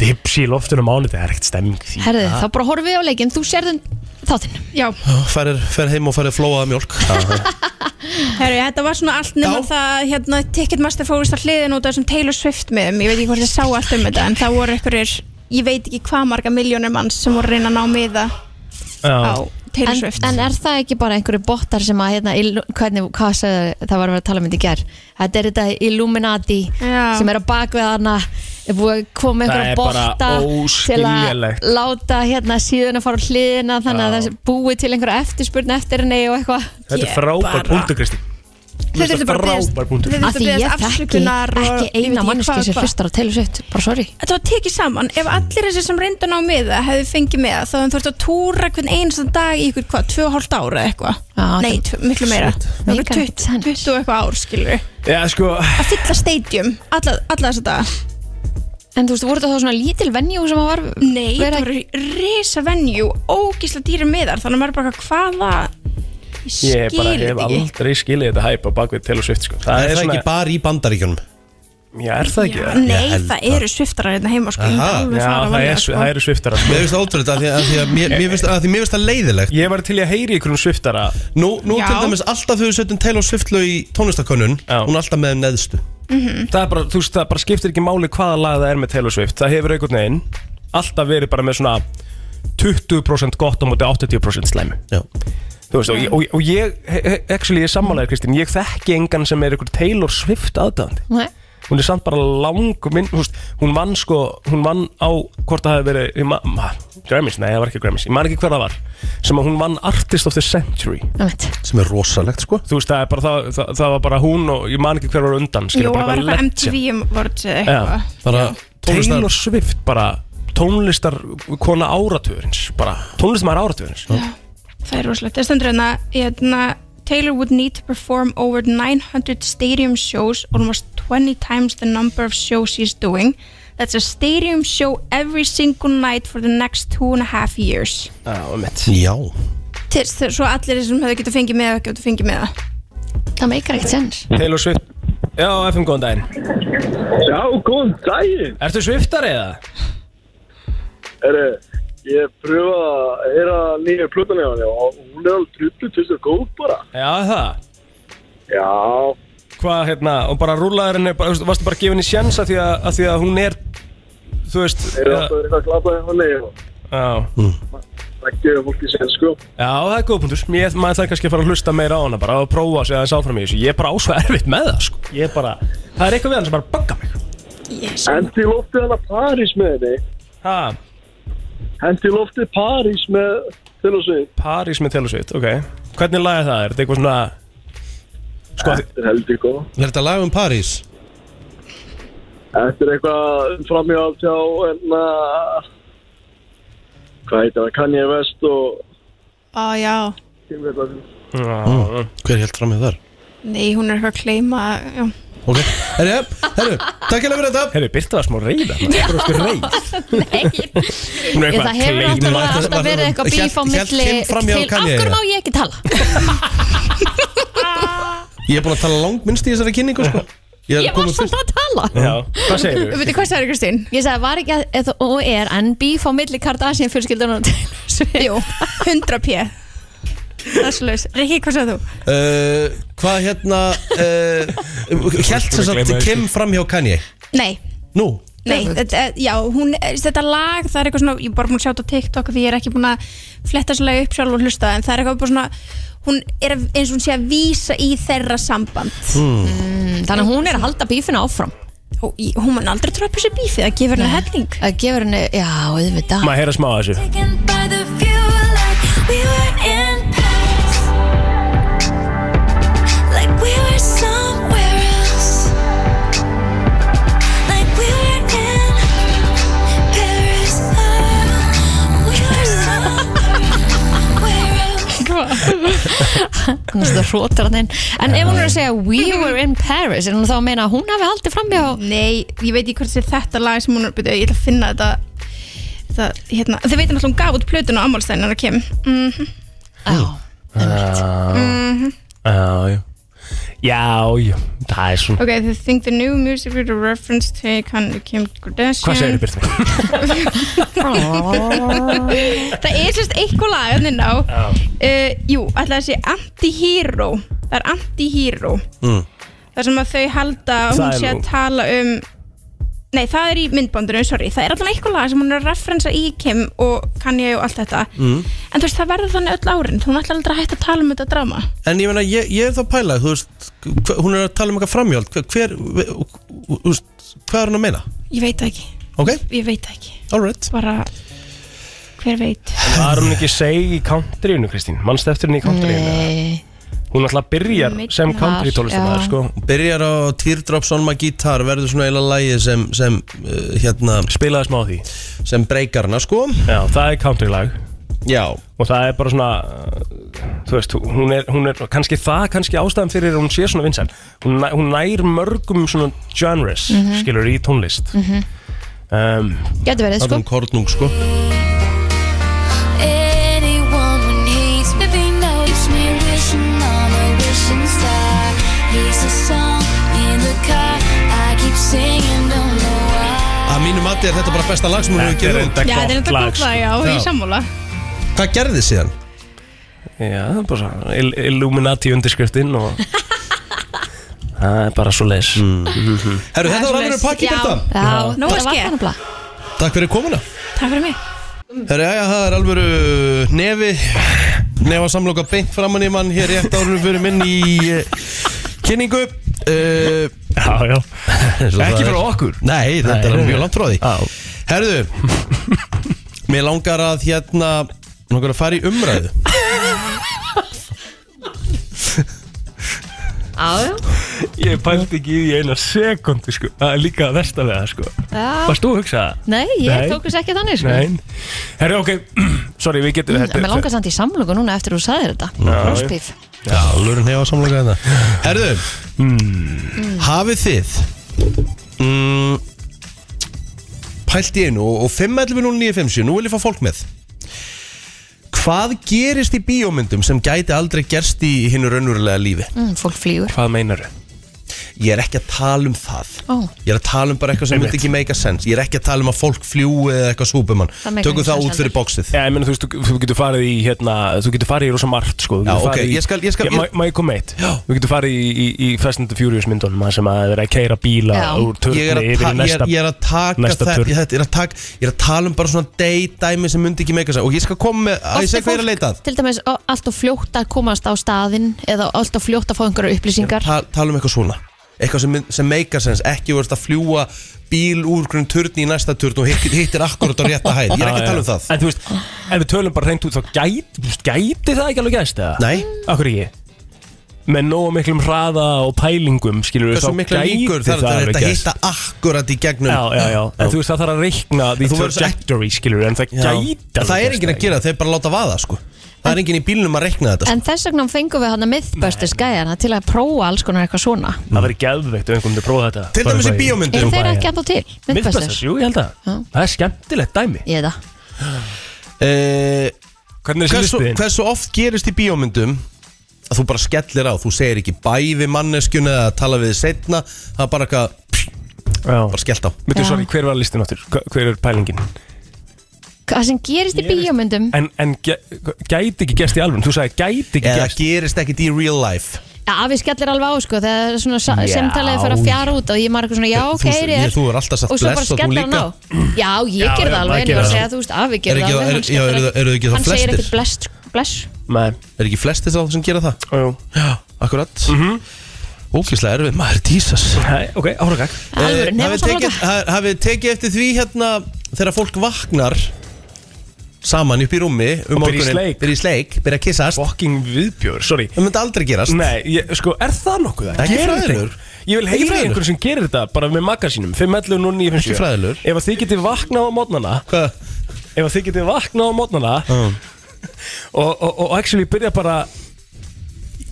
S1: Dipsi í loftinu á mánudegi Það er ekkert stemming því
S5: Herði,
S1: Ah.
S5: þá bara horfum við á leikinn, þú sérðin þáttinn
S10: Já
S4: Færir, fer heim og færir flóaða mjólk
S10: Herru, þetta var svona allt nema það að, hérna, Ticketmaster fórist að hliðin út af þessum Taylor Swift miðum, ég veit ekki hvort þið sá allt um þetta en það voru einhverjir, ég veit ekki hvað marga miljónir manns sem voru að reyna að ná miða á Taylor
S5: en,
S10: Swift.
S5: en er það ekki bara einhverju botar sem að hérna, il- hvernig, hvað sagði, það var að vera að tala um þetta í ger þetta er þetta Illuminati
S10: Já.
S5: sem er á bakveð hana er búið að koma með
S1: Það
S5: einhverja
S1: er bara
S5: botta til
S1: óskiljanlegt.
S5: að láta hérna síðan að fara á hliðina þannig að
S1: Já.
S5: það er búið til einhverja eftirspurn eftir henni og eitthvað
S1: Þetta er frábær punktu, Kristi
S5: Þau þurftu bara að biðjast-
S1: frábær punktu
S10: þau þurftu
S5: að því
S10: biðjast
S5: ég þekki
S10: afsökunar og ég
S5: ekki
S10: veit
S5: eina
S10: ekki
S5: manneski
S10: hvað-
S5: sem
S10: hvað.
S5: hlustar á Taylor Swift bara sorry
S10: Þetta var tekið saman, ef allir þessir sem reyndu að ná miða hefðu fengið miða þá hefðu þurft að túra hvern einastan dag í ykkur hvað, 2,5 ára eitthvað?
S5: Já,
S10: Nei, tvö- miklu meira. Ykkur 20 20 og eitthvað ár, skilur
S1: Já, sko
S10: Að fylla stadium, alla, alla þessa daga.
S5: en þú veist, voru það þá svona lítil venjú sem að var
S10: Nei, það voru risa venju, ógísla dýri miðar, þannig að maður er bara eitthvað, hvaða, ég
S1: Ég bara
S10: skil
S1: hef
S10: þetta ekki.
S1: aldrei skilið þetta hæpa bakvið til og svift sko.
S4: Það er það ekki bara í bandaríkjunum
S1: Já, er það ekki?
S10: Nei, það eru sviftarar hérna heima, sko, ég myndi alveg
S1: Já,
S10: fara að
S1: það
S10: velja,
S1: er,
S10: sko.
S1: það eru sviftara
S4: Mér finnst það ótrúlega að því að, því að, mér, mér finnst, að því mér finnst það leiðilegt
S1: Ég var til í að heyri ykkur um sviftara
S4: Nú, nú
S1: Já.
S4: til dæmis alltaf þau setjum Taylor Swift lög í tónlistakönnun Hún er alltaf með þeim neðstu Mm.
S1: það, er bara, þú veist, það bara skiptir ekki máli hvaða lag það er með Taylor Swift Það hefur einhvern veginn alltaf verið bara með svona 20% gott á móti 80% slæmi
S4: Já.
S1: Þú veist, og, ég- og, og ég, he- he- actually, ég sammálaði Kristín, ég þekki engan sem er ykkur Taylor Swift aðdæðandi
S5: Nei.
S1: hún er samt bara lang minn, þú veist, hún vann sko, hún vann á hvort það hefði verið, ég ma, ma, Grammys, nei það var ekki Grammys, ég man ekki hver það var sem að hún vann Artist of the Century
S4: sem er rosalegt sko
S1: þú veist það er bara, það, það, það var bara hún og ég man ekki hver var á undan,
S10: Jó,
S1: skilur
S10: það
S1: bara
S10: var eitthvað MTV Awards eða um eitthvað
S4: bara
S1: tónlistar Taylor Swift bara tónlistar kona áratugurins bara, tónlistamæður áratugurins
S10: Það er rosalegt. Það stendur hérna, hérna Taylor would need to perform over 900 stadium shows, almost 20 times the number of shows she's doing. That's a stadium show every single night for the next two and a half years.
S1: Já, um mitt
S4: Já
S10: Til, til, svo allir sem hefur getið fengið með það, getið fengið með það.
S5: Það meikar eitt sens.
S1: Taylor Swift Já, FM, góðan daginn
S3: Já, góðan daginn
S1: Ertu Swiftari eða?
S3: Herri, ég pröfa að heyra nýju plötan hjá henni og hún er alveg drullu tusen góð bara.
S1: Já, það
S3: Já,
S1: Hvað, hérna, og bara rúlaður henni bara, þú veist, varstu bara gefin í sjans að því að, að því að hún er þú veist
S3: þeir eru alltaf verið að klappa hjá henni og
S1: Já,
S3: það gefur fólki sér sko.
S1: Já, það er góð punktur. Mér maður þarf kannski að fara að hlusta meira á hana bara og prófa að segja þess áfram í þessu. Ég er bara ásvað erfitt með það, sko. Ég er bara, það er eitthvað við hann sem bara bagga mig.
S10: Yes.
S3: Hendi í loftið hann að París með henni.
S1: Ha,
S3: Hendi í loftið París með til og sveit.
S1: París með telusveit, ok. Hvernig laga það er? Þetta eitthvað svona... Sko, að því-
S3: Þetta er heldur góð.
S4: Er þetta lag um París?
S3: Þetta er eitthvað framhjátt hjá hérna hvað heitir það, Kanye West og
S10: Á já,
S3: Kim Kardashian.
S1: Já,
S4: Hver held fram með þar?
S10: nei, hún er eitthvað að kleima, já.
S4: Ok, herri, jafn, herru, takk hérna fyrir þetta
S1: Herri, Birta var smá reyð hann. Það er okkur reyð. Hún er
S5: Ég, það hefur
S1: klein.
S5: náttúrulega
S4: Var-
S5: alltaf
S4: var-
S5: verið eitthvað
S4: hélt-
S5: bíf á
S4: hélt
S5: milli
S4: Kim fram hjá
S5: til af
S4: Kanye,
S5: hverju
S4: eða?
S5: má ég ekki tala?
S4: Ég er búin að tala langminnst í þessari kynningu sko Ég,
S5: Ég var samt að tala
S1: Já, hvað segir
S10: Þú
S1: þú?
S10: veitir hvað það er, Kristín?
S5: Ég sagði, var ekki að, eða, og er en bíf á milli Kardashian fjölskyldunum
S10: Jú, 100 p. Það er slúðis. Rikki, hvað sagði þú?
S4: uh, Hvað hérna uh, Hjælt sem sagt Kim fram hjá Kanye
S10: Nei,
S4: Nú,
S10: Nei, þetta, já, hún, þetta lag, það er eitthvað svona, ég er bara búin að sjá þetta á TikTok því ég er ekki búin að fletta þessu lagi upp sjálf og hlusta en það er eitthvað bara svona, hún er að- eins og hún sé að vísa í þeirra samband
S5: Þannig að hún er að halda bífinu áfram
S10: og í, hún mann aldrei tröpa sér bífið að gefa henni helling.
S5: að gefur henni, já, auðvitað
S1: Maður heyra smá að þessu.
S5: Þannig að það hrótar hann inn En ef hún er að segja We were in Paris er hún þá að meina að hún hafi haldið fram hjá
S10: Nei, ég veit ekki hvort það er þetta lag sem hún er, byrja, ég ætla að finna þetta, þetta hérna, þið veitum alltaf hún gaf út plötun á ammálstæðinu hennar Kim. Mm
S5: Já,
S1: Já, já. Mm-hmm. Já, já, það er svona...
S10: Ok, they think the new music video reference to Kanye Kim Kardashian.
S1: Hvað segir þú, Birta?
S10: Það er sérst eitthvað lag hérna inn á uh, Jú, alltaf þessi anti-hero Það er anti-hero
S4: Mm.
S1: Hmm.
S10: Það sem að þau halda að
S1: Það
S10: hún
S1: er
S10: sé að
S1: nú.
S10: tala um Nei, það er í myndbandinu, sorry Það er alltaf eitthvað lag sem hún er að referensa í Kim og Kanye og allt þetta
S1: Hmm.
S10: mm. En þú veist, það verður þannig öll árin Hún ætlar aldrei að hætta að tala um þetta drama
S4: en ég meina, ég, ég er þá að pæla Þú veist, hver, hún er að tala um eitthvað framhjóld Hver, hver þú veist, hvað er hún að meina?
S10: Ég veit það ekki,
S4: Ok,
S10: ég veit það ekki
S4: alright
S10: Bara, hver veit
S1: Var hún ekki seg í countryinu, Kristín? Manstu eftir henni í countryinu?
S5: nei
S1: Hún alltaf byrjar
S10: Midnar,
S1: sem country
S5: já.
S1: sko.
S4: Byrjar á Teardrops on my guitar Verður svona eiginlega lagi sem, sem uh, Hérna,
S1: Spilaði smá á því.
S4: sem breykar hana sko
S1: Já, það er country lag.
S4: Já,
S1: og það er bara svona uh, þú veist, hún er, hún er kannski það, kannski ástæðan fyrir að hún sé svona vinsæl hún, næ- hún nær mörgum svona genres,
S10: Mhm.
S1: skilur í tónlist um,
S5: Gæti verið,
S4: það er
S5: sko
S4: hún kornung sko
S8: Anyone who needs me, he knows me wishing on a wishing star. He's a song in the car. I keep singing, don't know why.
S4: Að mínum mati er þetta bara besta lag sem hún hefur
S1: þetta er
S4: gefið út
S1: enda
S10: Já, þetta er
S1: gott
S10: þetta
S1: lag
S10: gott lag,
S1: sko.
S10: já,
S4: Já.
S10: ég sammála
S4: Hvað gerði síðan?
S1: já, það er bara svona Il Illuminati undirskriftin og það er bara svo leis
S4: Herru, þetta var
S10: svoleiðis.
S4: alveg pakki
S10: Já.
S4: þetta
S5: Já, þetta
S10: Nóg að
S5: var
S10: ske.
S5: kannabla
S4: Takk fyrir komuna
S10: Takk fyrir mig
S4: Herru, já, já, það er alveg eh, nefi nefa samloka beint framann í mann hér rétt árum fyrir minn í uh, kynningu uh, Já, já Ekki frá okkur Nei, þetta
S11: Nei,
S4: er
S11: nei,
S4: mjög
S11: nei.
S4: langt frá því Herðu, mér langar að hérna mig langar að fara í umræðu
S5: Já,
S1: Ég pældi ekki í því eina sekundi sko Það er líka að versta við það sko
S5: já
S1: Varst þú að hugsa það?
S5: Nei, ég tók þess ekki þannig sko.
S1: Nein Herri, ok Sorry, við getum
S5: Mm, En mér langar samt í samlöku núna eftir þú sagðir þetta
S4: Já,
S5: Rúspíf
S4: Já, lurinn hefa samloka
S11: hérna.
S4: þetta Herðu,
S11: Hmm.
S4: hafið þið mm, pælt í einu og, og 511957, nú vil ég fá fólk með Hvað gerist í bíómyndum sem gæti aldrei gerst í hinnu raunverulega lífi?
S5: mm, Fólk flýgur
S1: Hvað meinar þau?
S4: Ég er ekki að tala um það
S5: Ó,
S4: Ég er að tala um bara eitthvað sem myndi ekki make a sense Ég er ekki að tala um að fólk fljúi eða eitthvað súpumann
S5: Það make
S4: Tökum
S5: no
S4: það
S5: sense
S4: út fyrir bóksið
S1: Já, ég meina, þú veist, þú- þú getur farið í, hérna, þú getur farið í rosa margt, sko Þú
S4: Já,
S1: getur
S4: ok,
S1: farið í-
S4: ég skal- ég skal-
S1: Má má ég koma eitt? Já Þú getur farið í, í, í Fast and the Furious myndunum þar sem að það er að keira bíla
S4: Já.
S1: úr törni
S4: ég er, að
S1: yfir
S4: ta- ég,
S1: í
S4: er,
S1: næsta
S4: ég er að taka
S1: næsta
S4: það
S1: turn.
S4: ég, þetta er að taka, ég er að tala um bara svona day-dæmi sem myndi ekki meika sér og ég skal koma með, að ég
S5: Oft
S4: segi
S5: er
S4: hvað ég er að
S5: fólk
S4: leita að
S5: Til dæmis ó, allt og fljótt að komast á staðinn eða allt og fljótt að fá einhverja upplýsingar
S4: Ta, tala um eitthvað svona eitthvað sem, mynd- sem meika sér ekki verðist að fljúa bíl úr grunn turni í næsta turn og hittir, hittir akkurat á rétta hæð ég er ekki að tala um það
S1: En þú veist, ef við tölum bara reynd út þá gæti, þú veist, gæti það ekki alveg gæst eða?
S4: Nei
S1: Akkur ekki Með nógu miklum hraða og pælingum skilur við
S4: Hversu mikla líkur þarf þetta að
S1: alveg
S4: hitta akkurat í gegnum
S1: Já, já, já, en þú veist það þarf að reikna því
S4: þú verður svo ekki-
S1: trajectory skilur en það
S4: Já.
S1: gæti alveg
S4: Það er
S1: gerst
S4: enginn að gera, þeir bara láta vaða sko Það er enginn í bílnum að rekna þetta sko.
S5: En þess vegna fengum við hann að mythbusters gæjana til að prófa alls konar eitthvað svona
S1: Það verður geðveikt ef einhvern myndi prófa þetta
S4: Til dæmis í bíómyndum.
S5: Eru þeir ekki að til?
S1: Mythbusters, jú, ég held að Það er skemmtilegt dæmi
S5: Ég veit það
S1: Hvernig er þessi
S4: Eh, hversu,
S1: listið þinn?
S4: hversu oft gerist í bíómyndum að þú bara skellir á, þú segir ekki bæði manneskjuna eða tala við þið setna það er bara eitthvað, bara skellt á
S1: Myndu, sorry, hver var listin áttur? Hver- Hver er pælingin?
S5: Hvað sem gerist í bíómyndum
S1: En, en gæ- gæti ekki gerst í alvun Þú sagði gæti ekki
S4: eða
S1: gerst
S4: gerist ekkit í real life
S5: Já, við skellir alveg á sko Þegar svona sa-
S4: Já.
S5: samtalið fyrir að fjara út og ég margur svona, já, ok,
S4: Þú- þú- ég-
S5: rétt
S4: þú er alltaf sagt
S5: Og svo bara
S4: bless og þú
S5: skellir hann
S4: líka.
S5: á Já,
S1: Já,
S5: ég gerði
S1: já,
S5: það
S1: maður
S5: alveg En ég
S1: gerir
S5: var að
S1: það.
S5: segja, þú veist, afi
S4: Er
S5: gerði
S4: ekki-
S5: það
S4: er-
S5: alveg hann
S4: já, eru-
S5: skellir ekki-
S4: eru þið ekki þá
S5: Hann segir
S4: flestir?
S5: ekki bless, bless
S1: Nei.
S4: er ekki flestir þá sem gera það
S1: Jú.
S4: já, akkurat mm
S1: Mhm.
S4: -hmm. ókýrslega erfið, maður Jesus Eh,
S1: Nei, ok, ára gag
S5: Alvöru, nema
S4: hafið
S5: samloka.
S4: tekið, ha- hafið tekið eftir því hérna þegar fólk vaknar saman upp í rúmi um
S1: Og byrja í
S4: morguninn,
S1: sleik.
S4: byrja í sleik, byrja að kissast
S1: Fucking viðbjör, sorry
S4: það myndi aldrei gerast
S1: Nei, ég, sko, er það nokkuð það?
S4: Ekki
S1: Gerir þetta
S4: fræðilegur.
S1: einhver? Ég vil
S4: Ekki
S1: heyra
S4: fræðilegur.
S1: einhvern sem gerir þetta bara með makka sínum 511 og 957
S4: Ekki fræðilegur.
S1: Ef að þið getið vaknað á mótnana
S4: Hvað?
S1: Ef að þið getið vaknað á mótnana og, og, og actually byrja bara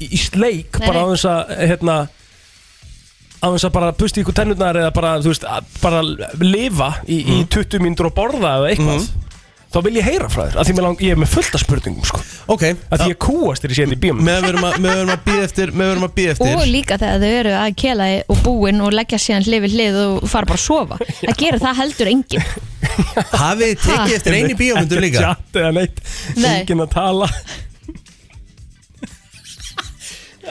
S1: í, í sleik
S5: Nei,
S1: bara á
S5: nei.
S1: þess að hérna á þess að bara pusti ykkur tennurnar eða bara, þú veist, að bara lifa í,
S4: Mm.
S1: í 20 mínútur og borða eða eitthvað þá vil ég heyra frá þér af því mig lang, ég er með fullta spurningum sko.
S4: ok,
S1: af því ég kúast þér í séðin í bíum
S4: meðan við erum að- meðan við erum að býða eftir meðan við erum að býða eftir
S5: Og líka þegar þau eru að kela í- og búin og leggja síðan hlið við hlið og fara bara að sofa Það gerir það heldur enginn
S4: Hafið þið tekið
S5: Ha?
S4: eftir einu bíómyndu
S1: Ekki
S4: líka?
S1: tjatt eða neitt
S5: Nei.
S1: Engin að tala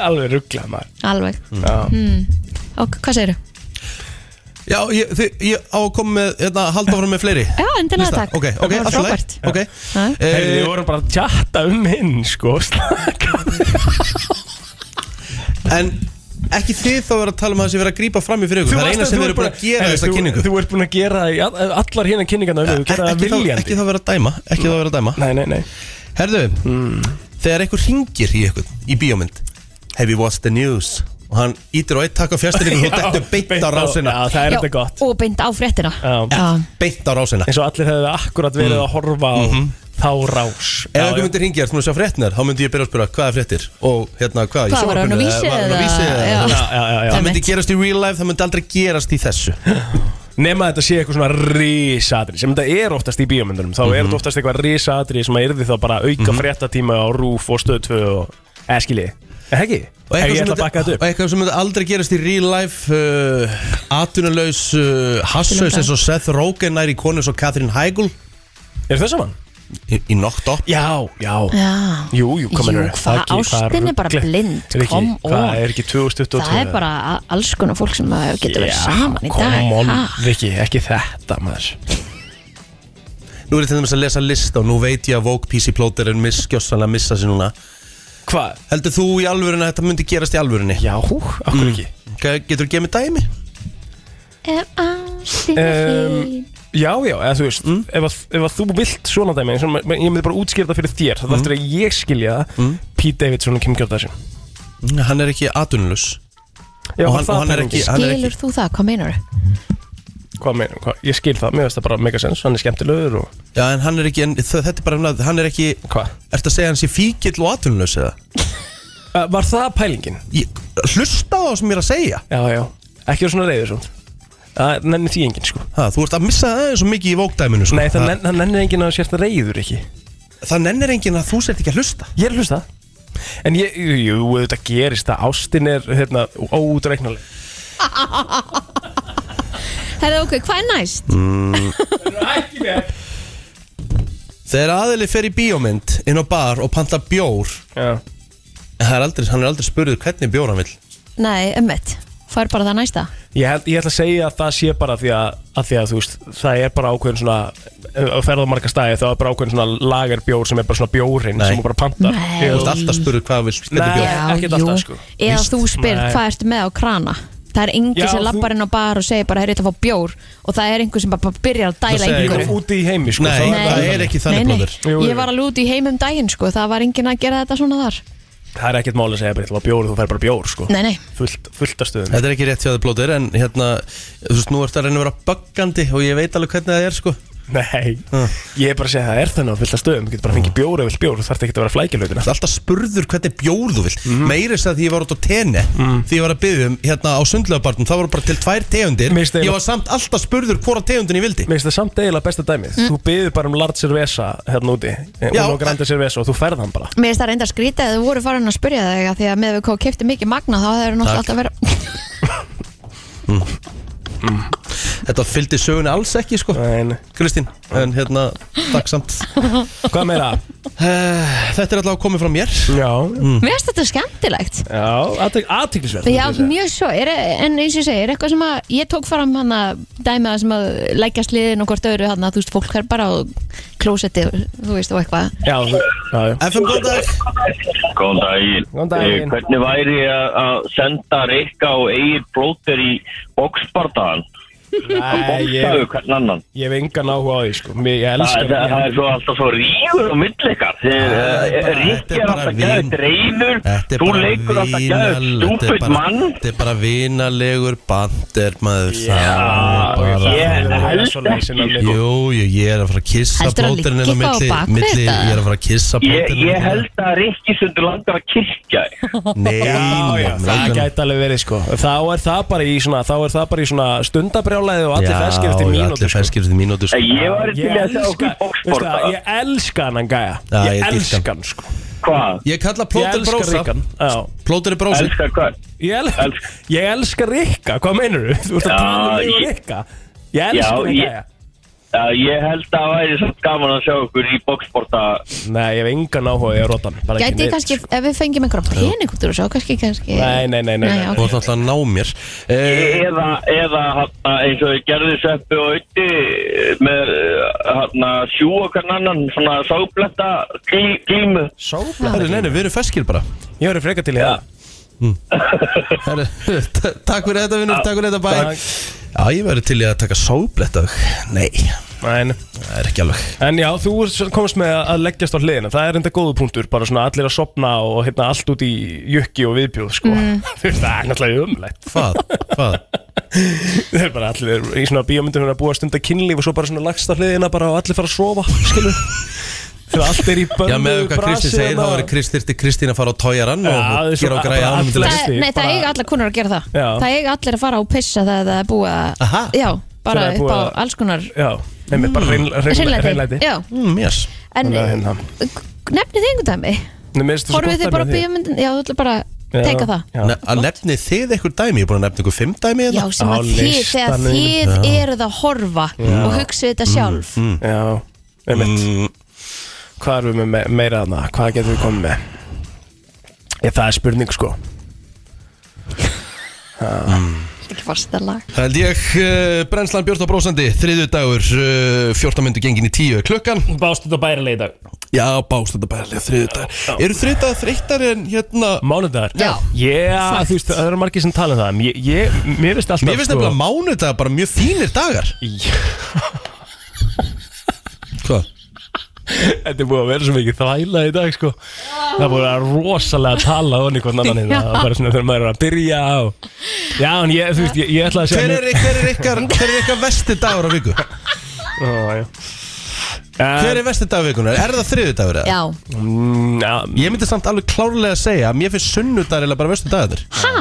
S1: Alveg rugglað maður
S5: Alveg
S1: Já.
S5: mm. Og hvað segirðu?
S4: Já, ég, þið, ég á að koma með, hérna, halda áfram með fleiri
S5: Já, endilega
S4: Lista.
S5: takk
S4: Ok, ok,
S5: Það var
S4: allt í
S5: frábært
S4: lagi Ok,
S5: Já.
S1: Heyrðu, við
S4: eh,
S1: vorum bara að tjatta um hinn sko Slaka
S4: en ekki þið þá vera að tala um það sem vera að grípa fram í fyrir ykkur Það er eina sem verið búin að gera
S1: Heyrðu,
S4: þessa
S1: þú-
S4: kynningu Eh,
S1: Þú ert búin að gera það í all- allar hérna kynningarna Þú
S4: Ekki
S1: gera það
S4: þá-
S1: viljandi
S4: ekki þá vera að dæma, ekki þá vera að dæma
S1: Nei, nei, nei
S4: Herðu,
S1: Mm.
S4: þegar einhver ringir í ykkur, í bíómynd Have you watched the news? Og hann ítir á eitt takk á fjastinni og þú
S1: Já,
S4: dettur beint á rásina
S1: Já, það er
S5: Já,
S1: þetta gott
S5: Og beint á fréttina
S1: Já.
S5: Já.
S4: Beint á rásina
S1: Eins og allir hefðu akkurat verið að horfa á þá
S4: Mm.
S1: rás
S4: Mhm. Ef
S1: Já,
S4: einhver
S1: já.
S4: myndir hringja, þú að sjá fréttnar, þá myndi ég byrja að spyrja hvað er fréttir og hérna hvað, í
S5: Hvað, var hann á
S4: sjónvarpinu
S5: Vísi
S4: eða var hann á
S5: eða-
S4: vísi eða
S5: Já.
S1: Já, já, já, já.
S4: Það myndi
S5: Einmitt.
S4: gerast í real life, það myndi aldrei gerast í þessu
S1: Nefn að þetta sé eitthvað svona risaatri sem þetta er oftast í bíómyndunum þá
S5: Mhm.
S1: er þetta oftast eitthvað risaatri sem að yrði þá bara auka fréttatíma á rúf og stöð 2 og Eh, eða skilji, eða ekki?
S4: Og
S1: Ef
S4: eitthvað,
S1: ég
S4: sem
S1: ætla
S4: myndi,
S1: að bakka þetta
S4: og
S1: upp
S4: eitthvað sem myndi aldrei gerast í real life uh, Atunulaus uh, Hassaus eins og Seth Rogen nær í konu svo Katrin Heigl
S1: Er það saman?
S4: Í, í Knocked Up
S1: Já, já
S5: e- Já.
S1: Jú, jú, komin
S5: Jú, hvað ástin er bara blind, come on.
S1: Hvað er ekki 2022?
S5: Það er bara a- alls konar fólk sem að getur verið saman í dag
S1: Come on,
S5: Ha?
S1: Viki, ekki þetta maður
S4: Nú er ég til dæmis að lesa list og nú veit ég að Vogue PC Plotter er misskjössanlega að missa sér núna
S1: Hvað?
S4: Heldur þú í alvörunni að þetta myndi gerast í alvörunni?
S1: Já, okkur ekki
S4: mm. Getur þú gefið mér dæmi?
S1: um, Já, já, eða þú veist mm, ef, að, ef að þú vilt svona dæmi svona, ég myndi bara útskýra það fyrir þér það mm. eftir að ég skilja það
S4: Mm.
S1: Pete Davidson og Kim Kjörðarsin
S4: Hann er ekki atunlus
S1: Já,
S4: Og hann-
S1: það
S4: og hann er ekki- hann er
S5: Skilur þú það, hvað meinar þau?
S1: Hvað meina, hvað? Ég skil það, mér finnst það bara mega sens Hann er skemmtilegur og
S4: Já, en hann er ekki, en, þ- þetta er bara, annað- hann er ekki
S1: Hvað?
S4: Ertu að segja hann sé fíkill og atunlus eða? Eh,
S1: uh, Var það pælingin?
S4: Ég, hlusta á það sem ég er að segja
S1: Já, já, ekki vera svona reyður svona Það nenni því enginn sko
S4: ha, Þú ert að missa það eins og mikið í vókdæminu sko.
S1: Nei, það, nenn, það nennir enginn að sérst reyður ekki
S4: það nennir enginn að þú sért ekki að hlusta
S1: Ég er að hlusta En ég, jú, jú, þetta gerist að ástin er hérna óútreiknaleg
S5: Herðu ok, hvað er næst?
S4: Mm. Þegar aðili fer í bíómynd inn á bar og panta bjór
S1: Já.
S4: En það er aldrei, hann er aldrei spurður hvernig bjór hann vil
S5: Nei, ummitt, hvað er bara það næsta?
S1: Ég, held, ég ætla að segja að það sé bara því að, að því að þú veist, það er bara ákveðin svona að ferða marga stæði þá er bara ákveðin svona lagerbjór sem er bara svona bjórinn sem þú bara pantar
S5: Nei.
S4: Þú ert alltaf spurður hvað hann vil hvernig bjór
S1: Nei, ekkert alltaf sko
S5: Eða þú spyr
S1: Nei.
S5: hvað ertu með á krana Það er
S1: Já,
S5: engin sem
S1: þú-
S5: lappar inn á bar og segir bara Herri, þetta fá bjór Og það er einhver sem bara byrjar að dæla
S4: segir
S5: einhverju
S4: einhver-
S1: Úti í heimi sko
S4: Nei,
S1: þá
S5: Nei.
S4: það er ekki þannig blóður
S1: Jú, jú.
S5: Ég var alveg úti í heimum daginn sko Það var engin að gera þetta svona þar
S1: Það er ekkert mál að segja bara eitthvað bjór, þú fær bara bjór sko
S5: Nei, nei,
S1: Fullt, fullt af stöðum
S4: Þetta er ekki rétt hjá það blóður en hérna, þú veist, nú ertu að reyna að vera böggandi og ég veit alveg hvernig það er sko
S1: Nei, ég er bara að segja að það er þannig á fullt af stöðum Þú getur bara að fengið bjór eða vilt bjór, þú þarf ekki að vera flækilautina
S4: Það er alltaf spurður hvernig bjór þú vil mm. Meiris að því ég var út á tenni Því ég var að byggja um hérna á sundlöfabarnum Það voru bara til tvær tegundir
S1: Mér finnst
S4: Ég
S1: eiginlega-
S4: var samt alltaf spurður hvora tegundin ég vildi
S1: Mér finnst það samt eiginlega besta dæmið
S5: Mm.
S1: Þú byður bara um large cerveza hérna úti
S4: Já.
S1: Uno grande cerveza og þú færð hann bara
S5: mér finnst það reynda að skrýta Þau voru farin að spyrja þau að Því að með við kóð kefti mikið magna Þá hefur náttúrulega alltaf verið
S4: Þetta fylgdi sögunni alls ekki sko
S1: en,
S4: Kristín, en hérna, takk samt
S1: Hvað meira?
S4: Eh, Þetta er allavega komið frá mér
S1: Já,
S5: Mér finnst þetta skemmtilegt
S1: já aðtiklisverð
S5: Já, mjög svo, er, en eins og ég segi, er eitthvað sem að ég tók fram hann að dæmi það sem að leggja sliðin og hvort öðru hann að þú veist, fólk er bara á klósetti og þú veist og eitthvað
S1: Já, þú- já, já
S4: FM góðan dag
S11: Góðan daginn.
S1: Góðan daginn.
S11: Eh, Hvernig væri að að senda Rikka og Egil Blóter í boksbardaðan?
S1: Nei,
S11: Boksaðu
S1: ég,
S11: hvern annan.
S1: ég hef engan áhuga á því sko Mér, Ég
S11: Það
S1: elskar
S11: það- það er svo alltaf svo rígur á milli ykkar. eh,
S4: Það er bara- þetta
S11: Rikki
S4: er
S11: er
S4: bara
S11: alltaf
S4: vín.
S11: gæðið reyður,
S4: Þetta er
S11: þú
S4: bara
S11: leikur alltaf gæðið
S4: vinal- þetta er
S11: stúpid
S4: bara-
S11: mann.
S4: Þetta er bara vinalegur bandir maður Það
S1: Já,
S4: er bara-
S1: ég
S11: held
S1: held ekki sko.
S4: Jú, jú, ég er að fara að kissa
S5: Heldurðu að
S4: blóterinn
S5: liggja þá á bak við
S4: milli,
S5: þetta?
S4: Ég er að fara að kissa hérna
S11: Ég,
S4: blóterinn
S11: ég held að Rikki sundur langar að kirkja þig.
S4: Nei,
S1: Já, já,
S4: mér
S1: það
S4: langar-
S1: gæti alveg verið sko Þá er það bara í svona, þá er það bara í svona stundabrjálæði og allir
S4: Já,
S1: feskir eftir
S4: já,
S1: mínútu
S4: Allir
S1: sko
S4: feskir eftir mínútu sko.
S11: Eh, Ég var til í að sjá okkur
S1: veistu það,
S11: boksbardaðan.
S1: ég elska hann gæja
S4: Já,
S1: Ég
S4: ég dýrka
S1: elska
S4: hann.
S1: hann sko
S11: Hvað?
S4: Ég kalla
S1: Ég
S4: plóterinn
S1: elska
S4: brósa
S1: Rikkan Já.
S4: Plóterinn brósa
S11: Elskar hvað?
S1: Ég, el
S11: Elska.
S1: ég elska Rikka, hvað meinur þú? Þú ert að
S11: Já,
S1: tala um mig og
S11: ég-
S1: Rikka Ég elska
S11: Já,
S1: hann
S11: ég- Já,
S1: gæja
S11: Eh, Ég held að væri samt gaman að sjá okkur í boksbardaðan.
S1: Nei, ég hef engan áhuga, ég er rotan
S5: Gæti ég kannski, ef við fengjum einhverja pening út úr þessu, þá kannski, kannski
S1: Nei, nei, nei, nei,
S5: Nei,
S1: nei.
S5: ok.
S4: Þú ert náttúrulega að ná mér Eh,
S11: eða, eða hana, eins og þið gerðu sveppi og auði með hana, sjú okkar annan svona sábletta glí- glímu
S4: Herru,
S1: Sóflæður
S4: neina, við erum feskir bara
S1: Ég verið freka til í það
S4: Herru, t- Takk fyrir þetta, vinnur, takk fyrir þetta, bæ
S1: Takk.
S4: Já, ég væri til í að taka sóbletta Nei,
S1: En,
S4: það er ekki alveg
S1: en já, þú ert- komst með að leggjast á hliðina Það er enda góðu punktur, bara svona allir að sopna og hérna allt út í jukki og viðbjóð sko.
S5: Mm.
S1: Þú veist, það er náttúrulega umlegt
S4: Hvað, hvað
S1: Það er bara allir í svona bíómyndum hérna búið að stunda kynlíf og svo bara svona lagst á hliðina bara og allir fara að sofa, skilur Þegar allt er í hérna. bönnu
S4: Já, með hvað Kristi segir, þá er Kristi Kristín að fara á tójaran
S1: Já,
S4: og
S1: þessu-
S4: gera okkar að
S1: bara
S4: ánum til
S1: allir-
S4: þess
S5: það, nei, það
S1: bara-
S5: eiga allar konar að gera það
S1: Já.
S5: Það eiga allir að fara og pissa þegar það er búið að
S4: Aha.
S5: Já, bara
S1: Þegar það er
S5: upp á
S1: búið að-
S5: alls konar
S1: Já, nefnir bara reyn- reyn-
S5: Mm. Hreinlæti
S1: reynlæti
S5: Já,
S4: Mm, yes.
S5: en
S1: Þannig að hérna.
S5: nefnið þið einhvern dæmi Horfið þið
S1: um
S5: bara á bíómyndin Já, þú ætla bara að teka það
S4: Ne að nefni þið einhver dæmi, ég er búin að nefna ykkur fimm dæmi
S5: Já,
S4: hérna.
S5: sem
S1: um Á
S5: að þið, þegar
S1: listanum. Mm,
S5: þið eruð að horfa og hugsið þetta sjálf
S1: Já, einmitt
S4: Mm.
S1: Hvað erum við með meira þarna? Hvað getum við komið með? Ég, það er spurning sko
S5: fasta lag
S4: Það held ég, uh, brennslan Björn og Brósandi, þriðu dagur, uh, 14 myndu gengin í 10 klukkan
S12: Bástund og bærilega í dag
S4: Já, bástund og bærilega, þriðu dagur Eru þriðu dagar þreyttar en hérna
S1: Mánudagar?
S4: Já
S1: Yeah, þú veist, það eru margir sem tala um það Ég, ég mér finnst alltaf sko,
S4: Mér finnst nefnilega mánudagar bara mjög fínir dagar Hvað?
S1: Þetta er búið að vera svo mikið þvæla í dag, sko Það er búið að vera rosalega að tala og einhvern annan hérna
S4: Já.
S1: Það er bara svona þegar maður er að byrja á Já, en ég, þú veist, ég, ég ætla að segja
S4: Hver er, hver er ykkar, hver er ykkar vesti dagur á viku? Hver er vesti dagur vikunar? Er það þriðu dagur eða?
S5: Já.
S1: Um,
S4: Ég myndi samt alveg klárlega að segja að mér finnst sunnudagur eða bara vesti dagur
S5: Ha?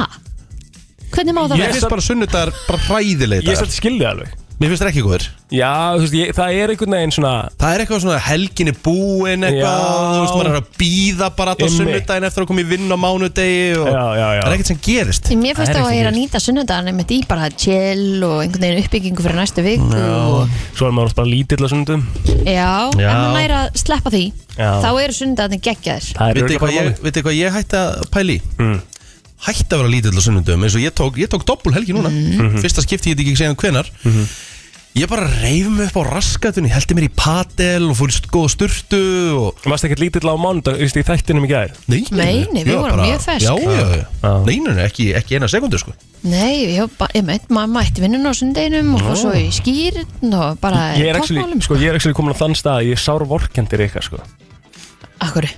S5: Hvernig má það
S4: Ég finnst bara sunnudagur bara hræðilega
S1: Ég satt skildi alveg
S4: Mér finnst það ekki góður
S1: Já, þú veist, ég, það er einhvern veginn svona
S4: Það er eitthvað svona helgin er búin eitthvað,
S1: Já.
S4: þú veist, maður er að býða bara alltaf
S1: Einmitt.
S4: sunnudaginn eftir að koma í vinn á mánudegi og það er ekkert sem gerist
S5: Mér finnst þá að ég er að nýta sunnudagarni mitt í bara chill og einhvern veginn uppbyggingu fyrir næstu viku og...
S1: Svo er maður oft bara lítill á sundum
S5: Já,
S1: Já.
S5: en maður næra að sleppa því
S1: Já.
S5: þá eru sunnudagarni geggjaðir
S4: Vitið hvað, ég- vitið hvað ég hætti að pæli mm. Hætti að vera lítill á sunnudagum eins og ég tók, ég tók doppul helgi núna Fyrsta skipti ég þetta ekki segja um hvenar Ég bara reyf mig upp á raskatunni, heldi mér í patel og fór í st- góða sturtu og...
S1: Varst ekkert lítill á mánudag, þú veist, í þættinum í gær?
S4: Nei,
S5: Nei, nei, við
S4: ég var
S5: vorum mjög fersk.
S4: Já, já, já, Nei, nei, nei, ekki, ekki eina sekundu sko
S5: Nei, ég, hef ba- ég meitt, maður mætti vinnun á sunnudeginum og fór
S1: Já.
S5: svo í skýrn og bara
S1: Ég er actually, sko, ég er actually komin á þann stað að ég er sár vorkendir ykkar, sko
S5: Akkur?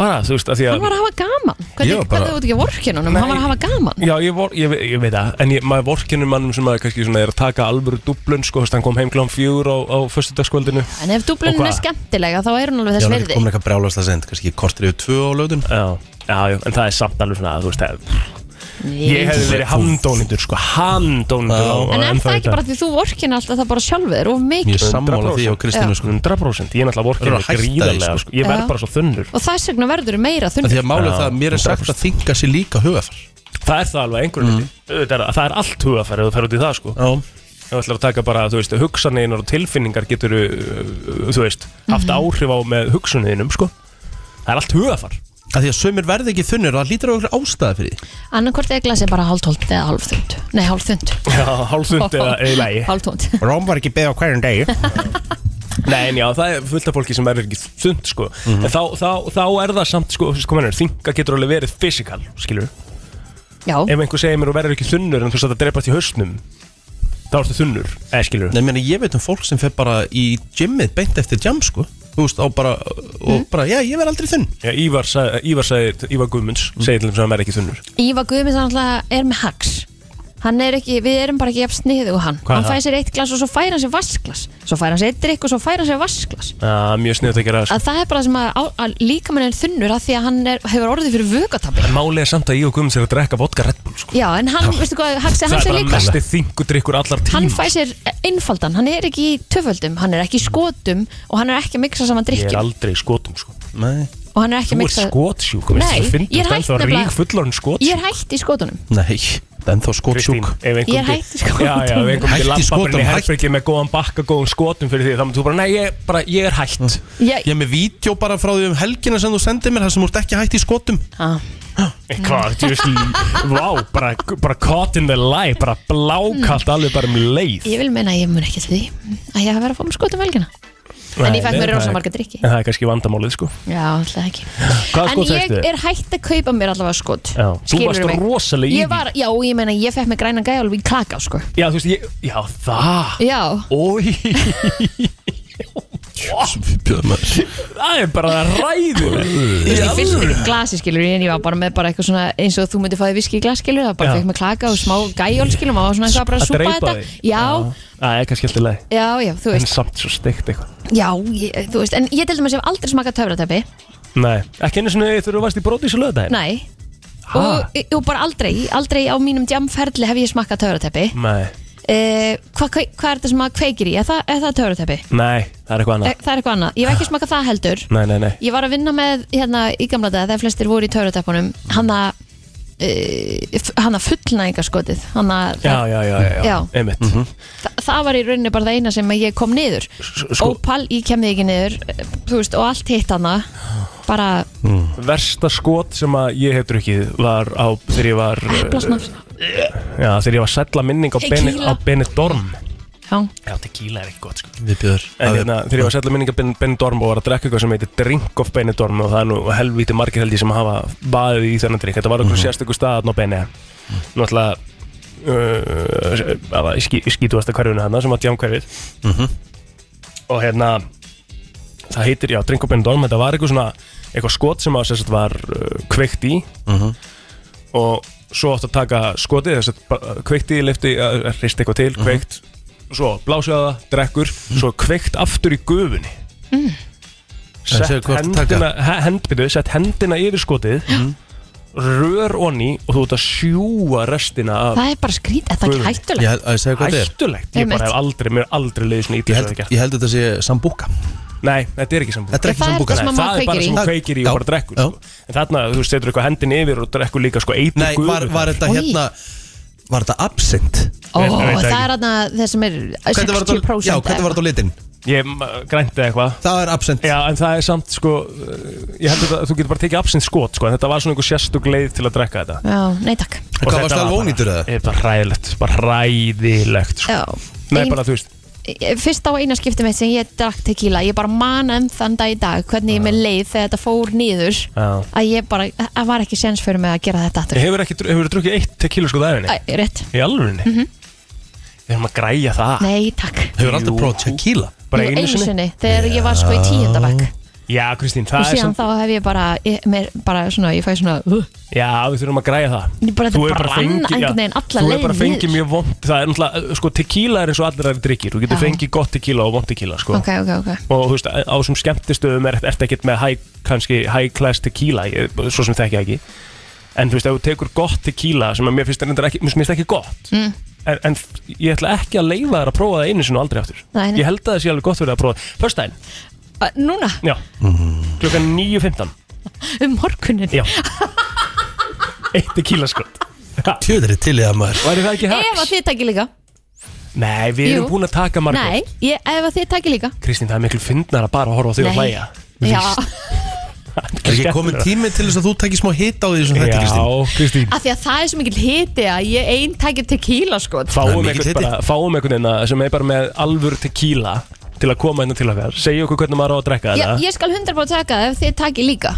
S1: Bara, þú veist, að því
S5: Hann
S1: að
S5: var að hafa gaman
S1: Ég
S5: Hvernig
S1: var
S5: hvað
S1: bara-
S5: þau voru ekki að vorkinunum, hann var að hafa gaman
S1: Já, ég, vor, ég, ég veit það, en ég, maður vorkinur mannum sem maður kannski svona er að taka alvöru dublun, sko, þú veist, hann kom heim klán fjúr á, á föstudagskvöldinu
S5: En ef dúblunin
S1: Og
S5: er
S1: hvað?
S5: skemmtilega þá er hún alveg
S1: Já,
S5: þess
S1: hann er
S5: verði
S4: komin eitthvað brjálaslega sent, kannski kortir yfir tvö á lögdun
S1: Já, já, já, en það er samt alveg svona, þú veist, það Ég hefði verið handónindur, sko, handónindur á, á
S5: En er
S1: ennþá
S5: það
S1: í
S5: ekki
S1: dag.
S5: bara því þú vorkin alltaf það bara sjálfur og
S1: Ég
S5: mikið
S1: er sammála því á Kristínu sko 100% Ég er náttúrulega
S4: Þú verður
S1: vorkinu
S4: að hætta því,
S1: gríðarlega
S4: sko.
S1: sko. Ég verð
S5: Já.
S1: bara svo þunnur
S5: Og þess vegna verður meira
S4: Af
S5: þunnur
S4: Því að málið er það að mér er sagt að þinga sér líka hugafar
S1: Það er það alveg einhverjum mm. það, það er allt hugafæri ef þú fer út í það sko
S4: Já
S1: Ef þú ætlar að taka bara, þú veist, hugsaneinar og tilfinningar getur, uh, þú veist, haft áhrif á með hugsuninum sko Það er allt hugafar
S4: Af Því að sömur verði ekki þunnur, það lítur á okkur ástæða fyrir því
S5: Annarkvort eða glasið bara hálftólt eða hálfþund Nei, hálfþund
S1: Já, hálfsund eða eilægi
S5: Hálftónt
S1: Róm var ekki beðið á hverjum degi Nei, en já, það er fullt af fólki sem verður ekki þund, sko En þá, þá, þá er það samt, sko, sko mennur, þinga getur alveg verið fysikal, skilur
S5: Já
S1: Ef einhver segir mér og verður ekki þunnur en þú satt að drepast í hausnum Þá ertu þunnur, eða skilur
S4: Nei, meni, ég veit um fólk sem fer bara í gymmið beint eftir jam, sko Þú veist, á bara, og bara, já, ég verð aldrei þunn
S1: Já, Ívar, sag, Ívar, sag, Ívar Guðmunds
S5: Mm.
S1: segir til þess að hann verður ekki þunnur
S5: Íva Guðmins náttúrulega er með hax Hann er ekki, við erum bara ekki jafn sniðu og hann
S1: Hvað er
S5: Hann
S1: það?
S5: fæði sér eitt glas og svo færi hann sér vasklas Svo færi hann sér eitt drikk og svo færi hann sér vasklas
S1: Já, mjög sniðut að gera það, sko.
S5: að Það er bara sem að, á- að líka mann er þunnur að því að hann er, hefur orðið fyrir vögatabli
S1: sko En málið er samt að Ívar Guðmunds er að drekka vodka Red Bull, sko
S5: Já, en hann, veistu hvað, haxi, hann
S1: Það er
S5: sér
S1: bara
S5: líka
S1: mesti þingudrykkur allar tíma
S5: Hann fæði sér einfaldan, hann er ekki í töföldum Hann er ekki í skotum og hann er ekki að miksa saman
S1: Ég er
S5: drikkjum
S1: aldrei í skotum, sko
S4: Nei
S5: Og hann er ekki að
S1: Þú ert
S5: miksa
S1: skotsjúk,
S5: Nei, ég er hætt
S1: Það er
S5: nefnilega-
S1: rík fullorinn skot
S5: Ég er hætt í skotunum
S4: Nei, það er ennþá skotsjúk
S5: Ég er hætt í skotum.
S1: Já, já, ef einhver myndi
S4: Hætt í
S1: labba bara inn
S4: skotum,
S1: í
S4: hætt.
S1: herbergi með góðan bakka, góðan skotum fyrir því þá myndir þú bara, nei, ég, bara, ég er hætt
S5: Ég,
S4: ég er með vídeo bara frá því um helgina sem þú sendir mér, það sem þú ert ekki hægt í skotum
S5: ah.
S1: Hvað, þú veist, vá, bara, bara caught in the lie, bara blákalt alveg bara um leið
S5: Ég vil meina að ég mun ekki því að ég hafa verið að fá mér skotum velgina En ég fekk mér rosa marga drykki
S1: En það er kannski vandamálið, sko
S5: Já, alltaf ekki
S1: Hvaða
S5: En
S1: skot
S5: ég
S1: þekstu?
S5: er hægt að kaupa mér allavega skot
S1: Já, þú
S5: Skilurðu
S1: varst
S5: mig?
S1: rosalega í
S5: Ég var, já, ég meina ég fekk mér grænan gæja alveg í klaka sko
S1: því Já, þú veist, ég, já, það
S5: Já,
S1: Ói Það er bara ræður
S5: ég fyrst fyrir glasi skilur En ég var bara með bara eitthvað svona eins og þú myndi fáið viski í glas skilur Það bara
S1: Já.
S5: fekk mér klaka og smá gæjól skilur Maður var svona eins og að bara
S1: Að
S5: súpa
S1: dreypa
S5: þetta
S1: þig.
S5: Já,
S1: Það er kannski alltaf leið
S5: já, já, þú
S1: En
S5: veist
S1: samt svo steikt eitthvað
S5: Já, ég, þú veist, en ég til dæmis hef aldrei smakað töfratæpi
S1: Nei, ekki einu svona þegar þú varst í brótis og löðdæðin
S5: Nei og, e, og bara aldrei, aldrei á mínum jamferli hef ég smakkað töfrateppi
S1: Nei,
S5: uh, Hvað hva, hva er þetta sem að kveikir í? Er það, er það töfrateppi?
S1: nei, það er eitthvað
S5: Eh,
S1: annað
S5: Það er eitthvað annað, ég hef ekki smakkað það heldur
S1: Nei, nei, nei
S5: Ég var að vinna með hérna í gamla dag þegar flestir voru í töfrateppunum hann að uh, hann að fullnæðingaskotið hann að
S1: Já, já, já, já, já,
S5: Já.
S1: einmitt
S5: Þa, það var í rauninni bara það eina sem að ég kom niður
S1: sko-
S5: Opal, ég kemði ekki niður eh, þú veist, og allt hitt hana bara
S1: Versta skot sem að ég hef drukkið var á þegar ég var eh,
S5: Eplasnafs.
S1: Já, þegar ég var sætla minning á,
S5: Hey,
S1: Bene,
S5: kýla.
S1: á Benidorm
S5: Já.
S1: Já, tequila er ekki gott sko
S4: Við bjöður
S1: En hérna, þegar ég var sætla minning á Ben- Benidorm og var að drekka eitthvað sem heitir Drink of Benidorm og það er nú helvíti margir held ég sem hafa baðið í þennan drink Þetta var okkur mm
S7: Mhm.
S1: -hmm. sérstakur staðan á Beni Náttúrulega uh, aða, í skí, skítuasta hverfinu hann sem var djámkverfið og hérna það heitir, já, Drink of Benidorm þetta var eitthvað svona, eitthvað skot sem að, sem sagt, var uh, kveikt í
S4: Mhm.
S1: og svo átti að taka skotið þess að bara kveikti, lifti, hristi eitthvað
S4: Mhm.
S1: til, kveikt svo blásaði það, drekkur svo kveikt aftur í gufunni
S5: Mm.
S1: sett
S4: Segðu hvort taka. Mhm.
S1: hendina he- hend, byrju, sett hendina yfir skotið rör onni og þú ert að sjúa restina af
S5: Það er bara skrít, er það ekki
S1: gufunni.
S5: hættulegt?
S1: Hættulegt, ég bara
S5: Einmitt.
S1: hef aldrei, mér hef aldrei leiðið svona
S4: Ég
S1: ítlis
S4: held- ég held þetta sé sambúka
S1: Nei, þetta er ekki sambúka
S4: Þetta er ekki Það er sambúka. það sem
S1: Nei,
S4: maður
S1: Það er bara
S4: kveikir í.
S1: sem hún kveikir í og
S4: Já,
S1: bara drekkur sko. En þarna, þú veist, setur eitthvað hendin yfir og drekkur líka sko eitur
S4: Nei, var, var þetta hérna Var þetta absint?
S5: Ó, það er aðna þeir sem er 60%
S4: Já, hvernig var þetta á litin?
S1: Ég m- grænti eitthvað
S4: Það er absent
S1: Já, en það er samt sko uh, Ég held að þú getur bara tekið absint skot sko En þetta var svona einhver sérstug leið til að drekka þetta
S5: Já, nei takk
S1: Og þetta var bara- eh, Bara ræðilegt, bara ræðilegt sko.
S5: Já.
S1: Nei,
S5: Ein-
S1: bara þú veist
S5: Fyrst á eina skipti mitt sem ég drakk tequila Ég bara man enn þann dag í dag Hvernig ég með leið þegar þetta fór nýður
S1: Já.
S5: Að ég bara, það var ekki séns fyrir mig að gera þetta aftur
S1: Hefur ekki, hefur þú drukkið eitt tequila sko dæfinni?
S5: Æ, rétt
S1: Í alvörinni?
S5: Mhm.
S1: Við erum að græja það
S5: Nei, takk
S1: Hefur alltaf prófað tequila? Bara
S5: Jú,
S1: einu sinni?
S5: Þegar ég var sko í tíundabæk
S1: Já, Kristín,
S5: Og
S1: það er
S5: síðan
S1: samt
S5: þá hef ég bara ég, mér, bara svona, ég fæ svona uh,
S1: Já, við þurfum að græja það
S5: Ég bara-
S1: Þú
S5: þetta
S1: hefur bara
S5: brann
S1: fengið- já,
S5: einhvern veginn alla
S1: Þú er bara
S5: leið
S1: fengið
S5: niður.
S1: mjög vond Það er náttúrulega, sko, tequila er eins og allir aðri drikkir Þú getur
S5: Já.
S1: fengið gott tequila og vond tequila, sko
S5: Ok, ok, ok
S1: Og þú veist, á á þessum skemmtistöðum er, ertu ekkert með high, kannski high class tequila ég, Svo sem þekki ekki En þú veist, ef þú tekur gott tequila Sem að mér finnst þetta ekki, mér finnst ekki gott
S5: mm,
S1: en, en ég ætla ekki að leifa þér að prófa það einu sinni og aldrei aftur
S5: Nei, nei.
S1: Ég held að það sé alveg gott fyrir að prófa Föstudaginn,
S5: uh, Núna,
S1: já, klukkan 9.15
S5: um morgunin
S1: Já Eitt tequila sko. skott
S4: Tjöður er til í það maður
S1: Væri það ekki
S5: Ef að þið takir líka
S1: Nei, við erum
S5: Jú.
S1: búin að taka margur
S5: Nei, ég, ef að þið takir líka
S1: Kristín, það er miklu fyndnar að bara horfa á þig og
S5: Nei.
S1: hlæja
S5: Já,
S4: Er ekki komin tími til þess að þú tækir smá hit á því sem þetta,
S1: Já, Kristín
S5: af því að það er svo mikill hiti að ég einn takir tequila sko
S1: Fáum einhvern bara, fáum einhvern veginn að- sem er bara með alvör tequila til að koma inn til okkar Segja okkur hvernig maður á að drekka
S5: Já,
S1: þetta
S5: ég skal 100% taka það ef þið takir líka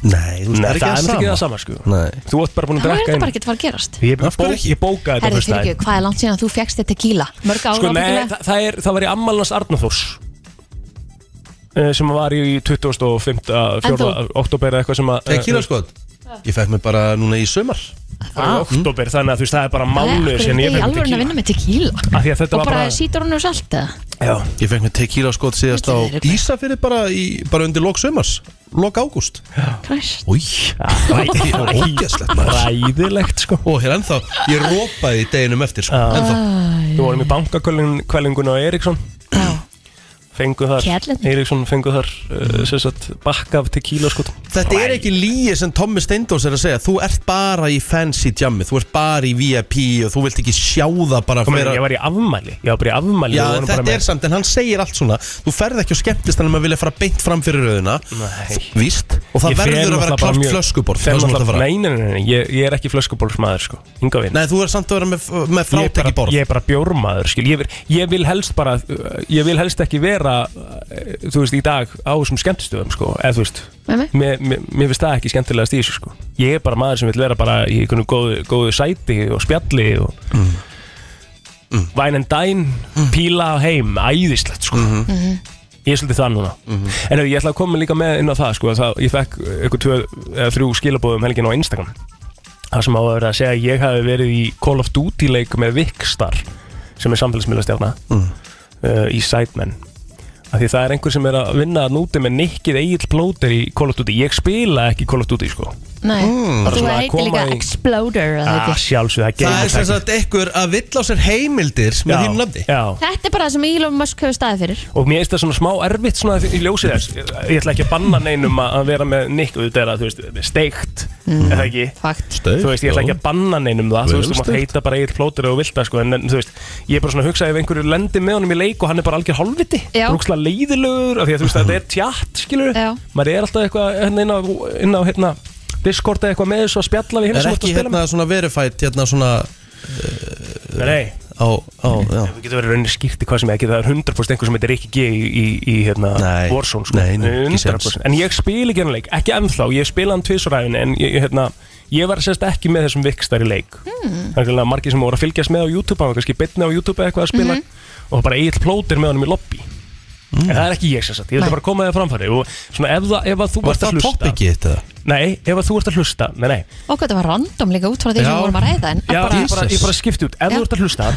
S4: Nei, þú veist,
S1: Nei,
S4: það er ekki
S1: það er
S4: það
S1: ekki það
S4: sama.
S1: sama, sko
S4: Nei.
S1: Þú ert bara búin að
S5: Það er
S1: drekka
S5: þetta
S1: inn
S5: bara ekki að fara að gerast
S1: Ég,
S4: Af hverju
S1: bó, ég bókaði þetta
S5: Herri,
S1: fyrst
S5: fyrir ekki, hvað er langt síðan að þú fegst þið tequila? Mörg ára
S1: Sko, nei, það, það, er, það var í Ammalans Arnathors sem var í 25.
S5: En þú?
S1: oktober eitthvað sem að
S4: Tequila, sko. Ég fekk mig bara núna í sumar
S1: bara
S5: Ah.
S1: í oktober, þannig að þú veist, það er bara mánuður sem ég
S5: Ég er
S1: fengi
S5: alveg að
S1: tequila
S5: vinna með tequila
S1: Af því að þetta
S5: Og
S1: var
S5: bara
S1: bara-
S5: sítur hún úr salt eða?
S1: Já.
S4: Ég fekk mig tequila skot síðast á Ísafyrir bara, í, bara undir lok sumars Lok ágúst
S5: Kræst
S4: Új
S1: ræ-
S4: Ógæslegt maður
S1: Ræðilegt sko
S4: Og hér ennþá Ég rópaði deginum eftir sko Ennþá
S1: Þú vorum í bankakvælinguna á Eriksson Fengu þar
S5: Kjallinn.
S1: Eriksson fengu þar uh, sem sagt, bakka af tequila sko
S4: Þetta er ekki líi sem Tommi Steindós er að segja Þú ert bara í fancy jammi Þú ert bara í VIP og þú vilt ekki sjá það bara
S1: Kom,
S4: fleira-
S1: Ég var í afmæli Ég var bara í afmæli
S4: Já,
S1: við vorum
S4: en
S1: bara
S4: þetta
S1: með-
S4: er samt, en hann segir allt svona Þú ferð ekki og skemmtist hann um að maður vilja fara beint fram fyrir rauðina
S1: Nei.
S4: Víst, og það
S1: Ég fer
S4: verður að vera
S1: náttúrulega bara
S4: klart
S1: mjög-
S4: flöskuborð
S1: fer
S4: það sem þú ert að
S1: náttúrulega-
S4: fara.
S1: Nei, nei, nei, nei, ég, ég er ekki flöskuborðsmaður sko Inga vinn
S4: Nei, þú er samt að vera með, með frátæki borð
S1: Ég er bara bjórmaður skil ég, vil- ég vil helst bara uh, Ég vil helst ekki vera uh, Þú veist, í dag á þessum skemmtistöðum sko Eða þú veist
S5: Nei, nei.
S1: Mér, mér, mér finnst það ekki skemmtilegast í þessu sko Ég er bara maður sem vil vera bara í einhvern góðu, góðu sæti og spjalli og mm. Væn en dæn Píla og heim, æðislegt sko Ég er svolítið það núna En ef, ég ætla að koma líka með inn á það sko að það, Ég fekk eitthvað tvö, eða þrjú skilabóðum helgin á Instagram Það sem á að vera að segja að ég hafi verið í Call of Duty leik með Vikstar sem er samfélagsmiðlastjárna uh, í Sidemen af því það er einhver sem er að vinna að núti með nikkið eigin plóter í Call of Duty ég spila ekki Call of Duty sko
S5: Nei,
S1: Bara
S5: þú
S1: svona að
S5: heitir
S1: koma
S5: líka
S1: í- Ah.
S5: Exploder eða
S1: að
S5: ekki?
S1: sjálfsög það
S4: Það er
S1: geymir
S4: sem sagt einhver að vill á sér heimildir með
S1: Já,
S4: þínu nafni
S1: já.
S5: Þetta er bara það sem Elon Musk hefur staðið fyrir
S1: og mér finnst það svona smá erfitt svona í ljósið þess ég ætla ekki að banna neinum að að vera með nikk og þetta er að þú veist steikt
S5: Mm.
S1: eða ekki
S5: Fakt
S4: Steikt,
S1: þú veist ég ætla ekki að banna neinum það þú
S4: Vel
S1: veist þú mátt
S4: steikt.
S1: heita bara eigin plótur og vilt það sko en, en þú veist ég er bara svona að hugsa ef einhverju lendir með honum í leik og hann er bara algjör hálfviti
S5: Já.
S1: brúkslega leiðilegur af því að þú veist þetta er tjátt skilur
S5: Já.
S1: maður er alltaf eitthvað hérna inn á, inn á hérna Discord eða eitthvað með þessu að spjalla við hinn
S4: Er
S1: sem þú ert
S4: ekki
S1: að spila
S4: hérna svona verified hérna svona
S1: með? Nei,
S4: á, á, já
S1: Við getum verið rauninni skýrt í hvað sem ekki Það er 100% einhver sem heitir Rikki G í, í, í hérna, Warzone sko.
S4: nei, nei, ekki séns.
S1: 100%. En ég spil ekki hann leik, ekki ennþá Ég spila hann tvisræðin En ég, ég, hérna, ég var sérst ekki með þessum vikstari leik
S12: Hmm.
S1: Þannig að margir sem voru að fylgjast með á YouTube Hann var kannski betni á YouTube eða eitthvað að spila Og bara eigill plótir með honum í lobby
S4: Hmm.
S1: En það er ekki ég sérst Ég
S4: Nei.
S1: vil bara koma það framfæri Og svona ef, það, ef að þú
S4: Var
S1: ert að
S4: það
S1: hlusta
S4: topikið þetta?
S1: Nei, ef að þú ert að hlusta Nei, nei,
S5: Og þetta var random líka út frá því sem við vorum að ræða en
S1: Já,
S5: bara,
S1: ég bara, ég bara skipti út
S5: Já.
S1: Ef þú ert að hlusta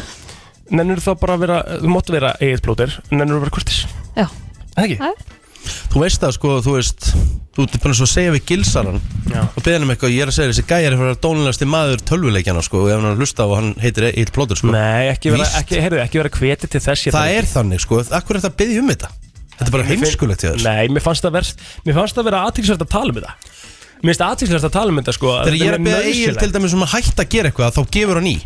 S1: Nennur þá bara að vera Þú máttu vera eigið plóter Nennur að vera kurtis
S5: Já
S1: Það ekki?
S4: Þú veist það sko, þú veist Þú ert bara svo að segja við gilsaran
S1: Já.
S4: Og beðin um eitthvað, ég er að segja þessi gæjar Það er dónilegasti maður tölvuleikjana sko Og ef hann er að hlusta á og hann heitir Egil Plóter sko
S1: Nei, ekki vera, ekki, heyrðu, ekki vera kveti til þess ég
S4: Það er þannig sko, akkur er þetta að byggja um þetta? Þetta er bara heimskulegt hjá þér
S1: Nei, mér fannst það verst Mér fannst það vera aðtilsvært að tala um þetta Mér finnst aðtilsvært að tala um þetta sko
S4: Þegar ég er að beða Egil til
S1: þetta
S4: dæmis um að hætta að gera eitthvað Þá gefur hann í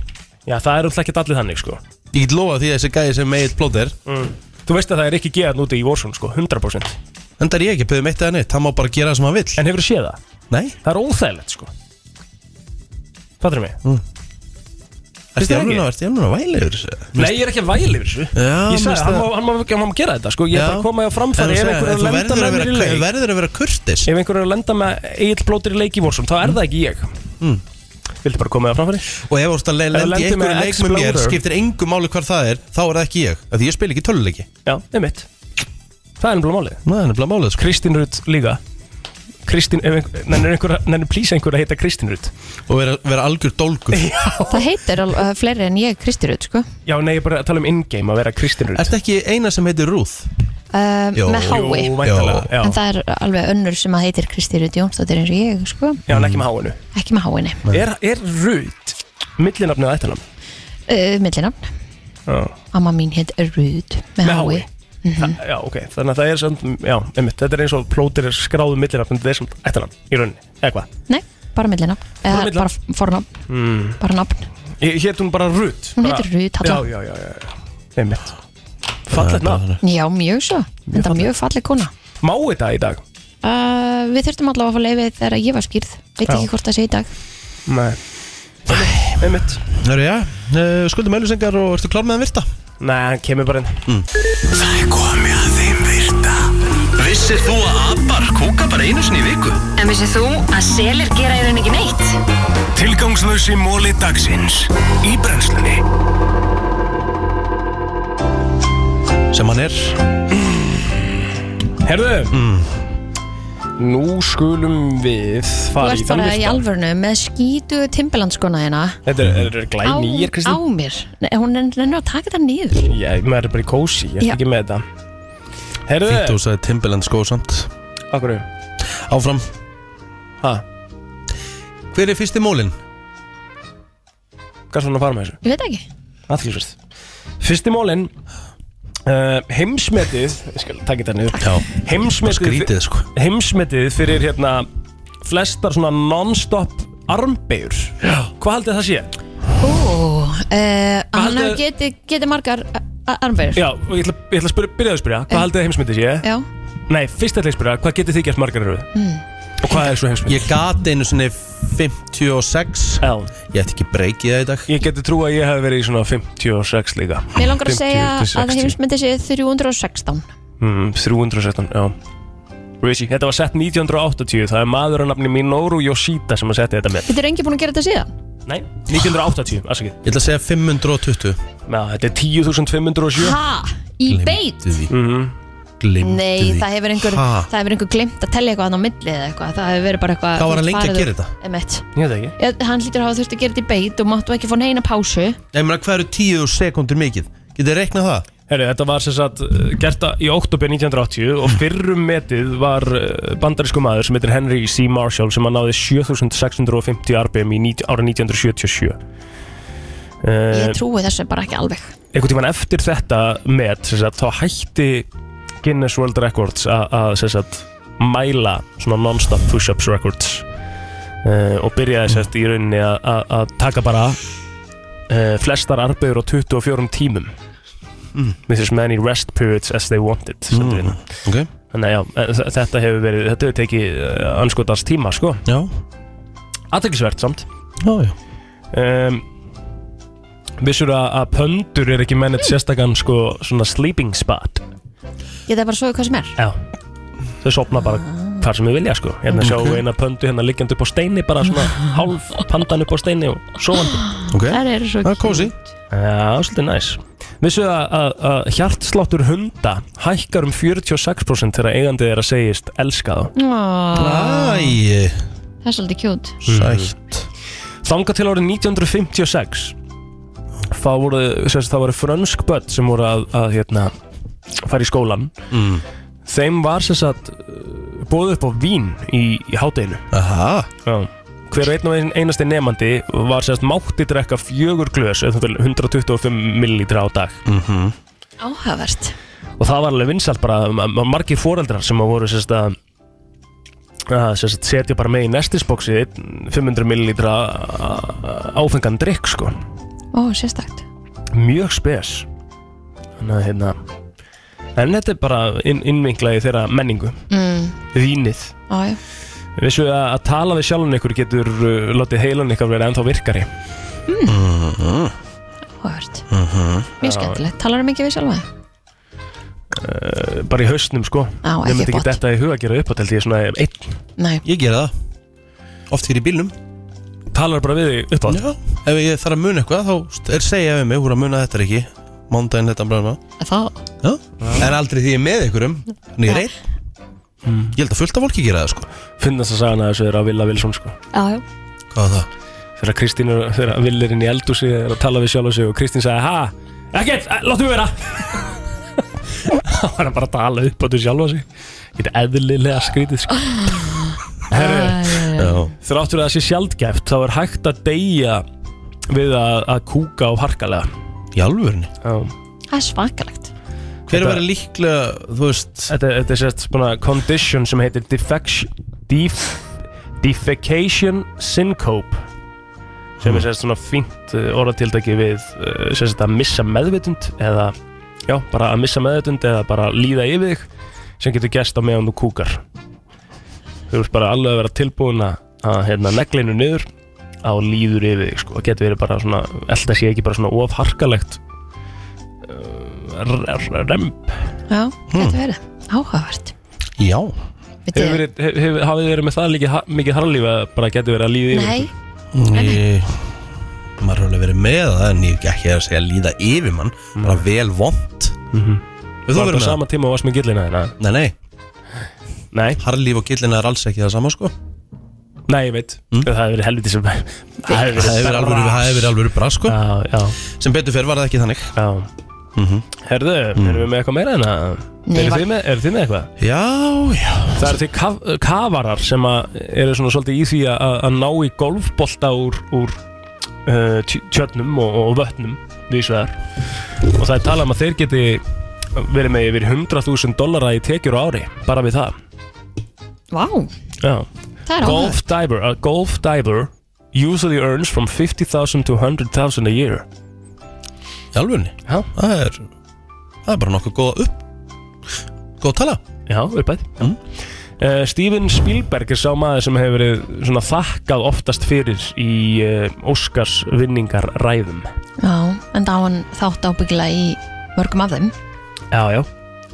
S1: Já, það er alltaf ekki allir þannig sko
S4: Ég get lofa því að þessi gæjar sem Egil Plóter
S1: mm. Þú veist að það er ekki geðan úti í Warzone sko 100%
S4: En það er ég ekki að byggja um eitt eða neitt Það má bara gera það sem hann vill
S1: En hefur séð það?
S4: Nei
S1: Það er óþægilegt sko Fattur mig?
S4: Mm.
S1: Finnst
S4: Ertu
S1: þér
S4: í alvörunni-
S1: ekki?
S4: ertu í alveg að væla yfir þessu?
S1: Nei, ég er ekki að væla yfir þessu
S4: Já,
S1: Ég sagði,
S4: minnst
S1: hann,
S4: það-
S1: má- hann, má- hann, hann má gera þetta sko Ég er
S4: Já.
S1: bara að koma því á framfæri
S4: En
S1: Ef
S4: þú sagðir,
S1: einhver er að
S4: þú
S1: lenda
S4: verður
S1: með
S4: að
S1: mér í
S4: vera-
S1: leik
S4: verður að vera kurtis
S1: Ef einhver er að lenda með eitt blótir í leik í Warzone Þá er það ekki ég
S4: Mm.
S1: Viltu bara koma því á framfæri?
S4: Og ef þú ert að le-
S1: Ef þú
S4: lendi í
S1: lendir með
S4: einhverju leik með mér
S1: Explorer.
S4: skiptir engu máli hvar það er, þá er það ekki ég af Því ég spil ekki töluleiki
S1: Já, einmitt Það er nefnilega málið
S4: Það er nefnilega málið sko.
S1: Kristín Rutt líka Kristín, ef einhver, nennir einhver, nennir plís einhver að heita Kristín Rutt
S4: Og vera, vera algjör dólgur
S5: það heitir al- uh, fleiri en ég Kristirut sko.
S1: Já, nei, ég er bara að tala um in-game að vera Kristín Rutt
S4: Ertu ekki eina sem heitir Ruth?
S5: uh,
S1: Jó.
S5: með hái
S1: Jú, væntanlega, já.
S5: en það er alveg önnur sem að heitir Kristirut Jónsdóttir eins og ég sko.
S1: Já, en ekki með háinu
S5: ekki með háinni
S1: Er, er Rutt millinafnið að eittanam?
S5: uh, millinafn,
S1: Já,
S5: amma mín heit Rúd með hái Mhm.
S1: já, ok, þannig að það er samt, já, einmitt, þetta er eins og plótir er skráðu millinafnið, þetta er samt eittanam í rauninni, eða hvað?
S5: nei, bara millinafn,
S1: Bara
S5: eða bara fornafn
S1: Mm.
S5: bara nafn,
S1: Hétt hún bara Rutt
S5: Hún
S1: bara-
S5: heitir Ruth,
S1: Já,
S5: Halla.
S1: já, já, já, já. einmitt Fallet nafn
S5: já mjög svo þetta er mjög falleg kona
S1: Má þetta í dag?
S5: uh, við þurftum allavega að fá leifið þegar ég var skýrð veit
S1: Já.
S5: ekki hvort það sé í dag
S1: Nei eh, Einmitt
S4: Nörðu, já, uh, skuldum öllusengar og ertu klár með að virta?
S1: Nei, hann kemur bara inn
S9: Það er komið að þeim virta Vissir þú að abar kúka bara einu sinni í viku?
S13: En vissið þú að selir gera í rauninni ekki neitt?
S9: Tilgangslösi móli dagsins Í brennslunni
S4: Sem hann er
S1: Herðu Mm. Nú skulum við
S5: þú
S1: fara í
S5: ert
S1: þann
S5: bara í
S1: virta
S5: alvörnu með skýtu timbilandskona hérna
S1: Þetta er, þetta er
S5: á,
S1: glæni, ég er
S5: á mér, Nei, hún er nefnir að taka þetta niður
S1: Já, maður er bara í kósi, ég
S5: Já.
S1: er ekki með þetta Herðu
S4: Fínt þú sagði Timberland skó sko, samt
S1: Akkur
S4: Áfram
S1: Ha?
S4: Hver er fyrsti mólin?
S1: Hvað er svona að fara með þessu?
S5: ég veit ekki
S1: Aðfélsvært Fyrsti mólin uh, Heimsmetið Ég skal taka þetta niður
S4: Já
S1: Heimsmetið
S4: Skrítið sko
S1: Heimsmetið fyrir hérna Flestar svona non-stop armbeigur Já Hvað haldið það sé?
S5: Ó, uh, hann
S1: haldið-
S5: geti, geti margar eh, armbeigur
S1: Já, og ég ætla, ég ætla að spyrja, byrja að spyrja Hvað haldið þið heimsmetið sé?
S5: Já.
S1: Nei, fyrst ætla ég að spyrja Hvað getið þið gert margar eru?
S5: Mm.
S1: Og hvað er svo heimsmetið?
S4: Ég gat einu sinni 56
S1: Já
S4: Ég ætti ekki breykið það í dag
S1: Ég geti trú að ég hef verið í svona 56 líka
S5: Mér langar að segja
S1: 50 til
S5: að
S1: 60.
S5: heimsmyndi sé 316
S1: Mm, 316, já Richie, þetta var sett 1980 Það er maður að nafni Minoru Yoshida sem að setja þetta með
S5: Þetta er engi búin að gera þetta síðan
S1: Nei, 1980, afsakið
S4: Ég ætla að segja 520
S1: Já, þetta er 10.507
S5: Ha? Í beit?
S1: mm
S4: Mhm.
S1: -hmm.
S4: Glimtu
S5: Nei, það hefur einhver,
S1: Ha?
S5: það hefur einhver glemt að tellja eitthvað hann á milli eða eitthvað Það hefur verið bara eitthvað
S4: Hvað var hann lengi að
S5: um-
S4: gera þetta?
S5: Emmett
S1: Ég veit það ekki
S5: Hann hlýtur að hafa þurft að gera þetta í beit og máttu ekki fá neina pásu
S4: Nei, menn hvað eru 10 sekundur mikið? Getið þið reiknað það?
S1: Herri, þetta var sem sagt uh, gert að- í oktober 1980 og fyrrum metið var uh, bandarísku maður sem heitir Henry C. Marshall sem að náði 7650 RPM í 19, ára 1977
S5: Ég
S1: uh,
S5: trúi þessu bara ekki alveg
S1: einhvern tíman eftir þetta met sem sagt, þá hætti Guinness World Records a- að sem sagt, mæla svona non-stop push-ups records uh, og byrjaði sem sagt, í rauninni að- að að taka bara uh, flestar arbegur á 24 tímum with as many rest periods as they wanted mm.
S4: okay.
S1: þannig að já, eh, þ- þetta hefur verið þetta hefur tekið anskotast eh, tíma sko
S4: Já
S1: aðtekisvert samt
S4: Já, já
S1: um, Vissur að, að pöndur er ekki mennit sérstakann sko svona sleeping spot
S5: Ég það bara svo hvað sem er
S1: Já Þau sopna bara hvar sem þau vilja sko Hérna
S5: Ok.
S1: okay. sjáum við eina pöndu hérna liggjandi upp á steini bara svona hálf pandan upp á steini og sofandi
S4: okay.
S5: Það eru svo Það er
S4: kósi
S1: Já, svolítið næs Vissu að, að, að hjartsláttur hunda hækkar um 46% þegar eigandi þeirra segist elska þá
S4: Ah.
S5: Ó,
S4: Æ
S5: Það er svolítið kjút
S4: Sætt
S1: Þanga til árið 1956 þá voru, sem sagt, það voru frönsk börn sem voru að, að hérna, fara í skólan
S9: Mm.
S1: þeim var sem sagt bóðið upp á vín í, í hátæginu
S4: Aha
S1: Já Hver og einn og ein- einasti nefandi var sérst mátti drekka fjögur glös, eða um þannig 125 millilítra á dag. Mm -hmm.
S5: Áhugavert
S1: og það var alveg vinsalt bara ma- ma- margir foreldrar sem að voru sérst að að sem sagt, setja bara með í nestisboksi 500 millilitra áfengan drikk sko
S5: Ó, sérstakt
S1: mjög spes þannig að hérna en þetta er bara inn, innvinglað í þeirra menningu
S5: mm.
S1: vínið
S5: Á, já.
S1: vissu að, að tala við sjálfan ykkur getur uh, látið heilan ykkur verið ennþá virkari
S5: Mm.
S1: -hmm.
S5: Áhugavert
S1: Mm -hmm.
S5: Mjög skemmtilegt Talar um ekki við sjálfa þig?
S1: uh, bara í hausnum sko
S5: Já,
S1: ég
S5: ekki
S1: myndi ekki
S5: bot.
S1: þetta í huga að gera upp að ég er svona einn
S5: Nei
S4: Ég gera það Oft hér í bílnum
S1: Talar bara við þig upp á
S4: Já Ef ég þarf að muna eitthvað þá er segja við mig Þú er að muna þetta er ekki Mándaginn þetta blæma
S5: Það
S4: Já En aldrei því ég er með ykkurum Þannig ég reyð Ég held að fullt af fólki gera það sko
S1: Finnast að sagana þessu er að Villa Wilson sko
S5: Já, já
S4: Hvað var það?
S1: Þegar Kristín er, þegar Vill er inn í eldúsi er að tala við sjálf og sig og Kristín sagði Ha, ekkert, eh, láttu mig vera Það var hann bara að tala upp á þessu sjálf og sig Þetta eðlilega skrítið sko Herru, þrátt fyrir að það sé sjaldgæft þá er hægt að deyja við að, að kúka og harkalega
S4: Í alvörni?
S1: Já
S5: Það er svakalegt
S4: Hver verður líklega, þú veist
S1: Þetta, þetta er sérst svona condition sem heitir defection, def, defecation syncope sem er sérst svona fínt uh, orðatildaki við uh, sérst að missa meðvitund eða já, bara að missa meðvitund eða bara líða yfir þig sem getur gæst á meðan þú kúkar þú veist bara alveg að vera tilbúin að- að hérna, neglinu niður á líður yfir þig sko, það getur verið bara svona elda sé ekki bara svona ofharkalegt uh, remp
S5: Já, getur verið Áhugavert
S4: Já
S5: Vitið-
S1: Hefur verið, hef, hef, hafið verið með það líki, ha, mikið harlíf að bara getur verið að líða yfir
S5: Nei,
S1: ykkur?
S4: Ég Maður er alveg verið með það En ég er ekki að segja líða yfir mann Bara vel vond
S1: mm -hmm.
S4: Þú
S1: Var
S4: verður
S1: þetta
S4: með
S1: á sama tíma og varst með gillina þeirna?
S4: Nei, nei
S1: Nei
S4: Harlíf og gillina er alls ekki það sama sko
S1: Nei, ég veit Það hefur verið helviti sem Það hefur
S4: Það Mm. hefur alveg verið Það hefur alveg verið bra sko
S1: Já, já
S4: Sem betur fyrir var það ekki þannig
S1: Já
S4: Mhm.
S1: Herðu, erum við með eitthvað meira en að
S4: Nei,
S1: Eru
S4: var-
S1: þið með, eru þið með eitthvað?
S4: Já, já
S1: Það eru því kaf, kafarar sem að eru svona svolítið í því að- að að ná í golfbolta úr, úr uh, tj- tjörnum og, og vötnum vísvegar og það er talað um að þeir geti verið með yfir 100.000 dollara í tekjur á ári bara við það
S5: Vá
S1: Já.
S5: Það er
S1: Golf diver A golf diver usually earns from 50.000 to 100.000 a year
S4: Jálfunni
S1: Já
S4: Það er Það er bara nokkuð góð upp Góð tala
S1: Já, uppætt mm. uh, Steven Spielberg er sá maður sem hefur verið svona þakkað oftast fyrir í uh, Óskars vinningar ræðum
S5: Já, en þá hann þátt ábyggilega í mörgum af þeim
S1: Já, já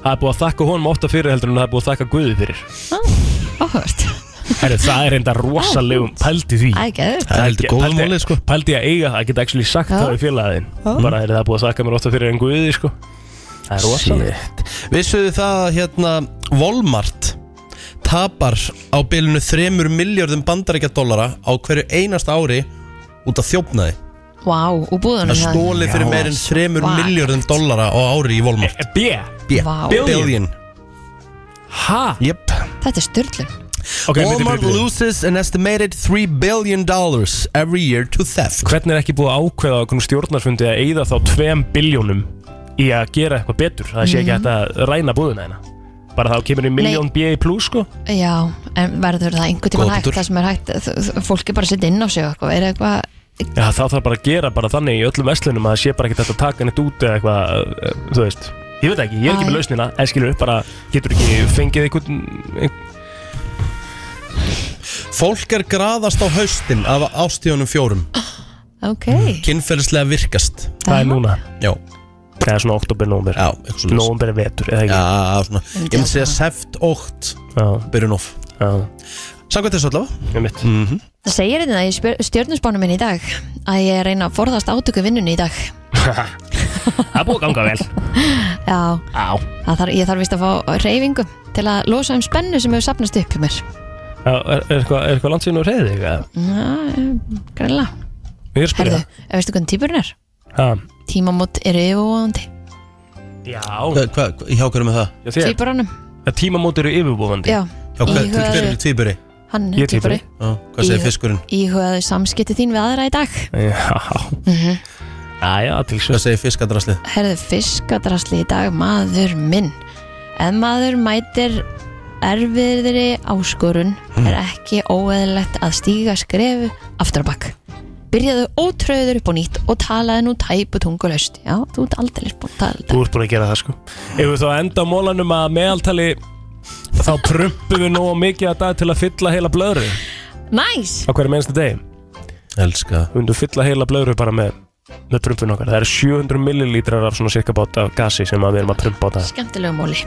S1: Það er búið að þakka honum ofta fyrir heldur en það er búið að þakka Guði fyrir
S5: Áhugavert
S1: Herru, það er enda rosalegum pældi því
S5: Æ, geðveikt.
S4: Það er heldur góða málið,
S1: sko Pældi að eiga það, að geta actually sagt
S5: Já.
S1: það við félagin
S4: Já.
S1: Bara er það er búið að þakka mér ofta fyrir en Guði, sko Það er rosaleg
S4: Vissuðu það að hérna Walmart tapar á bilinu 3 miljörðum bandaríkja dollara á hverju einasta ári út af þjófnaði
S5: Vá, úr búðunum
S4: Það
S5: hjá þeim.
S4: stóli fyrir meir en 3
S5: Vá.
S4: miljörðum dollara á ári í Walmart
S1: B
S4: B
S5: Vá.
S4: Billion
S1: Ha?
S4: Jep
S5: Þetta er styrlun
S1: Ok, bíddu,
S4: Walmart
S1: bíddu, bíddu.
S4: loses an estimated 3 billion dollars every year to theft
S1: Hvernig er ekki búið að ákveða á einhvern stjórnarfundi að eigða þá 2 biljónum í að gera eitthvað betur Það sé ekki
S5: Mhm.
S1: hægt að ræna búðina hérna Bara þá kemur í miljón B í plus, sko
S5: Já, en verður það einhvern tímann
S1: Góða
S5: hægt
S1: punktur.
S5: Það sem er hægt, þ- þ- fólk er bara að setja inn á sig og eitthvað, er eitthvað
S1: Já, þá þarf bara að gera bara þannig í öllum vestlunum að það sé bara ekki þetta að taka neitt út eða eitthvað, eh, þú veist Ég veit ekki, ég er ekki með
S5: Æ.
S1: lausnina, en skilur upp bara, getur ekki fengið einhvern ein...
S4: Fólk er graðast á haustin af ástíðunum fjórum
S5: Ok
S4: Kynferðislega virkast
S1: Mm. Það er núna
S4: Já
S1: Það er svona oktober, nómber
S4: Já,
S1: Nómber er vetur, eða ekki?
S4: Já, svona Ég myndi segja seft, ótt Byrjun of
S1: Já
S4: Samkvæmt þessu allavega
S1: Ég mitt
S4: mm -hmm.
S5: Það segir þetta í spjör- stjörnuspánum minn í dag að ég er að reyna að forðast átöku vinnunni í dag
S1: Það er búið að ganga vel
S5: Já,
S1: Á
S5: það þarf, ég þarf vist að fá reyfingu til að losa um spennu sem hefur sapnast upp hjá mér
S1: Já, Er er eitthvað er eitthvað langt síðan úr reyði þig? eða?
S5: Greinlega
S1: Ég er að spyrja
S5: Herðu, eh, veistu hvernig típurinn er?
S1: Ha.
S5: Tímamót eru yfirvóðandi
S1: Já
S4: Hva, hva, Hjá hverju með það?
S1: Já, þér-
S5: Típuranum,
S1: Já, Tímamót eru yfirbúandi
S5: já
S4: Hjá hverju
S5: Íhugaðu-
S4: hver er tvíburi?
S5: Hann er típuri
S4: Já, Hvað segir fiskurinn?
S5: Íhugaðu samskipti þín við aðra í dag
S1: Já
S5: mm
S1: Mhm.
S5: -hmm.
S1: Æja, til svo
S4: Hvað segir fiskadraslið?
S5: Herðu, fiskadrasli í dag, maður minn Ef maður mætir erfiðri áskorun
S1: Hmm.
S5: er ekki óeðlilegt að stíga skrefu aftur á bakk Byrjaðu ótröður upp á nýtt og talaði nú tæpu tungulaust Já, þú ert aldrei búin að tala
S1: Þú ert búin að gera það sko Ef við þá enda á mólanum að meðaltali þá prumpum við nógu mikið að dag til að fylla heila blöðru á
S5: Næs!
S1: hverju mennstu degi
S4: Elska
S1: Við myndum fylla heila blöðru bara með með prumpun okkar Það eru 700 millilítrar af svona cirka bát af gasi sem að við erum að prumpa á dag
S5: Skemmtilegu móli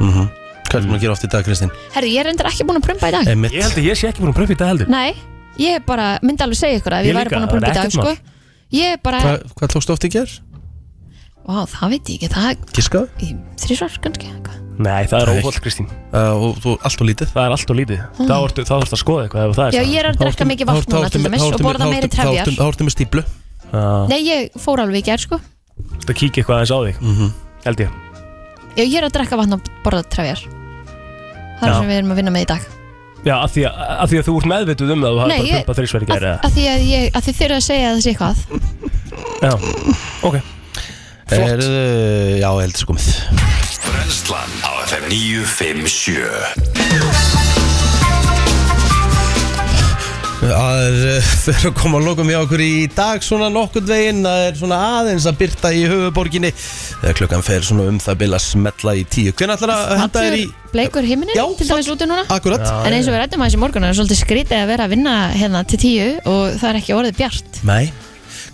S4: Mm -hmm. Hvað er það að gera oft í dag, Kristinn?
S5: Herru, ég er endur ekki búin að prumpa í dag
S4: Einmitt.
S1: Ég held að ég sé ekki búin að prumpa í dag heldur
S5: Nei, ég er bara, myndi alveg segja ykkur að ég
S1: Ég
S5: væri
S1: líka,
S5: búin að prumpa í
S1: það er
S5: dag
S1: ekkert
S5: sko. Ég er bara,
S4: Hva, hvað tókstu oft í ger?
S5: vá, það veit ég ekki Það
S4: Giskaðu?
S5: er þrísvar, kannski eitthvað.
S1: Nei, það er óhald Kristín
S4: uh, og, og allt og lítið
S1: Það er allt og lítið
S5: Mm.
S1: Þá ertu- þá þarfst að skoða eitthvað ef það er
S5: Já,
S1: satt.
S5: ég er að drekka mikið vatn núna til dæmis og borða meiri trefjar
S4: Þá ertu með stíplu
S5: Nei, ég fór alveg í gerð sko
S1: Það kíkja eitthvað aðeins á þig Held ég
S5: Já, ég er að drekka vatn og borða trefjar Það er
S1: Já.
S5: sem við erum að vinna með í dag
S1: Já, af því, að, af því að þú ert meðvituð um það og þú
S5: Nei,
S1: hafði bara
S5: ég-
S1: pumpað þrísverði gæri eða
S5: Af því að, ég, að þið þurfa að segja að það sé eitthvað
S1: Já, ok
S4: Flott uh, Já, heldur sko með
S2: Brennslan á FM 957
S4: Það er uh, fyrir að koma að lokum hjá okkur í dag svona nokkurt veginn Það er svona aðeins að byrta í höfuborginni Þegar klukkan fer svona um það bila smetla í tíu Hvernig ætlar að henda þér í
S5: Allur bleikur himinin til dæmis úti núna
S4: Akkurat
S5: En eins og við rættum aðeins í morgun er svolítið skrítið að vera að vinna hérna til tíu og það er ekki orðið bjart
S4: Nei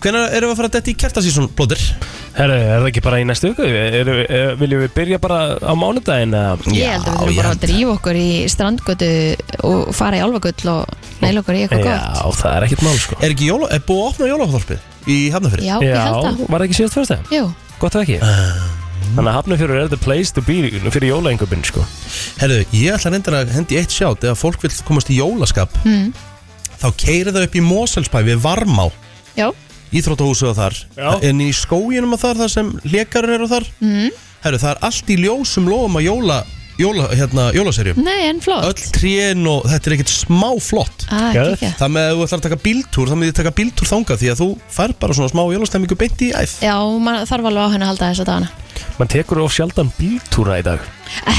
S4: Hvernig erum við að fara að detta í kertasísón, blóðir?
S1: Herru, er það ekki bara í næstu viku? Er, er, viljum við byrja bara á mánudaginn? eða?
S5: Ég held að við þurfum bara að drífa okkur í strandgötu og fara í álfagull og næla okkur í eitthvað gott
S1: Já, það er ekkert mál sko
S4: Er ekki jóla, er búið að opna jólaþorpið í Hafnafyrir?
S5: Já, ég held það. Um.
S1: Var það ekki síðast fyrst það?
S5: Jú,
S1: Gott ef ekki Þannig að Hafnarfjörður er the place to be fyrir jólaengubin sko
S4: Herðu, ég ætla reyndar að hendi eitt sjátt Ef fólk vil komast í jólaskap
S5: Mm.
S4: Þá keiri það upp í Moselsbæ við Varmá
S5: já,
S4: Íþróttahúsið og þar
S5: Já.
S4: En í skóginum og þar, þar sem lekarur eru þar
S5: mm.
S4: Herðu, það er allt í ljósum lofum að jóla, jóla, hérna, jólaserjum
S5: nei en flott
S4: Öll trén og þetta er ekkert smá flott
S5: Ah, Geðveikt. geggjað.
S4: Það með að þú ætlar að taka bíltúr Það með því taka bíltúr þangað Því að þú fær bara svona smá jólastemmingu beint í æð
S5: Já, maður þarf alveg á henni að halda þess að dana
S1: Man tekur of sjaldan bíltúra í dag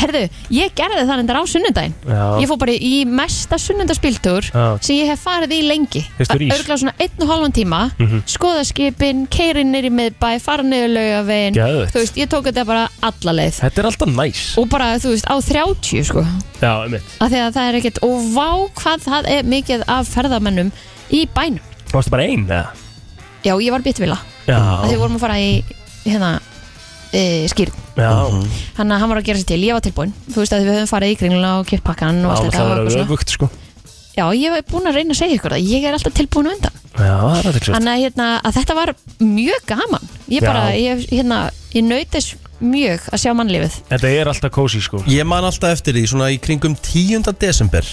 S5: Herðu, Eh, ég gerði það reyndar á sunnudaginn
S1: Já.
S5: Ég fór bara í mesta sunnundaspiltur
S1: Já.
S5: sem ég hef farið í lengi
S1: Fyrstu rís.
S5: Örgla svona einn og halvan tíma
S1: Mhm.
S5: skoða skipin, keirin nýri miðbæ fara niður laugavegin
S1: Geðveikt.
S5: Þú veist, ég tók þetta bara alla leið
S1: Þetta er alltaf næs
S5: og bara, þú veist, á 30 sko
S1: Já, einmitt
S5: af því að það er ekkert, og vá hvað það er mikið af ferðamennum í bænum
S1: Þú varst bara ein eða?
S5: Já, ég var bitvila af því við
S1: Já,
S5: vorum að fara í hérna, e, skýrn
S1: já
S5: Þannig að hann var að gera sér til, ég var tilbúin Þú veist að við höfum farið í kringluna og kipt pakkan og allt
S1: Það
S5: þetta og
S1: var að
S5: eitthvað
S1: vera
S5: svona.
S1: öfugt sko
S5: Já, ég hef búin að reyna að segja ykkur það Ég er alltaf tilbúin á undan
S1: Já, það er athyglisvert.
S5: Þannig að, hérna, að þetta var mjög gaman Ég
S1: Já.
S5: bara, ég, hérna, ég nautis mjög að sjá mannlífið
S1: Þetta er alltaf kósi sko
S4: Ég man alltaf eftir því, svona í kringum 10. desember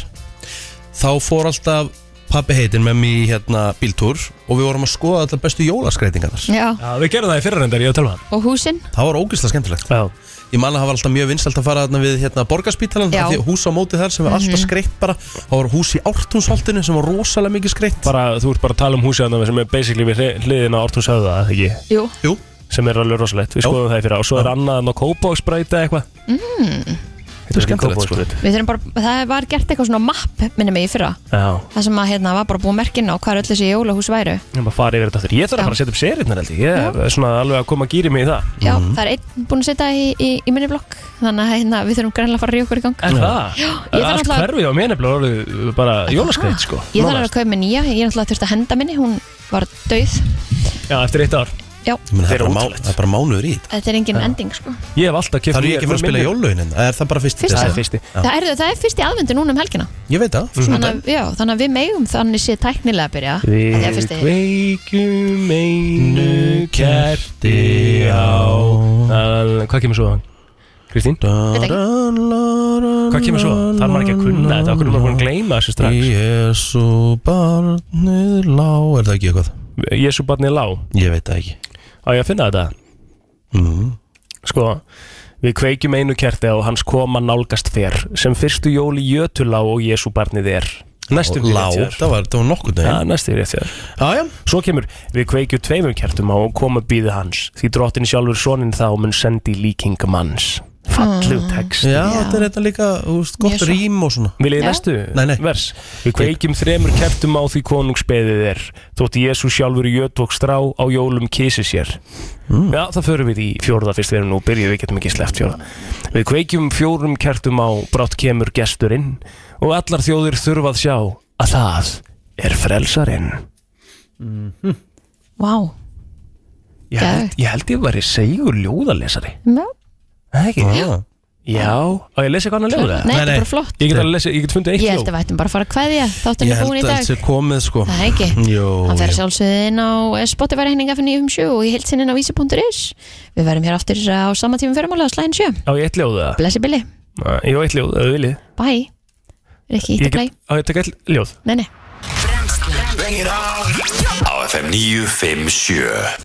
S4: Þá fór alltaf pappi heitinn með mér í hérna bíltúr Og við vorum að skoða alltaf bestu jólaskreitingarnar
S5: Já,
S1: Já, við gerðum það í fyrra reyndar, ég að tala um
S5: og húsin
S4: Það var ógeðslega skemmtilegt
S1: Já.
S4: Ég man að það var alltaf mjög vinsalt að fara þarna við hérna, borgarspítalan
S5: Já.
S4: af Því að hús á móti þar sem var
S1: Mhm.
S4: alltaf skreitt bara Það var hús í ártúnsholtinu sem var rosalega mikið skreitt
S1: bara, Þú ert bara að tala um húsið húsjaðna sem er basically við hli- hliðina á Ártúns höfða, eða ekki?
S5: Jú.
S4: Jú
S1: Sem er alveg rosalegt, við skoðum það í fyrra og svo er annað en á kópa og eitthvað
S5: mm.
S4: Þetta er skemmtilegt sko
S5: Við þurfum bara, það var gert eitthvað svona mapp minni mig í fyrra
S1: sko. Já,
S5: Það sem að hérna var bara búið merkinn á hvað er öll þessi jólahús væru
S1: ég maður fara yfir þetta aftur. Ég þarf
S5: Já.
S1: að fara að setja upp serirnar held ég Ég er svona alveg að koma að gýri mig í það
S5: Já, það er einn búin að setja í, í, í minni blokk Þannig að hérna, við þurfum greinlega að fara að ríða okkur í gang
S1: En það?
S5: Já, ég þarf
S1: Allt
S5: náttúrulega-
S1: hverfið á mér nefnilega orðið bara jólaskreitt sko
S5: Ah. Ég þarf að
S1: nánast.
S5: kaupa mér nýja, ég er náttúrulega þurfti að henda minni Hún var dauð.
S1: Já, eftir eitt ár
S5: Já,
S4: Það er bara má- það er bara mánuður í þetta
S5: þetta er engin ending sko
S1: Ég hef alltaf keft
S4: Það er ég ekki að fara að spila jólögin hérna Er það bara fyrst
S5: Fyrsta.
S1: Það er fyrsti.
S5: það er, það er fyrst í aðvendu núna um helgina
S4: Ég veit það
S5: þannig, að- já, þannig að við megum þannig sé tæknilega að byrja Að því að fyrst í-
S1: kveikjum einu kerti á Al- Hvað kemur svo? Kristín?
S5: Veit ekki.
S1: Hvað kemur svo? Það er maður ekki að kunna þetta Okkur er maður búin að gleyma þessu strax
S4: Jésu barnið lá Er það ekki eitthvað?
S1: Jésu barnið lá
S4: Ég veit það ekki
S1: Á ég að finna þetta?
S4: mm.
S1: Sko, við kveikjum einu kerti og hans koma nálgast fer sem fyrstu jóli jötulá og Jésu barnið er Næstum því
S4: Lá,
S1: rétt hjá þér.
S4: það var, það var nokkuð
S1: Já,
S4: neginn
S1: næstu rétt hjá
S4: Já, já
S1: Svo kemur, við kveikjum tveimur kertum á og koma býði hans Því drottin sjálfur sonin þá mun sendi líking manns Fallug
S5: Ah.
S1: text
S4: Já, þetta er þetta líka, þú veist, gott
S1: Jesú.
S4: rím og svona
S1: Viljið
S4: Já.
S1: þið næstu
S4: Nei, nei.
S1: vers? Við kveikjum þremur kertum á því konungsbeðið er Þótti Jésu sjálfur jötvok strá á jólum kisi sér Já, það förum við í fjórða fyrst við erum nú byrjuð, við getum ekki sleppt fjórða Við kveikjum fjórum kertum á brátt kemur gesturinn Og allar þjóðir þurfa að sjá að það er frelsarinn
S5: Vá,
S1: Ég held, ég held ég væri segur ljóðalesari
S5: Já.
S1: Er það Ekki? Já, og ég lesi hvað hann að ljóða
S5: Nei, Nei, þetta er nei. bara flott.
S1: Ég get, alveg lesið, ég get fundið eitt
S5: ég held að við ættum bara að fara að kveðja Þáttum við búin í dag
S4: sé komið sko
S5: Það er ekki.
S4: Jó
S5: Hann fer sjálfsögðin á eh, Spotify reyninga fyrir 957 og í heilsinni á vísi.is Við verðum hér aftur eh, á sama tímum fyrirmála á slæðin sjö
S1: Á ég eitt ljóð það?
S5: Blessi Billy,
S1: Ég á eitt ljóð, ef þú viljið
S5: bye Er ekki ítt
S1: Ég
S5: að play?
S1: get, á ég tek eitt ljóð
S5: Nei, nei
S2: Á FM 957